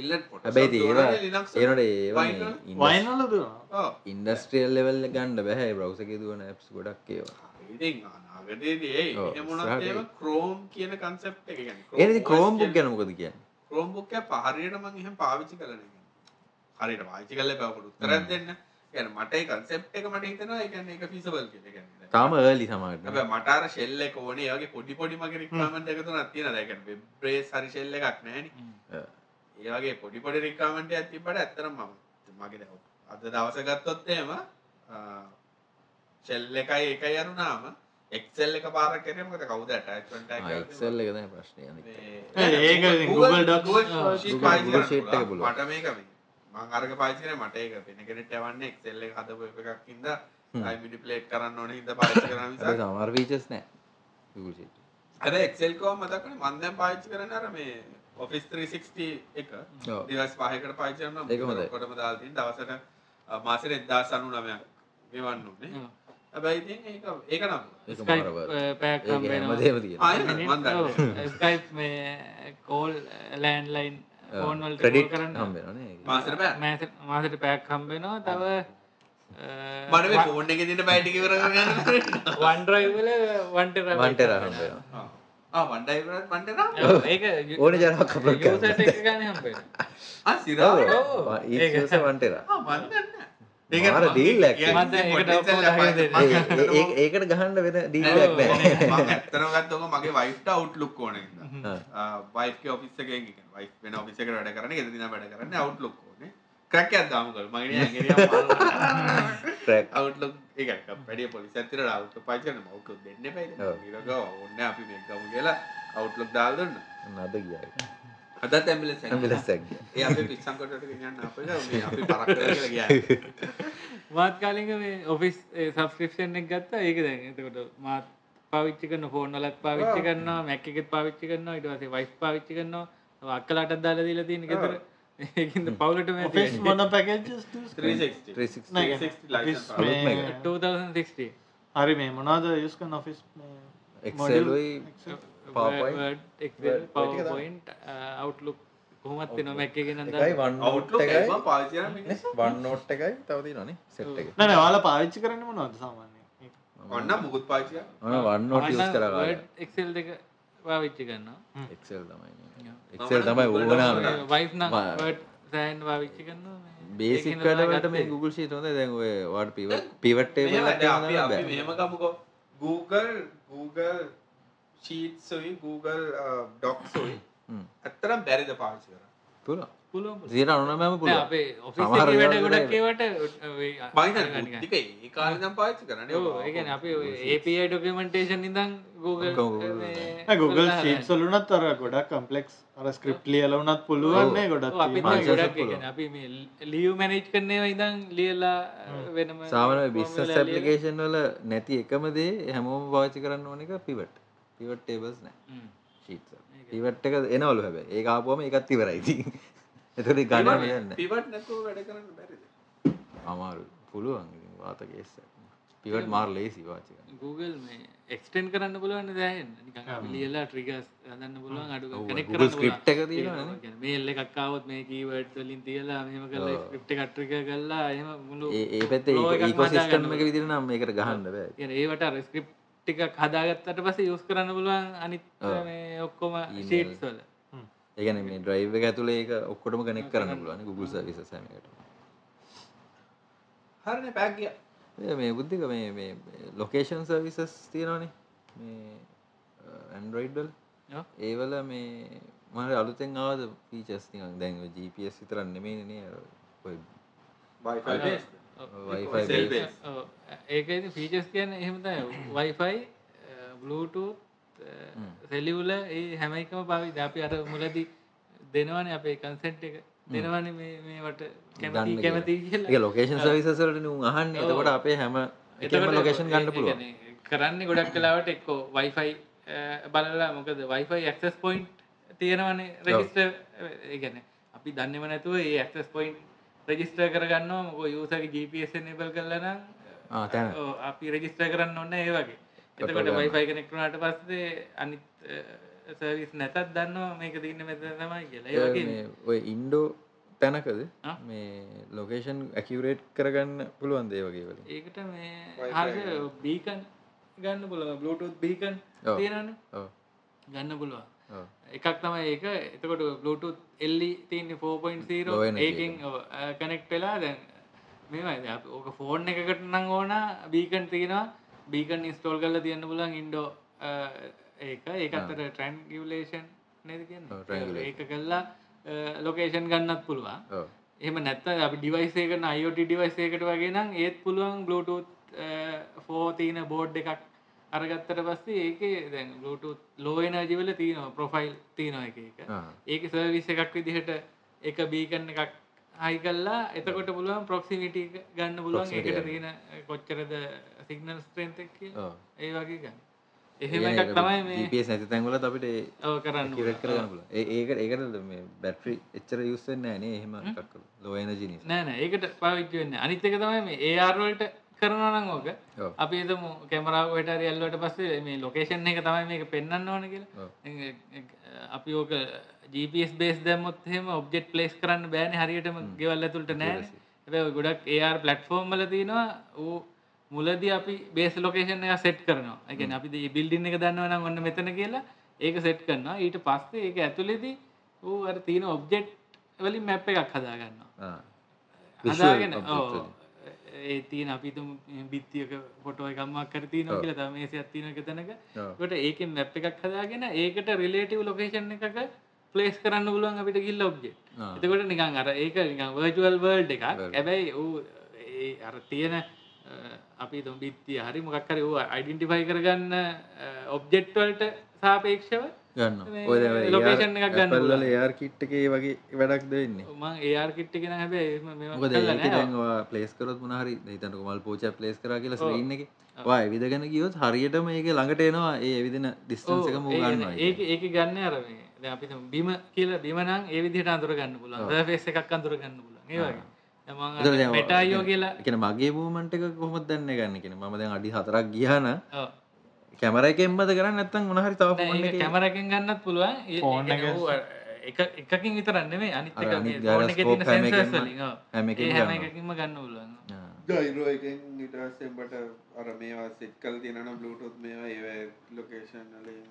S1: ඉල්ලට පොට
S4: හැබැයි ඒවා ඒනට
S1: Vinyl.
S4: ඒවා
S3: වයිනල දුන
S1: Oh,
S4: ඉන්ඩස්ට්‍රියල් ලෙවල්ල ගණ්ඩ බැහැ බ්‍රවසක දුවන ඇ්ස් ගොඩක් ඒවා
S1: ඉතින් අනාගතයේදී ඒ
S4: ඔව්,
S1: ඉන්න මොනවද
S4: ඉස්සරහට
S1: ඒවා ක්‍රෝම් කියන concept එක කියන්නේ.
S4: ඒනති
S1: ක්‍රෝම්
S4: ක්‍රෝම්පුක් ගැනකොද කියන්න
S1: ක්‍රෝම්බුක් එක හරියට මම එහෙම පාවිච්චි කරලා නැහැ. හරියට පාවිච්චි කරලා බෑ ඔකට උත්තරයක් දෙන්න. يعني මට ඒ concept එක මට හිතෙනවා ඒ කියන්නේ ඒක feasible කියලා. ඒ කියන්නේ දැන්.
S4: තාම ඒලි සමට
S1: හැබැයි මට අර shell එක ඕනේ. ඒ වගේ පොඩි පොඩි මගේ requirement එක තුනක් තියෙනවා. ඒ කියන්නේ web brace හරි shell එකක් නැහැනේ. ඒ වගේ පොඩි පොඩි රික්කාමෙන්ට ඇතිබට ඇත්තරම් මම මගේ දැ අද දවස ගත්තොත්තේම සෙල් එකයි එක යරුනාම එක්සෙල් එක පාර කරමට කවුද
S4: එක්සල් එකන ප්‍රශ්නය
S3: ඒක ඉතින් Google Docs. ආ.
S4: Google Sheet එක පුළුවන්.
S1: මට මේකම මං අරග පාචන මට ඒක පෙන කෙනෙට යවන්න එක්සෙල්ල හදපු එකක් ඉද අයිමිඩි ප්ලේට් කරන්න ඕන හිද පාච කරන
S4: සමර් වීචස් නෑ Google Sheet.
S1: අද එක්සෙල් කෝ මතකන මන්දැ පාච්චි කරන අර මේ ඔෆිස් 360 එක
S4: ඔව්.
S1: දවස් පහකට පාචන
S4: ඒක හොඳයි.
S1: කොටම දාල්තින් දවසට මාසර එදදා සනු නමයක් ගෙවන්න
S2: Oh.
S1: ඕනේ හැබැයි ඉතින් ඒක ඒක නම්
S4: ඒක මාර වරද.
S2: පැක්
S4: ඒක හැමදේම තියෙනවා.
S1: ආයෙ නෑ, මං දන්නේ නෑ.
S2: ස්කයි් මේ කෝල් ලෑන්ලයින් ඕෝන්වල්
S4: ක්‍රඩිට්
S2: කරන්න
S4: හම්බෙනනේ ඒක.
S1: මාසර බෑ
S2: මෑත- මාසට පැක් හම්බෙනවා තව
S1: මට මේ ෆෝන් එක දින බයිටි කර කරගන්න
S2: වන්ඩරයිවල වන්ට
S4: වන්ට රහම්බෙනවා
S1: ආ වණ්ඩයි කරත් මන්ටනම්
S2: ඒක
S4: ඕන ජනක් අපලෝඩ් කරන්න.
S2: ගන හම්බේ
S1: ආ සිරා
S4: Oh.
S2: ඔව්. ඒක.
S4: ඒස වන්ටර මාර
S1: මන්දන්න
S4: deal එකක් ඒක.
S1: ඇත්තනගත්
S4: ඒකට ගහන්න වෙන දීලක් නෑ
S1: ඔක මගේ වයිට අවුට්ලුක් ඕන
S4: ආ.
S1: වයික ඔෆිස්සක වයි වෙන ඔෆිසක වැඩ කරන ෙදදින වැඩ කරන්න අවුට්ලුක් ඕන ක්‍රැකයක් දාමකල් මගෙන
S4: Crack.
S1: අවුල එකක් පැඩිය පොලිස ඇතිර අවුට පචන මවක දෙන්න පැයි රක ඔන්න අපි මේ ගම කියලා අවුට්ලොක් දාල්දන්න
S4: නද ගියයි
S1: අද තැමිල සැමිල
S4: මිලස්සක් ගිය
S1: ඒ අප පිස්සංකොට ගන්න අප පරක් ගිය
S2: මාත් කාලික මේ ඔෆිස් සබස්ක්‍රපෂන් එක ගත්ත ඒක දැන් එතකොට මාත් පවිච්චි කරන ෆෝනලත් පාවිච්චි කරන්න මැක්කෙත් පාවිච්චි කරන්න ඉටවස වයිස් පාවිච්චි කරන්න අක්කලාට දාල දීලා තියෙන ගෙතර ඒකද පවුලට මේ
S3: Office මොන packages do you use?
S4: 360
S3: නෑ, ඒක.
S1: 360 license
S3: Office
S4: අලුත්
S3: මේ-
S4: එක.
S2: 2060
S3: හරි මේ මොනවද use කරන office මේ
S4: Excel
S3: module?
S4: උයි
S3: Excel.
S4: PowerPoint.
S2: Word, Excel,
S4: Word- Word එක තමයි.
S2: PowerPoint, අවුට්ලුක් කොහොමත් වෙන මැක්ක ගෙනද
S4: එකයි වන් නෝට්
S1: අවුට්ලොක්
S4: එකයි
S1: පාචන
S4: වන් නෝට් එකයි තව තියෙනවනේ සෙට් එක
S3: නෑ නෑ ඔයාලා පාවිච්චි කරන්නේ මොනවද සාමාන්‍යයෙන්
S1: ඔන්න මුකුත් පාචය
S4: ඔන්න වන් නෝට් යූස් කරා කාලේ
S2: එක්සෙල් දෙක පාවිච්චි කරන්න
S4: Excel තමයි මේ. Excel තමයි
S1: Google
S4: ඕනම
S1: download
S2: වයිස් නම්
S4: මා-
S2: සෑන් පාවිච්චි කරන්න
S4: බේසික් වැඩවලට මේ Google Sheet හොඳයි දැන් ඔය වාට පිවට පිවට
S1: මෙහෙම
S4: ටේබල් එකක්
S1: දැන් අපි
S4: දාන්න
S1: අපි
S4: බෑ.
S1: මෙහෙම ගමුකෝ Google Google Sheets සොයි Google අ, Docs සොයි
S4: හ්ම්.
S1: ඇත්තටම බැරිද පාවිච්චි කරන්න
S4: පුළුවන්.
S2: පුළුවන්
S4: සියයට අනුනමම පුළුවන්.
S2: අපේ ඔෆිස්
S4: සමහර
S2: එකේ වැඩ
S4: වෙලාවට
S2: ගොඩක් ඒවට
S1: මම හිතන්නේ බුද්ධික ඒ කාලේ නම් පාවිච්චි කරන්නේ ඔව්.
S2: ඒ කියන්නේ අපි API ડોකියුමන්ටේෂන් ඉඳන් Google
S4: Google
S2: මේ
S3: නෑ, Google
S2: හදාගන්න.
S3: Sheets වලුණත් අර ගොඩක් complex අර script ලියලා වුණත් පුළුවන් නේ ගොඩක්
S2: ඔව්, අපි
S3: තියෙන.
S2: මේ
S4: Microsoft
S2: ගොඩක් ඒ
S4: පුළුවන්.
S2: කියන්නේ අපි මේ ලියු මැනේජ් කරන ඒවා ඉඳන් ලියලා වෙනම
S4: සාමාන්‍ය
S2: form
S4: බිස්නස්
S2: වල ලියලා.
S4: ඇප්ලිකේෂන් වල නැති එකම දේ හැමෝම පාවිච්චි කරන්න ඕන එක පිවට. පිවට ටේබල්ස් නැහැ.
S2: හ්ම්.
S4: Sheets වල. පිවට එක එනවලු හැබැයි. ඒක ආපුවම ඒකත් ඉවරයි ඉතින්. ඒතකොට ගණන් වෙන්නේ
S1: pivot නැතුව වැඩ කරන්න බැරිද
S4: අමාරු. පුළුවන් ඉතින් වාත කේස් එක. පිවට මාර ලේසි පාවිච්චි කරන්න.
S2: Google මේ extend කරන්න පුළුවන් නේද දැන් නිකන් අපි ලියලා triggers හදන්න පුළුවන් අඩු
S4: ඔව්,
S2: connect
S4: Google
S2: කරන්න
S4: script එක තියෙනවා
S2: ඒ කියන්නේ mail එකක් ආවොත් මේ keywords වලින් තියලා මෙහෙම කරලා script එකක් trigger කරලා එහෙම මුළු
S4: ඒ ඒ පැත්තේ
S2: flow එකක්ම
S4: ඊකෝසිස්ටම්
S2: හදාගන්න
S4: එක විදිහට නම් මේකට ගහන්න බෑ.
S2: කියන ඒවට රස්ක්‍රිප් ටිකක් හදාගත්තට පස්සේ යස් කරන්න පුළුවන් අනිත් මේ ඔක්කොම ශීට්ස් වල
S4: ඒ කියන්නේ මේ drive එක ඇතුලේ ඒක ඔක්කොටම connect කරන්න පුළුවන් Google services හැම එකටම.
S1: හරිනේ පැක් ගියා
S4: ඔය මේ බුද්ධික මේ මේ ලොකේෂන් සර්විසස් තියෙනවනේ මේ ඇන්ඩරොයිඩ් වල
S2: ඔව්.
S4: ඒවල මේ මට අලුතෙන් ආවද ෆීචර්ස් නිකන් දැන් ඔය GPS විතරක් නෙමෙයිනේ නේ අර ඔය
S1: Wi-Fi based
S4: Wi-Fi
S1: cell
S4: based.
S1: based.
S2: ඔව්. ඒක ඉතින් ෆීචර්ස් කියන්නේ එහෙම තමයි Wi-Fi අ, Bluetooth සෙලියුල ඒ හැම එකම පාවිච්චි අපි අර මුලදී දෙනවනේ අපේ කන්සෙන්ට් එක දෙනවනේ මේ මේවට කැමති
S4: ගන්න
S2: කැමති
S4: කියලා.
S2: කියලා
S4: ඒක ලොකේෂන් සර්විසස් වලට නේ උන් අහන්නේ. එතකොට අපේ හැම එකම
S2: එතකොට
S4: ලොකේෂන්
S2: ඒ-
S4: ගන්න
S2: ඒ
S4: පුළුවන්.
S2: කියන්නේ කරන්නේ ගොඩක් වෙලාවට එක්කෝ වයිෆයි බලලා මොකද වයිෆයි ඇක්සස් පොයින්ට් තියෙනවනේ රෙජිස්ටර් ඒ කියන්නේ අපි දන්නේම නැතුව ඒ ඇක්සස් පොයින්ට් රෙජිස්ටර් කරගන්නවා මොකෝ යූසර්ගේ GPS enable කරලා නම්
S4: ආ තැන.
S2: ඔව්, අපි රෙජිස්ටර් කරන්න ඕනේ ඒ වගේ. එතකොට වයිෆයි කනෙක්ට් වුණාට පස්සේ අනිත් සර්විස් නැතත් දන්නවා මේක තියෙන්නේ මෙතන තමයි කියලා. ඒ වගේ
S4: මේ ඔය ඉන්ඩෝ තැනකද
S2: ආ?
S4: මේ ලොකේෂන් ඇකියුරේට් කරගන්න පුළුවන් දේ වගේ වලින්.
S2: ඒකට මේ හරි බීකන් ගන්න පුළුවන් Bluetooth බීකන්
S4: ඔව්.
S2: තියෙනවනේ.
S4: ඔව්.
S2: ගන්න පුළුවන්
S4: ඔව්.
S2: එකක් තමයි ඒක එතකොට Bluetooth E එල්ලි තියන්නේ 4.0
S4: Low energy
S2: ඒකෙන් කනෙක්ට් වෙලා දැන් මේමයි දැන් අපි ඕක ෆෝන් එකකට නම් ඕන බීකන් තියෙනවා බීකන් ඉස්ටෝල් කරලා තියන්න පුළුවන් ඉන්ඩෝ ඒක ඒක අතර ට්‍රැන්ගියුලේෂන් නේද
S4: ඔව්,
S2: කියන්නේ
S4: triangulation.
S2: ඒක කළා ලොකේෂන් ගන්නත් පුළුවන්
S4: ඔව්.
S2: එහෙම නැත්නම් අපි ඩිවයිස් එකකට IoT ඩිවයිස් එකකට වගේ නම් ඒත් පුළුවන් Bluetooth 4 තියෙන බෝඩ් එකක් අරගත්තට පස්සේ ඒකේ දැන් Bluetooth low energy වල තියෙනවා ප්‍රොෆයිල් තියෙනවා එක එක.
S4: ආ.
S2: ඒකේ සර්විස් එකක් විදිහට එක බීකන් එකක් හයි කළා එතකොට පුළුවන් proximity එක ගන්න පුළුවන්
S4: Proximity
S2: ඒකට
S4: ගන්න.
S2: තියෙන සිග්නල් signal strength එක කියලා.
S4: ඔව්.
S2: ඒ වගේ ගන්න. එහෙම එකක් තමයි මේ
S4: GPS නැති තැන්වලත් අපිට ඒ
S2: ඔව් කරන්න පුළුවන්.
S4: accurate කරගන්න පුළුවන්. ඒ ඒක ඒකට මේ බැටරි එච්චර යූස් වෙන්නේ නැහැ නේ එහෙම එකක් කරලා. low energy නිසා.
S2: නෑ නෑ ඒකට පාවිච්චි වෙන්නේ අනිත් එක තමයි මේ AR වලට කරනවා නම් ඕක
S4: ඔව්.
S2: අපි හිතමු කැමරාව හෙට හරි ඇල්ලුවට පස්සේ මේ ලොකේෂන් එක තමයි මේක පෙන්වන්න ඕන කියලා.
S4: ඔව්.
S2: දැන් ඒ- ඒ- අපි ඕක GPS බේස් දැම්මොත් එහෙම ඔබ්ජෙක්ට් ප්ලේස් කරන්න බෑනේ හරියටම ගෙවල් ඇතුළට නෑනේ. හැබැයි ඔය ගොඩක් AR platform වල තියෙනවා ඌ මුලදී අපි බේස් ලොකේෂන් එක සෙට් කරනවා. ඒ කියන්නේ අපි මේ building එක දන්නවා නම් ඔන්න මෙතන කියලා ඒක සෙට් කරනවා. ඊට පස්සේ ඒක ඇතුළේදී ඌ අර තියෙන ඔබ්ජෙක්ට් වලින් මැප් එකක් හදා ගන්නවා.
S4: ආ.
S2: හදාගෙන ඔව්. ඒ තියෙන අපිතුම බිත්තියක පොටෝ එකම්මක් කර තියන කියලා තම මේසයක් තියන එක තැනක
S4: ඔව්.
S2: ට ඒකෙන් මැප් එකක් හදාගෙන ඒකට රිලේටව් ලොකේෂන් එකක ප්ලේස් කරන්න පුළුවන් අපිට ගිල් ඔබ්ජෙ
S4: ආ.
S2: එතකොට නිකන් අර ඒක නිකන් වර්ජුවල් වර්ල්ඩ් එකක් ඇබැයි ඌ ඒ අර තියෙන අ, අපි තුම් බිත්තිය හරි මොකක්කර ඌ අයිඩෙන්ටිෆයි කරගන්න ඔබ්ජෙක්්වල්ට සාපේක්ෂව මේ
S4: ගන්න ඔය
S2: location එකක් ගන්න
S4: ගන්නල එයාර් කිට්ටකේ වගේ වැඩක් දෙන්නේ
S2: මං ඒයාර් කිට්ටි කෙන
S4: මොකද
S2: හැබැයි
S4: ඒකදැන් පලේස් කරත් මනහරි හිතට මල් පෝච පලේස් කර කියල ඉන්න එක වා එවිදගෙන ගියොත් හරියට මේක ළඟට එනවා ඒ එවිදින ඩිස්ටන්සක මූගන්නවා
S2: ඒක ඒක ගන්න අරමේ දැන් අපි හිතමු බිම කියලා බිමනම් ඒ විදිහට අඳුර ගන්න පුළුවන් සර්ෆේස් එකක් අඳුර ගන්න පුළුවන් ඒ
S4: එතකොට
S2: වගේ
S4: දැන් ඔය-
S2: මෙටායෝ කියලා
S4: එකන මගේ මූමන්ට එක කොහොමත් දන්න ගන්න කෙන ම දැන් අඩි හතරක් ගියාන
S2: ඔව්.
S4: කැමර එක එම්මද කරන්න ඇත්තන් මොනහරි තව
S2: නෑ, ඒක කැමරකින් ගන්නත් පුළුවන් ඒ- ඒ-
S3: Phone
S2: ඒක
S3: එක-
S2: ඌ අර එක එකකින් විතරන්න මේ අනිත්
S4: අර
S2: එක
S4: අනිත්
S2: මේ phone එකේ තියෙන
S4: gyroscope හැම
S2: sensors
S4: එකෙන්ම-
S2: වලින්, ඔව්.
S4: හැම එකෙම
S2: ඒ හැම
S4: ගන්නවා.
S2: එකකින්ම ගන්න පුළුවන්
S1: ගයිරෝ එකෙන් ඉටසෙන්බට අර මේවා සෙට් කල් තියෙනන බ්ලුටුත් මේවා ඒ ලොකේෂන්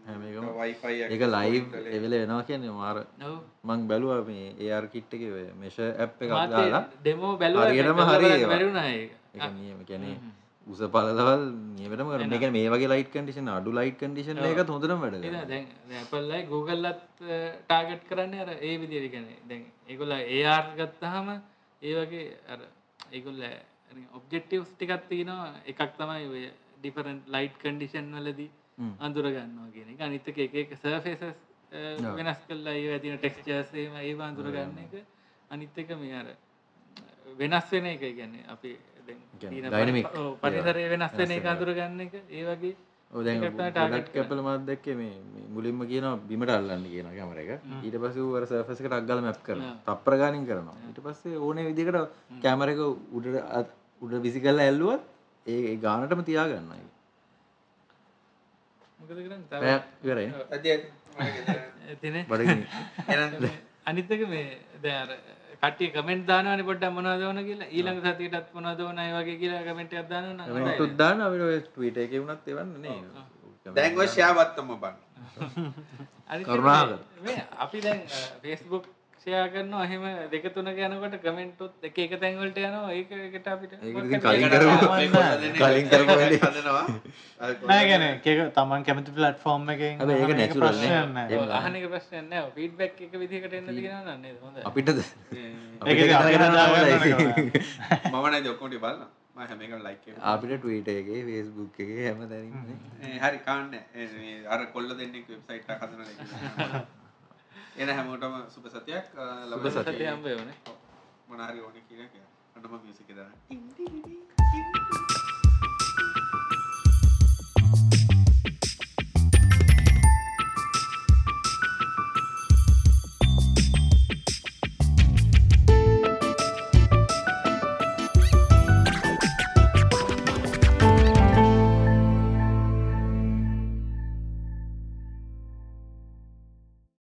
S4: හැම
S1: වල
S4: එකම-
S1: වයිෆයි
S4: එක ලයිව් එවෙල වෙනවා කියන්නේ මාර
S2: ඔව්.
S4: මං බැලුව මේ ඒර් කිට් එක මෙෂ ඇප් එකක්
S2: මාත් ඒ
S4: දාලා
S2: demo බැලුවා,
S4: හරියටම
S2: ඒක
S4: හරි
S2: බලන්න
S4: ඒවා.
S2: බැරි වුණා ඒක.
S4: එක නියම කැනේ උස පලදවල් නියමටම කරන එක මේ වගේ ලයිට් කඩිෂන අඩු ලයිට් කඩිෂන එක හොඳරම් වැඩ
S2: ඒක දැන් ඇපල්ලයි Googleලත් ටාගට් කරන්නේ අර ඒ විදිහට ඒ කියන්නේ දැන් ඒගොල්ල AR ගත්තාම ඒ වගේ අර ඒගොල්ල ඔබ්ජෙක්ටිව්ස් ටිකක් තියෙනවා එකක් තමයි ඔය ඩිෆරන්ට් ලයිට් කන්ඩිෂන් වලදී අඳුර ගන්නවා කියන එක අනිත් එක එක එක සර්ෆේසස් වෙනස් කරලා ඒ ඇතින ටෙක්ස්චර්ස් එහෙම ඒව අඳුර ගන්න එක අනිත් එක මේ අර වෙනස් වෙන එක කියන්නේ අපි දැන්
S4: කියන්නේ
S2: තියෙන
S4: dynamic.
S2: පරි- ඔව්, පරිසරය වෙනස් වෙන එක අඳුර ගන්න එක ඒ වගේ
S4: ඔදැන්
S2: එකක් තමයි target
S4: ඩට් කැපල මත්දැක්ක මේ මේ මුලින්ම කියන බිමට අල්ලන්න කියන කැමර එක ඊට පස්ස වර සර්ෆසක රක්ගල මැප් කරන තප්‍රගානින් කරනවා ඊට පස්සේ ඕන විදිකට කැමරක උඩ උඩ විසි කල්ල ඇල්ලුවත් ඒ ගානටම තියාගන්නයි
S2: මොකද කරන්නේ තව
S4: පැරයි
S2: තින
S4: බඩ
S2: අනිත් එක මේ දැර කටි කමෙන්ට දානවන පොට මොනාදවන කියලා ඊළඟ සතියටත් මොනාදවන අය වගේ කියලා කමෙන්ට අදදාන
S4: තුද්දාන අපට ටීට එක වුණත් එවන්නේ
S1: දැන්ගෝ ශයාවත්තම බන්න
S4: කරුණාකර.
S2: අපි දැන් පේස්බුක් ෂයා කරන අහෙම දෙක තුන යනකොට කමෙන්ටොත් එක එක තැන්වලට යනවා ඒක එකට අපිට
S4: ඒක
S2: work
S4: ඉතින්
S2: කරන්න
S4: කලින්
S2: බැහැ.
S4: කරමු.
S1: කලින්
S4: කලින් කරපු වැඩේ.
S1: හදනවා
S3: නෑ ගැන ඒක තමන් කැමති ප්ලට්ෆෝර්ම් එකෙන්
S4: හැබැයි
S3: අහන එක
S4: ඒක natural නේ.
S3: ප්‍රශ්නයක් නෑ.
S4: ඒක-
S2: අහන එක ප්‍රශ්නයක් නෑ ෆීඩ්බැක් එක විදිහකට එන්න තියෙනවා නේද හොඳයි
S4: අපිට
S3: ඒක ඉතින් අපේ හදාගන්න ඕන කරනවා.
S1: මම නෑ ජොක්කොටි බලන්න මම හැම එකම ලයික් කරනවා
S4: අපිට ටීට එකගේ ෆේස්බුක් එක හැම දැනන්න
S1: ඒ හරි කාන්න අර කොල්ල දෙන්නෙක් වෙබ්සයිට් එක හදන එක. එන හැමෝටම සුබ සතියක් ලබ
S2: සතිය හම්බ වෙන්නේ
S1: මොනාරි ඕන කියන එක අන්නම මියසික දාන්න